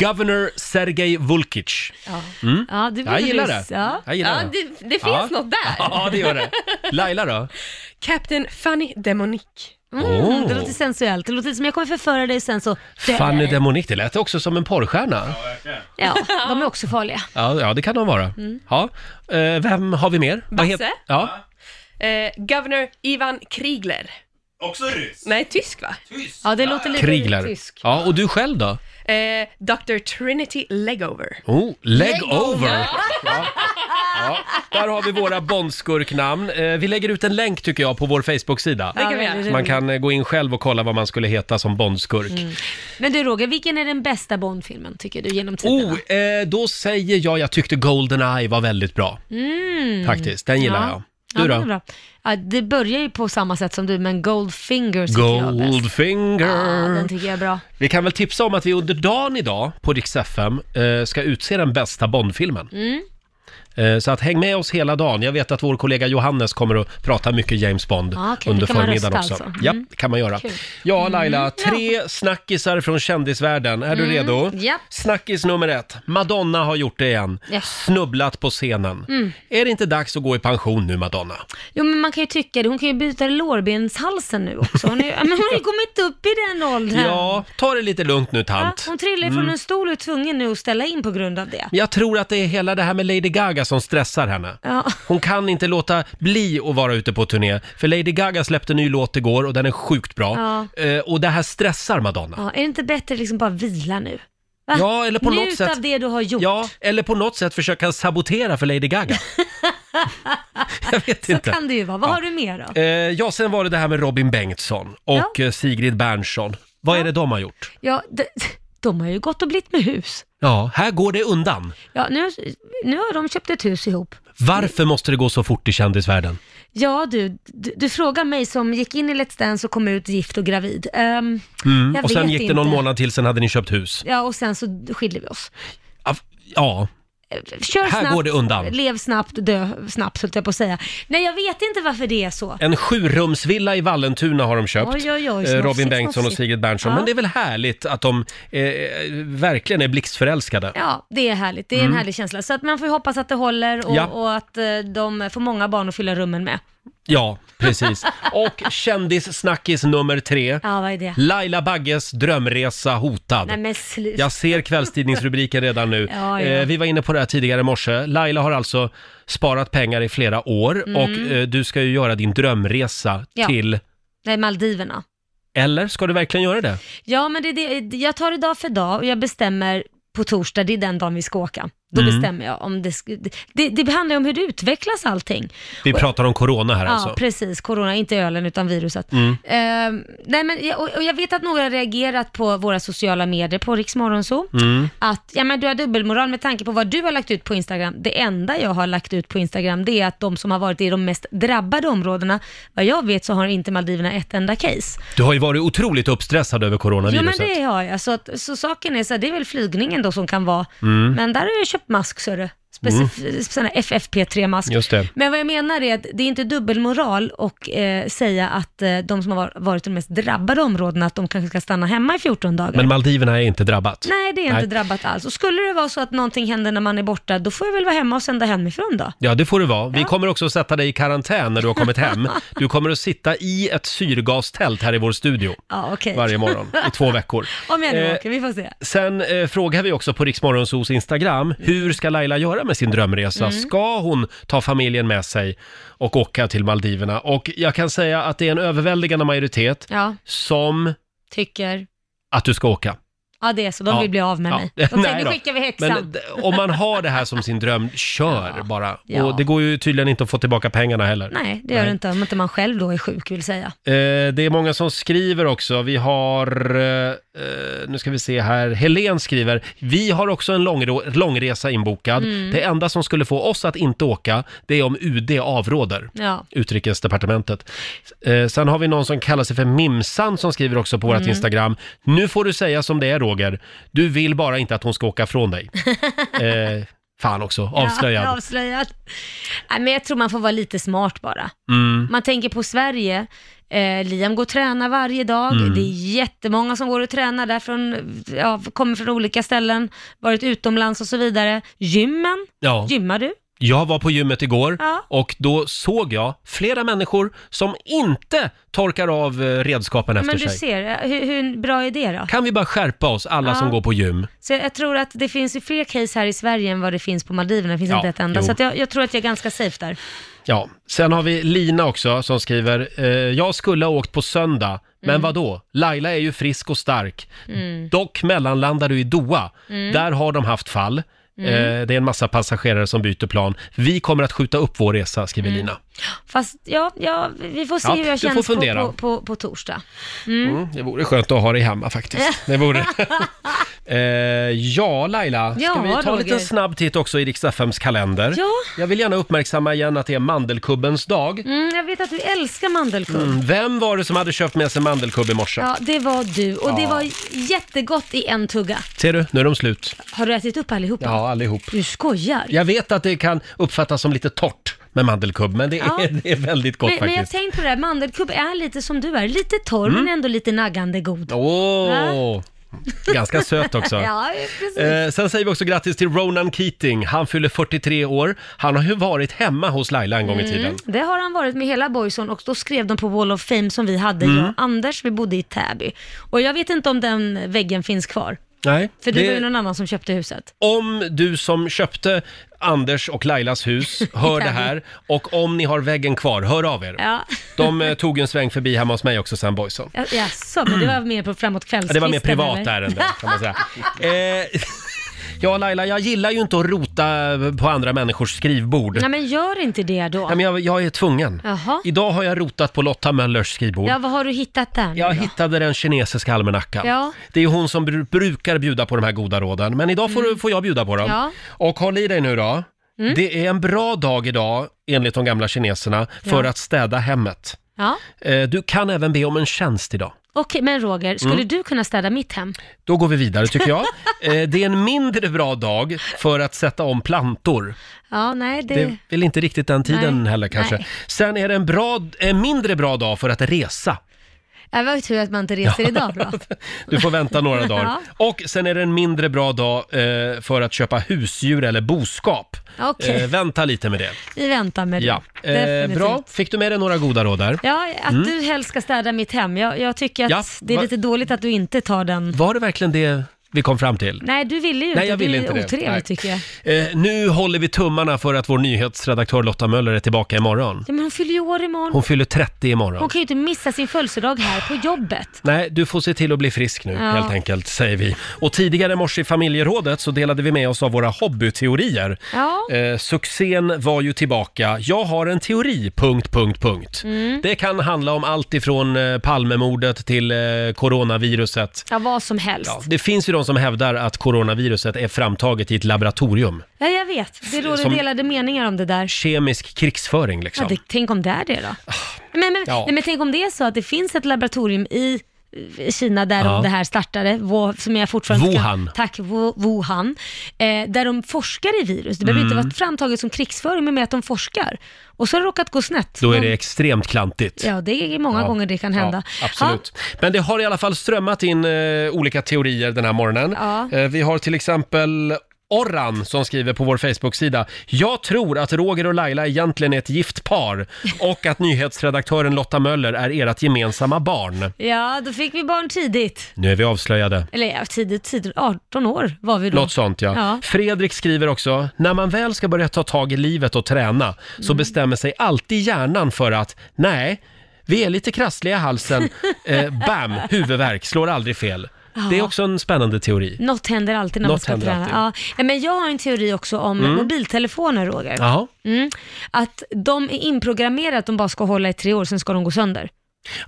Speaker 1: Governor Sergej Vulkic.
Speaker 13: Ja.
Speaker 1: Mm.
Speaker 2: Ja, du blev
Speaker 1: jag gillar
Speaker 2: ryss,
Speaker 1: det.
Speaker 2: ja.
Speaker 1: Jag gillar
Speaker 13: Ja,
Speaker 1: det.
Speaker 13: det- det finns
Speaker 1: Ja.
Speaker 13: något där.
Speaker 1: Ja, det gör det. Laila då?
Speaker 13: Captain Fanny Demonique.
Speaker 2: Mm,
Speaker 1: Åh.
Speaker 2: Det låter sensuellt. Det låter som jag kommer förföra dig sen så...
Speaker 1: Fanny Demonic, det lät också som en porrstjärna.
Speaker 2: Ja, de är också farliga.
Speaker 1: Ja, ja det kan de vara.
Speaker 13: Mm.
Speaker 1: Ja. Eh, vem har vi mer? Vad
Speaker 13: Basse?
Speaker 1: het- Ja.
Speaker 13: Eh, Governor Ivan Kriegler. Också ryss? Nej, tysk va? Tysk? Ja, det låter
Speaker 1: Krigler. Ja, och du själv då?
Speaker 13: Eh, Dr. Trinity Legover.
Speaker 1: Oh, Legover!
Speaker 13: Ja.
Speaker 1: Ja, där har vi våra Bondskurknamn. Eh, Vi lägger ut en länk tycker jag på vår Facebook-sida.
Speaker 2: Det kan vi göra.
Speaker 1: Så man kan eh, gå in själv och kolla vad man skulle heta som Bondskurk.
Speaker 2: Mm. Men du Roger, vilken är den bästa Bond-filmen tycker du genom tiderna?
Speaker 1: Oh, eh, då säger jag, jag tyckte Goldeneye var väldigt bra.
Speaker 2: Mm.
Speaker 1: Faktiskt, den gillar
Speaker 2: ja.
Speaker 1: jag. Du
Speaker 2: ja,
Speaker 1: då?
Speaker 2: den är bra. Ja, det börjar ju på samma sätt som du, men Goldfinger tycker jag är bäst. Ja,
Speaker 1: Goldfinger!
Speaker 2: den tycker jag är bra.
Speaker 1: Vi kan väl tipsa om att vi under dagen idag på Rix FM eh, ska utse den bästa Bondfilmen.
Speaker 2: Mm.
Speaker 1: Eh, Så att häng med oss hela dagen. Jag vet att vår kollega Johannes kommer att prata mycket James Bond
Speaker 2: Ah, okej.
Speaker 1: under
Speaker 2: Det kan man
Speaker 1: förmiddagen
Speaker 2: rösta
Speaker 1: också.
Speaker 2: alltså.
Speaker 1: Ja,
Speaker 2: Mm.
Speaker 1: det kan man göra.
Speaker 2: Kul.
Speaker 1: Ja, Laila, tre snackisar från kändisvärlden. Är du
Speaker 2: Mm,
Speaker 1: redo?
Speaker 2: ja.
Speaker 1: Snackis nummer ett. Madonna har gjort det igen.
Speaker 2: Ja.
Speaker 1: Snubblat på scenen.
Speaker 2: Mm.
Speaker 1: Är det inte dags att gå i pension nu, Madonna?
Speaker 2: Jo men man kan ju tycka det, hon kan ju byta lårbenshalsen nu också. Hon, är, ju- men hon har ju kommit upp i den åldern.
Speaker 1: Ja, Mm. ta det lite lugnt nu,
Speaker 2: Ja,
Speaker 1: tant.
Speaker 2: hon trillar ju från en stol och är tvungen nu att ställa in på grund av det.
Speaker 1: Jag tror att det är hela det här med Lady Gaga som stressar henne.
Speaker 2: Ja.
Speaker 1: Hon kan inte låta bli att vara ute på turné, för Lady Gaga släppte en ny låt igår och den är sjukt bra. Eh, och det här stressar Madonna.
Speaker 2: Ja, är det inte bättre liksom bara vila nu? Va?
Speaker 1: Ja, eller på
Speaker 2: Njut
Speaker 1: något sätt-
Speaker 2: av det du har gjort.
Speaker 1: Ja, eller på något sätt försöka sabotera för Lady Gaga. Jag vet
Speaker 2: Så
Speaker 1: inte.
Speaker 2: kan det ju vara. Vad har du mer då?
Speaker 1: Eh, ja, sen var det det här med Robin Bengtsson och eh, Sigrid Bernson. Vad är det de har gjort?
Speaker 2: Ja, de, de har ju gått och blivit med hus.
Speaker 1: Ja, här går det undan.
Speaker 2: Ja, nu, nu har de köpt ett hus ihop.
Speaker 1: Varför måste det gå så fort i kändisvärlden?
Speaker 2: Ja du, du, du frågar mig som gick in i Let's Dance och kom ut gift och gravid. Ehm,
Speaker 1: Mm.
Speaker 2: jag
Speaker 1: Och sen
Speaker 2: vet
Speaker 1: gick det någon
Speaker 2: inte.
Speaker 1: månad till, sen hade ni köpt hus.
Speaker 2: Ja, och sen så skiljer vi oss.
Speaker 1: Ja,
Speaker 2: Kör
Speaker 1: Här
Speaker 2: snabbt,
Speaker 1: går det undan.
Speaker 2: lev snabbt, dö snabbt höll jag på att säga. Nej, jag vet inte varför det är så.
Speaker 1: En sjurumsvilla i Vallentuna har de köpt.
Speaker 2: Oj, oj, oj,
Speaker 1: Eh,
Speaker 2: snofsigt,
Speaker 1: Robin Bengtsson och
Speaker 2: snofsigt.
Speaker 1: Sigrid Bernson.
Speaker 2: Ja.
Speaker 1: Men det är väl härligt att de eh, verkligen är blixtförälskade.
Speaker 2: Ja, det är härligt. Det är
Speaker 1: Mm.
Speaker 2: en härlig känsla. Så att man får ju hoppas att det håller och,
Speaker 1: Ja.
Speaker 2: och att eh, de får många barn att fylla rummen med.
Speaker 1: Ja, precis. Och kändissnackis nummer tre.
Speaker 2: Ja, vad är det?
Speaker 1: Laila Bagges drömresa hotad.
Speaker 2: Nej men sluta.
Speaker 1: Jag ser kvällstidningsrubriken redan nu.
Speaker 2: Ja, ja.
Speaker 1: Eh, vi var inne på det här tidigare i morse. Laila har alltså sparat pengar i flera år
Speaker 2: Mm.
Speaker 1: och eh, du ska ju göra din drömresa
Speaker 2: Ja.
Speaker 1: till...
Speaker 2: Nej, Maldiverna.
Speaker 1: Eller ska du verkligen göra det?
Speaker 2: Ja, men det, är det, jag tar det dag för dag och jag bestämmer på torsdag, det är den dagen vi ska åka. Då
Speaker 1: Mm.
Speaker 2: bestämmer jag om det, sk- det... Det handlar ju om hur det utvecklas allting.
Speaker 1: Vi pratar om corona här alltså.
Speaker 2: Ja, precis. Corona, inte ölen utan viruset.
Speaker 1: Mm.
Speaker 2: Ehm, nej, men, jag- och, och jag vet att några har reagerat på våra sociala medier på Riksmorgonzoo.
Speaker 1: Mm.
Speaker 2: Att ja, men du har dubbelmoral med tanke på vad du har lagt ut på Instagram. Det enda jag har lagt ut på Instagram det är att de som har varit i de mest drabbade områdena, vad jag vet så har inte Maldiverna ett enda case.
Speaker 1: Du har ju varit otroligt uppstressad över
Speaker 2: Ja men
Speaker 1: coronaviruset.
Speaker 2: det har jag. Så, att, så saken är så här, det är väl flygningen då som kan vara.
Speaker 1: Mm.
Speaker 2: Men där har jag köpt mask så är det. Specif- sån här FFP3-mask.
Speaker 1: Just det.
Speaker 2: Men vad jag menar är att det är inte dubbelmoral att eh, säga att eh, de som har var- varit i de mest drabbade områdena, att de kanske ska stanna hemma i 14 dagar.
Speaker 1: Men Maldiverna är inte drabbat.
Speaker 2: Nej, det är inte drabbat alls. Och skulle det vara så att någonting händer när man är borta, då får jag väl vara hemma och sända hemifrån då.
Speaker 1: Ja, det får det vara. Vi kommer också att sätta dig i karantän när du har kommit hem. Du kommer att sitta i ett syrgastält här i vår studio
Speaker 2: Ja, okej.
Speaker 1: varje morgon i två veckor.
Speaker 2: Om jag nu
Speaker 1: Eh,
Speaker 2: åker, vi får se.
Speaker 1: Sen eh, frågar vi också på Riksmorgonsos Instagram, hur ska Laila göra med sin drömresa?
Speaker 2: Mm.
Speaker 1: Ska hon ta familjen med sig och åka till Maldiverna? Och jag kan säga att det är en överväldigande majoritet
Speaker 2: Ja,
Speaker 1: som
Speaker 2: tycker.
Speaker 1: att du ska åka.
Speaker 2: Ja, det är så. De
Speaker 1: Ja.
Speaker 2: vill bli av med
Speaker 1: Ja.
Speaker 2: mig. De säger,
Speaker 1: Nej
Speaker 2: nu
Speaker 1: då.
Speaker 2: skickar vi häxan.
Speaker 1: Men d- om man har det här som sin dröm, kör bara.
Speaker 2: Ja.
Speaker 1: Och det går ju tydligen inte att få tillbaka pengarna heller.
Speaker 2: Nej, det gör det inte om inte man själv då är sjuk vill säga.
Speaker 1: Eh, det är många som skriver också. Vi har, eh, eh, nu ska vi se här, Helen skriver, vi har också en långro- långresa inbokad.
Speaker 2: Mm.
Speaker 1: Det enda som skulle få oss att inte åka, det är om UD avråder.
Speaker 2: Ja.
Speaker 1: Utrikesdepartementet. Eh, sen har vi någon som kallar sig för Mimsan som skriver också på vårt
Speaker 2: Mm.
Speaker 1: Instagram. Nu får du säga som det är Roger. Du vill bara inte att hon ska åka från dig. Eh, fan också, avslöjad.
Speaker 2: Ja, avslöjad. Nej, men jag tror man får vara lite smart bara.
Speaker 1: Mm.
Speaker 2: Man tänker på Sverige, eh, Liam går och tränar varje dag,
Speaker 1: Mm.
Speaker 2: det är jättemånga som går och tränar där från, ja, kommer från olika ställen, varit utomlands och så vidare. Gymmen,
Speaker 1: Ja.
Speaker 2: gymmar du?
Speaker 1: Jag var på gymmet igår
Speaker 2: Ja.
Speaker 1: och då såg jag flera människor som inte torkar av eh, redskapen
Speaker 2: Ja,
Speaker 1: efter
Speaker 2: men du
Speaker 1: sig.
Speaker 2: ser, eh, hur, hur bra är det då?
Speaker 1: Kan vi bara skärpa oss, alla
Speaker 2: Ja.
Speaker 1: som går på gym?
Speaker 2: Så jag tror att det finns ju fler case här i Sverige än vad det finns på Maldiverna, det finns
Speaker 1: Ja,
Speaker 2: inte ett enda.
Speaker 1: jo.
Speaker 2: Så att jag, jag tror att jag är ganska safe där.
Speaker 1: Ja. Sen har vi Lina också som skriver, eh, jag skulle ha åkt på söndag, men
Speaker 2: Mm.
Speaker 1: vad då? Laila är ju frisk och stark.
Speaker 2: Mm.
Speaker 1: Dock mellanlandar du i Doha.
Speaker 2: Mm.
Speaker 1: Där har de haft fall.
Speaker 2: Mm.
Speaker 1: Eh, det är en massa passagerare som byter plan. Vi kommer att skjuta upp vår resa, skriver
Speaker 2: Mm.
Speaker 1: Lina.
Speaker 2: Fast ja, ja vi får se
Speaker 1: Ja,
Speaker 2: hur
Speaker 1: du får
Speaker 2: jag känns på,
Speaker 1: fundera.
Speaker 2: på, på, på torsdag. Mm.
Speaker 1: Mm, det vore skönt att ha dig hemma faktiskt. Det vore. eh, ja, Laila, ska
Speaker 2: Ja,
Speaker 1: vi ta en
Speaker 2: Roger.
Speaker 1: liten snabb titt också i Rix FMs kalender?
Speaker 2: Ja.
Speaker 1: Jag vill gärna uppmärksamma igen att det är mandelkubbens dag.
Speaker 2: Mm, jag vet att du älskar mandelkubb.
Speaker 1: Mm. Vem var det som hade köpt med sig mandelkubb i morse?
Speaker 2: Ja, det var du och det
Speaker 1: Ja.
Speaker 2: var jättegott i en tugga.
Speaker 1: Ser du, nu är de slut.
Speaker 2: Har du ätit upp allihopa?
Speaker 1: Ja, allihop.
Speaker 2: Du skojar.
Speaker 1: Jag vet att det kan uppfattas som lite torrt med mandelkubb, men det är,
Speaker 2: Ja.
Speaker 1: det är väldigt gott
Speaker 2: men, men jag
Speaker 1: faktiskt.
Speaker 2: tänkte på det här, mandelkubb är lite som du är, lite torr
Speaker 1: Mm.
Speaker 2: men ändå lite naggande god.
Speaker 1: Åh!
Speaker 2: Va?
Speaker 1: Ganska söt också.
Speaker 2: ja, precis.
Speaker 1: Eh, sen säger vi också grattis till Ronan Keating. Han fyller 43 år. Han har ju varit hemma hos Laila en gång i tiden.
Speaker 2: Mm, det har han varit med hela Boyzone och då skrev de på Wall of Fame som vi hade,
Speaker 1: Mm.
Speaker 2: jag och Anders, vi bodde i Täby. Och jag vet inte om den väggen finns kvar.
Speaker 1: Nej,
Speaker 2: För det var ju
Speaker 1: det,
Speaker 2: någon annan som köpte huset.
Speaker 1: om du som köpte Anders och Lailas hus hör det här och om ni har väggen kvar, hör av er.
Speaker 2: Ja.
Speaker 1: De eh, tog en sväng förbi hemma hos mig också sen Boyson.
Speaker 2: Ja, Jaså, men det var mer på framåt
Speaker 1: Ja,
Speaker 2: kvällskvisten?
Speaker 1: det var mer privat
Speaker 2: eller?
Speaker 1: ärende kan man säga. Eh, ja Laila, jag gillar ju inte att rota på andra människors skrivbord.
Speaker 2: Nej, men gör inte det då.
Speaker 1: Nej, men jag, jag är tvungen.
Speaker 2: Jaha.
Speaker 1: Idag har jag rotat på Lotta Möllers skrivbord.
Speaker 2: Ja, vad har du hittat där nu
Speaker 1: Jag
Speaker 2: då?
Speaker 1: hittade den kinesiska almanackan.
Speaker 2: Ja.
Speaker 1: Det är hon som bru- brukar bjuda på de här goda råden, men idag får, du- får jag bjuda på dem.
Speaker 2: Mm. Ja.
Speaker 1: Och håll i dig nu då.
Speaker 2: Mm.
Speaker 1: Det är en bra dag idag, enligt de gamla kineserna, för
Speaker 2: Ja.
Speaker 1: att städa hemmet.
Speaker 2: Ja.
Speaker 1: Eh, Du kan även be om en tjänst idag.
Speaker 2: Okej, men Roger, skulle
Speaker 1: Mm.
Speaker 2: du kunna städa mitt hem?
Speaker 1: Då går vi vidare tycker jag. Eh, Det är en mindre bra dag för att sätta om plantor.
Speaker 2: Ja, nej, det...
Speaker 1: Det är väl inte riktigt den tiden
Speaker 2: Nej.
Speaker 1: heller kanske.
Speaker 2: Nej.
Speaker 1: Sen är det en, bra, en mindre bra dag för att resa.
Speaker 2: det var ju tur att man inte reser
Speaker 1: Ja.
Speaker 2: idag då.
Speaker 1: Du får vänta några dagar.
Speaker 2: Ja.
Speaker 1: Och sen är det en mindre bra dag eh, för att köpa husdjur eller boskap.
Speaker 2: Okej.
Speaker 1: Eh, vänta lite med det.
Speaker 2: Vi väntar med det.
Speaker 1: Ja. Eh,
Speaker 2: Definitivt.
Speaker 1: bra, fick du med dig några goda råd där?
Speaker 2: Ja, att
Speaker 1: Mm.
Speaker 2: du helst ska städa mitt hem. Jag, jag tycker att
Speaker 1: Ja,
Speaker 2: det är
Speaker 1: va-
Speaker 2: lite dåligt att du inte tar den.
Speaker 1: Var det verkligen det vi kom fram till.
Speaker 2: Nej, du ville ju
Speaker 1: Nej,
Speaker 2: inte.
Speaker 1: jag ville
Speaker 2: det är
Speaker 1: inte det.
Speaker 2: otrevligt
Speaker 1: Nej.
Speaker 2: tycker jag.
Speaker 1: Eh, nu håller vi tummarna för att vår nyhetsredaktör Lotta Möller är tillbaka imorgon.
Speaker 2: Ja, men hon fyller ju år imorgon.
Speaker 1: Hon fyller 30 imorgon.
Speaker 2: Hon kan ju inte missa sin födelsedag här på jobbet.
Speaker 1: Nej, du får se till att bli frisk nu
Speaker 2: Ja.
Speaker 1: helt enkelt, säger vi. Och tidigare i morse i familjerådet så delade vi med oss av våra hobbyteorier.
Speaker 2: Ja.
Speaker 1: Eh, succén var ju tillbaka. Jag har en teori, punkt, punkt, punkt.
Speaker 2: Mm.
Speaker 1: Det kan handla om allt ifrån eh, Palmemordet till eh, coronaviruset.
Speaker 2: Ja, vad som helst.
Speaker 1: Ja,
Speaker 2: Ja,
Speaker 1: det finns ju de som hävdar att coronaviruset är framtaget i ett laboratorium.
Speaker 2: jag vet. Det råder
Speaker 1: Som-
Speaker 2: delade meningar om det där.
Speaker 1: Kemisk krigsföring liksom.
Speaker 2: Ja, det, tänk om det är det då? Men, men,
Speaker 1: Ah, Ja.
Speaker 2: nej, men tänk om det är så att det finns ett laboratorium i eh, Kina där
Speaker 1: Ja.
Speaker 2: det här startade, Wo- som jag fortfarande inte
Speaker 1: Wuhan.
Speaker 2: Kan, tack, Wo- Wuhan. Eh, där de forskar i virus. Det behöver
Speaker 1: Mm.
Speaker 2: inte vara framtaget som krigsföring, men med att de forskar. Och så har det råkat gå snett.
Speaker 1: Då är
Speaker 2: De-
Speaker 1: det extremt klantigt.
Speaker 2: Ja, det är många
Speaker 1: Ja.
Speaker 2: gånger det kan hända.
Speaker 1: Ja, absolut. Men det har i alla fall strömmat in eh, olika teorier den här morgonen.
Speaker 2: Ja.
Speaker 1: Eh, vi har till exempel Orran som skriver på vår Facebook-sida. Jag tror att Roger och Laila egentligen är ett gift par och att nyhetsredaktören Lotta Möller är ert gemensamma barn.
Speaker 2: Ja. ja, då fick vi barn tidigt.
Speaker 1: Nu är vi avslöjade.
Speaker 2: Eller ja, tidigt, tidigt, 18 år var vi då.
Speaker 1: Något sånt ja.
Speaker 2: Ja.
Speaker 1: Fredrik skriver också, när man väl ska börja ta tag i livet och träna så
Speaker 2: Mm.
Speaker 1: bestämmer sig alltid hjärnan för att, nej, vi är lite krassliga i halsen, eh, bam, huvudvärk, slår aldrig fel.
Speaker 2: Ja.
Speaker 1: Det är också en spännande teori.
Speaker 2: Något händer alltid när
Speaker 1: Något
Speaker 2: man ska
Speaker 1: händer
Speaker 2: träna. Ja. Nej, Men jag har en teori också om
Speaker 1: Mm.
Speaker 2: mobiltelefoner, Roger.
Speaker 1: Jaha.
Speaker 2: Mm. Att de är inprogrammerade att de bara ska hålla i tre år, sen ska de gå sönder.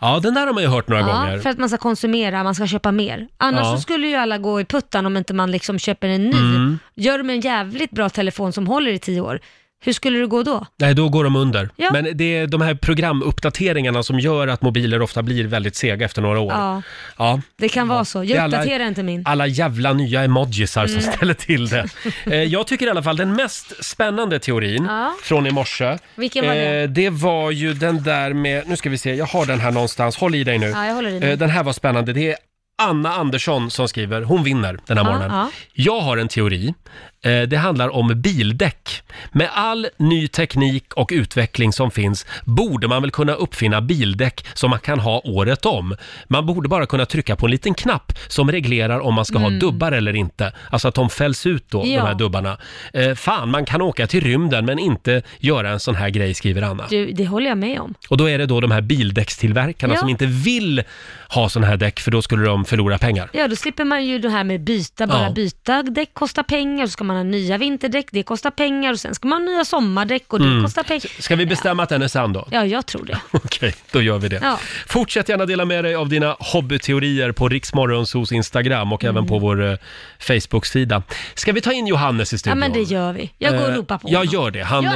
Speaker 1: Ja, den där har man ju hört några
Speaker 2: ja,
Speaker 1: gånger.
Speaker 2: För att man ska konsumera, man ska köpa mer. Annars
Speaker 1: Ja.
Speaker 2: så skulle ju alla gå i puttan om inte man liksom köper en ny.
Speaker 1: Mm.
Speaker 2: Gör de en jävligt bra telefon som håller i tio år, hur skulle det gå då?
Speaker 1: Nej, då går de under.
Speaker 2: Ja.
Speaker 1: Men det är de här programuppdateringarna som gör att mobiler ofta blir väldigt sega efter några år.
Speaker 2: Ja,
Speaker 1: Ja.
Speaker 2: det kan vara så.
Speaker 1: Det är
Speaker 2: Jag
Speaker 1: alla-
Speaker 2: uppdaterar inte min.
Speaker 1: Alla jävla nya emojisar som
Speaker 2: Mm.
Speaker 1: ställer till det. Eh, jag tycker i alla fall den mest spännande teorin
Speaker 2: Ja.
Speaker 1: från i morse.
Speaker 2: Vilken var det?
Speaker 1: Eh, det var ju den där med, nu ska vi se, jag har den här någonstans, håll i dig nu.
Speaker 2: Ja, jag håller i mig.
Speaker 1: Eh, den här var spännande, det är Anna Andersson som skriver, hon vinner den här
Speaker 2: Ja,
Speaker 1: morgonen.
Speaker 2: ja.
Speaker 1: Jag har en teori. Eh, Det handlar om bildäck. Med all ny teknik och utveckling som finns borde man väl kunna uppfinna bildäck som man kan ha året om. Man borde bara kunna trycka på en liten knapp som reglerar om man ska ha
Speaker 2: Mm.
Speaker 1: dubbar eller inte. Alltså att de fälls ut då,
Speaker 2: Ja.
Speaker 1: de här dubbarna. Eh, Fan, man kan åka till rymden men inte göra en sån här grej, skriver Anna.
Speaker 2: Du, det håller jag med om.
Speaker 1: Och då är det då de här bildäckstillverkarna
Speaker 2: Ja.
Speaker 1: som inte vill ha såna här däck för då skulle de förlora pengar.
Speaker 2: Ja, då slipper man ju det här med byta, bara
Speaker 1: Ja.
Speaker 2: byta däck kostar pengar, så ska man ha nya vinterdäck, det kostar pengar och sen ska man ha nya sommardäck och det
Speaker 1: Mm.
Speaker 2: kostar pengar.
Speaker 1: Ska vi bestämma att den är sann då?
Speaker 2: Ja, jag tror det.
Speaker 1: Okej, då gör vi det.
Speaker 2: Ja.
Speaker 1: Fortsätt gärna dela med dig av dina hobbyteorier på Riksmorgonsos Instagram och även på
Speaker 2: Mm.
Speaker 1: vår eh, Facebook-sida. Ska vi ta in Johannes i
Speaker 2: Ja,
Speaker 1: studion?
Speaker 2: men det gör vi. Jag går och
Speaker 1: Eh,
Speaker 2: ropar på
Speaker 1: Jag
Speaker 2: honom.
Speaker 1: gör det. Han, eh,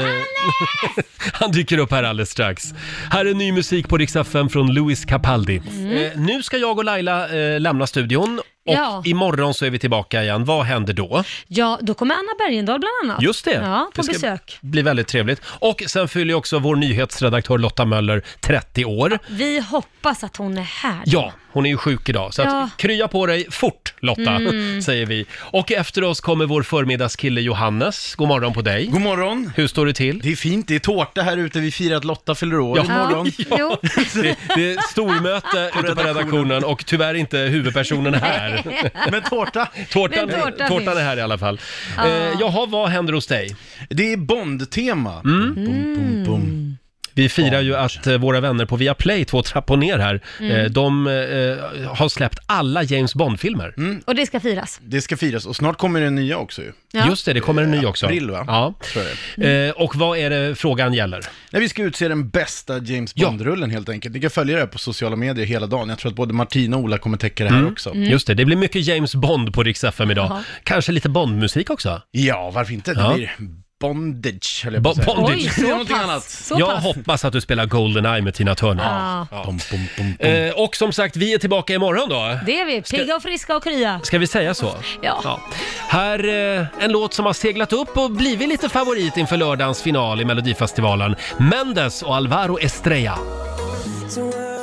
Speaker 1: han dyker upp här alldeles strax. Här är ny musik på Rix FM från Louis Capaldi.
Speaker 2: Mm.
Speaker 1: Eh, nu ska jag och Laila eh, lämna studion och
Speaker 2: Ja.
Speaker 1: imorgon så är vi tillbaka igen. Vad händer då?
Speaker 2: Ja, då kommer Anna Bergendahl bland annat.
Speaker 1: Just det.
Speaker 2: Ja, på
Speaker 1: det ska
Speaker 2: besök.
Speaker 1: bli väldigt trevligt. Och sen fyller ju också vår nyhetsredaktör Lotta Möller 30 år.
Speaker 2: Vi hoppas att hon är här.
Speaker 1: Ja, hon är ju sjuk idag. Så
Speaker 2: Ja.
Speaker 1: att, krya på dig fort Lotta,
Speaker 2: Mm.
Speaker 1: säger vi. Och efter oss kommer vår förmiddagskille Johannes. God morgon på dig. God
Speaker 15: morgon.
Speaker 1: Hur står det till?
Speaker 15: Det är fint, det är tårta här ute. Vi firar att Lotta fyller år
Speaker 1: Ja.
Speaker 15: imorgon.
Speaker 1: Ja. Det, det är stormöte ute på redaktionen och tyvärr inte huvudpersonen här.
Speaker 15: Nej. Men tårta.
Speaker 1: Tårtan,
Speaker 15: Men tårta
Speaker 1: tårtan är
Speaker 15: finns.
Speaker 1: här i alla fall.
Speaker 15: Ja.
Speaker 1: Eh, jaha, vad händer hos dig? Mm.
Speaker 15: Det är Bond-tema.
Speaker 1: Vi firar ju att eh, våra vänner på Viaplay, två trappor ner här,
Speaker 2: Mm.
Speaker 1: eh, de eh, har släppt alla James Bond-filmer.
Speaker 2: Och det ska firas.
Speaker 15: Mm, Det ska firas och snart kommer det nya också ju. Eh,
Speaker 2: Ja.
Speaker 1: Just det, det kommer en ny också.
Speaker 15: April va?
Speaker 1: Ja.
Speaker 15: Tror jag
Speaker 1: det är. Eh, och vad är det frågan gäller?
Speaker 15: Nej, vi ska utse den bästa James Bond-rullen helt enkelt. Ni kan följa det här på sociala medier hela dagen. Jag tror att både Martina och Ola kommer täcka det här
Speaker 1: Mm.
Speaker 15: också.
Speaker 1: Mm. Just det, det blir mycket James Bond på Rix FM idag.
Speaker 15: Jaha.
Speaker 1: Kanske lite Bondmusik också?
Speaker 15: Ja, varför inte? Det
Speaker 1: Ja.
Speaker 15: blir Bondage, höll jag på
Speaker 1: Bo-
Speaker 15: att säga.
Speaker 1: Bondage.
Speaker 15: Det är någonting annat.
Speaker 1: jag hoppas att du spelar Goldeneye med Tina Turner.
Speaker 2: Ja.
Speaker 15: Bom, bom, bom,
Speaker 1: bom. Eh, och som sagt, vi är tillbaka imorgon då.
Speaker 2: Det är vi. Pigga och friska och krya.
Speaker 1: Ska vi säga så?
Speaker 2: Ja.
Speaker 1: Här eh, en låt som har seglat upp och blivit lite favorit inför lördagens final i Melodifestivalen. Mendes och Alvaro Estrella.
Speaker 17: So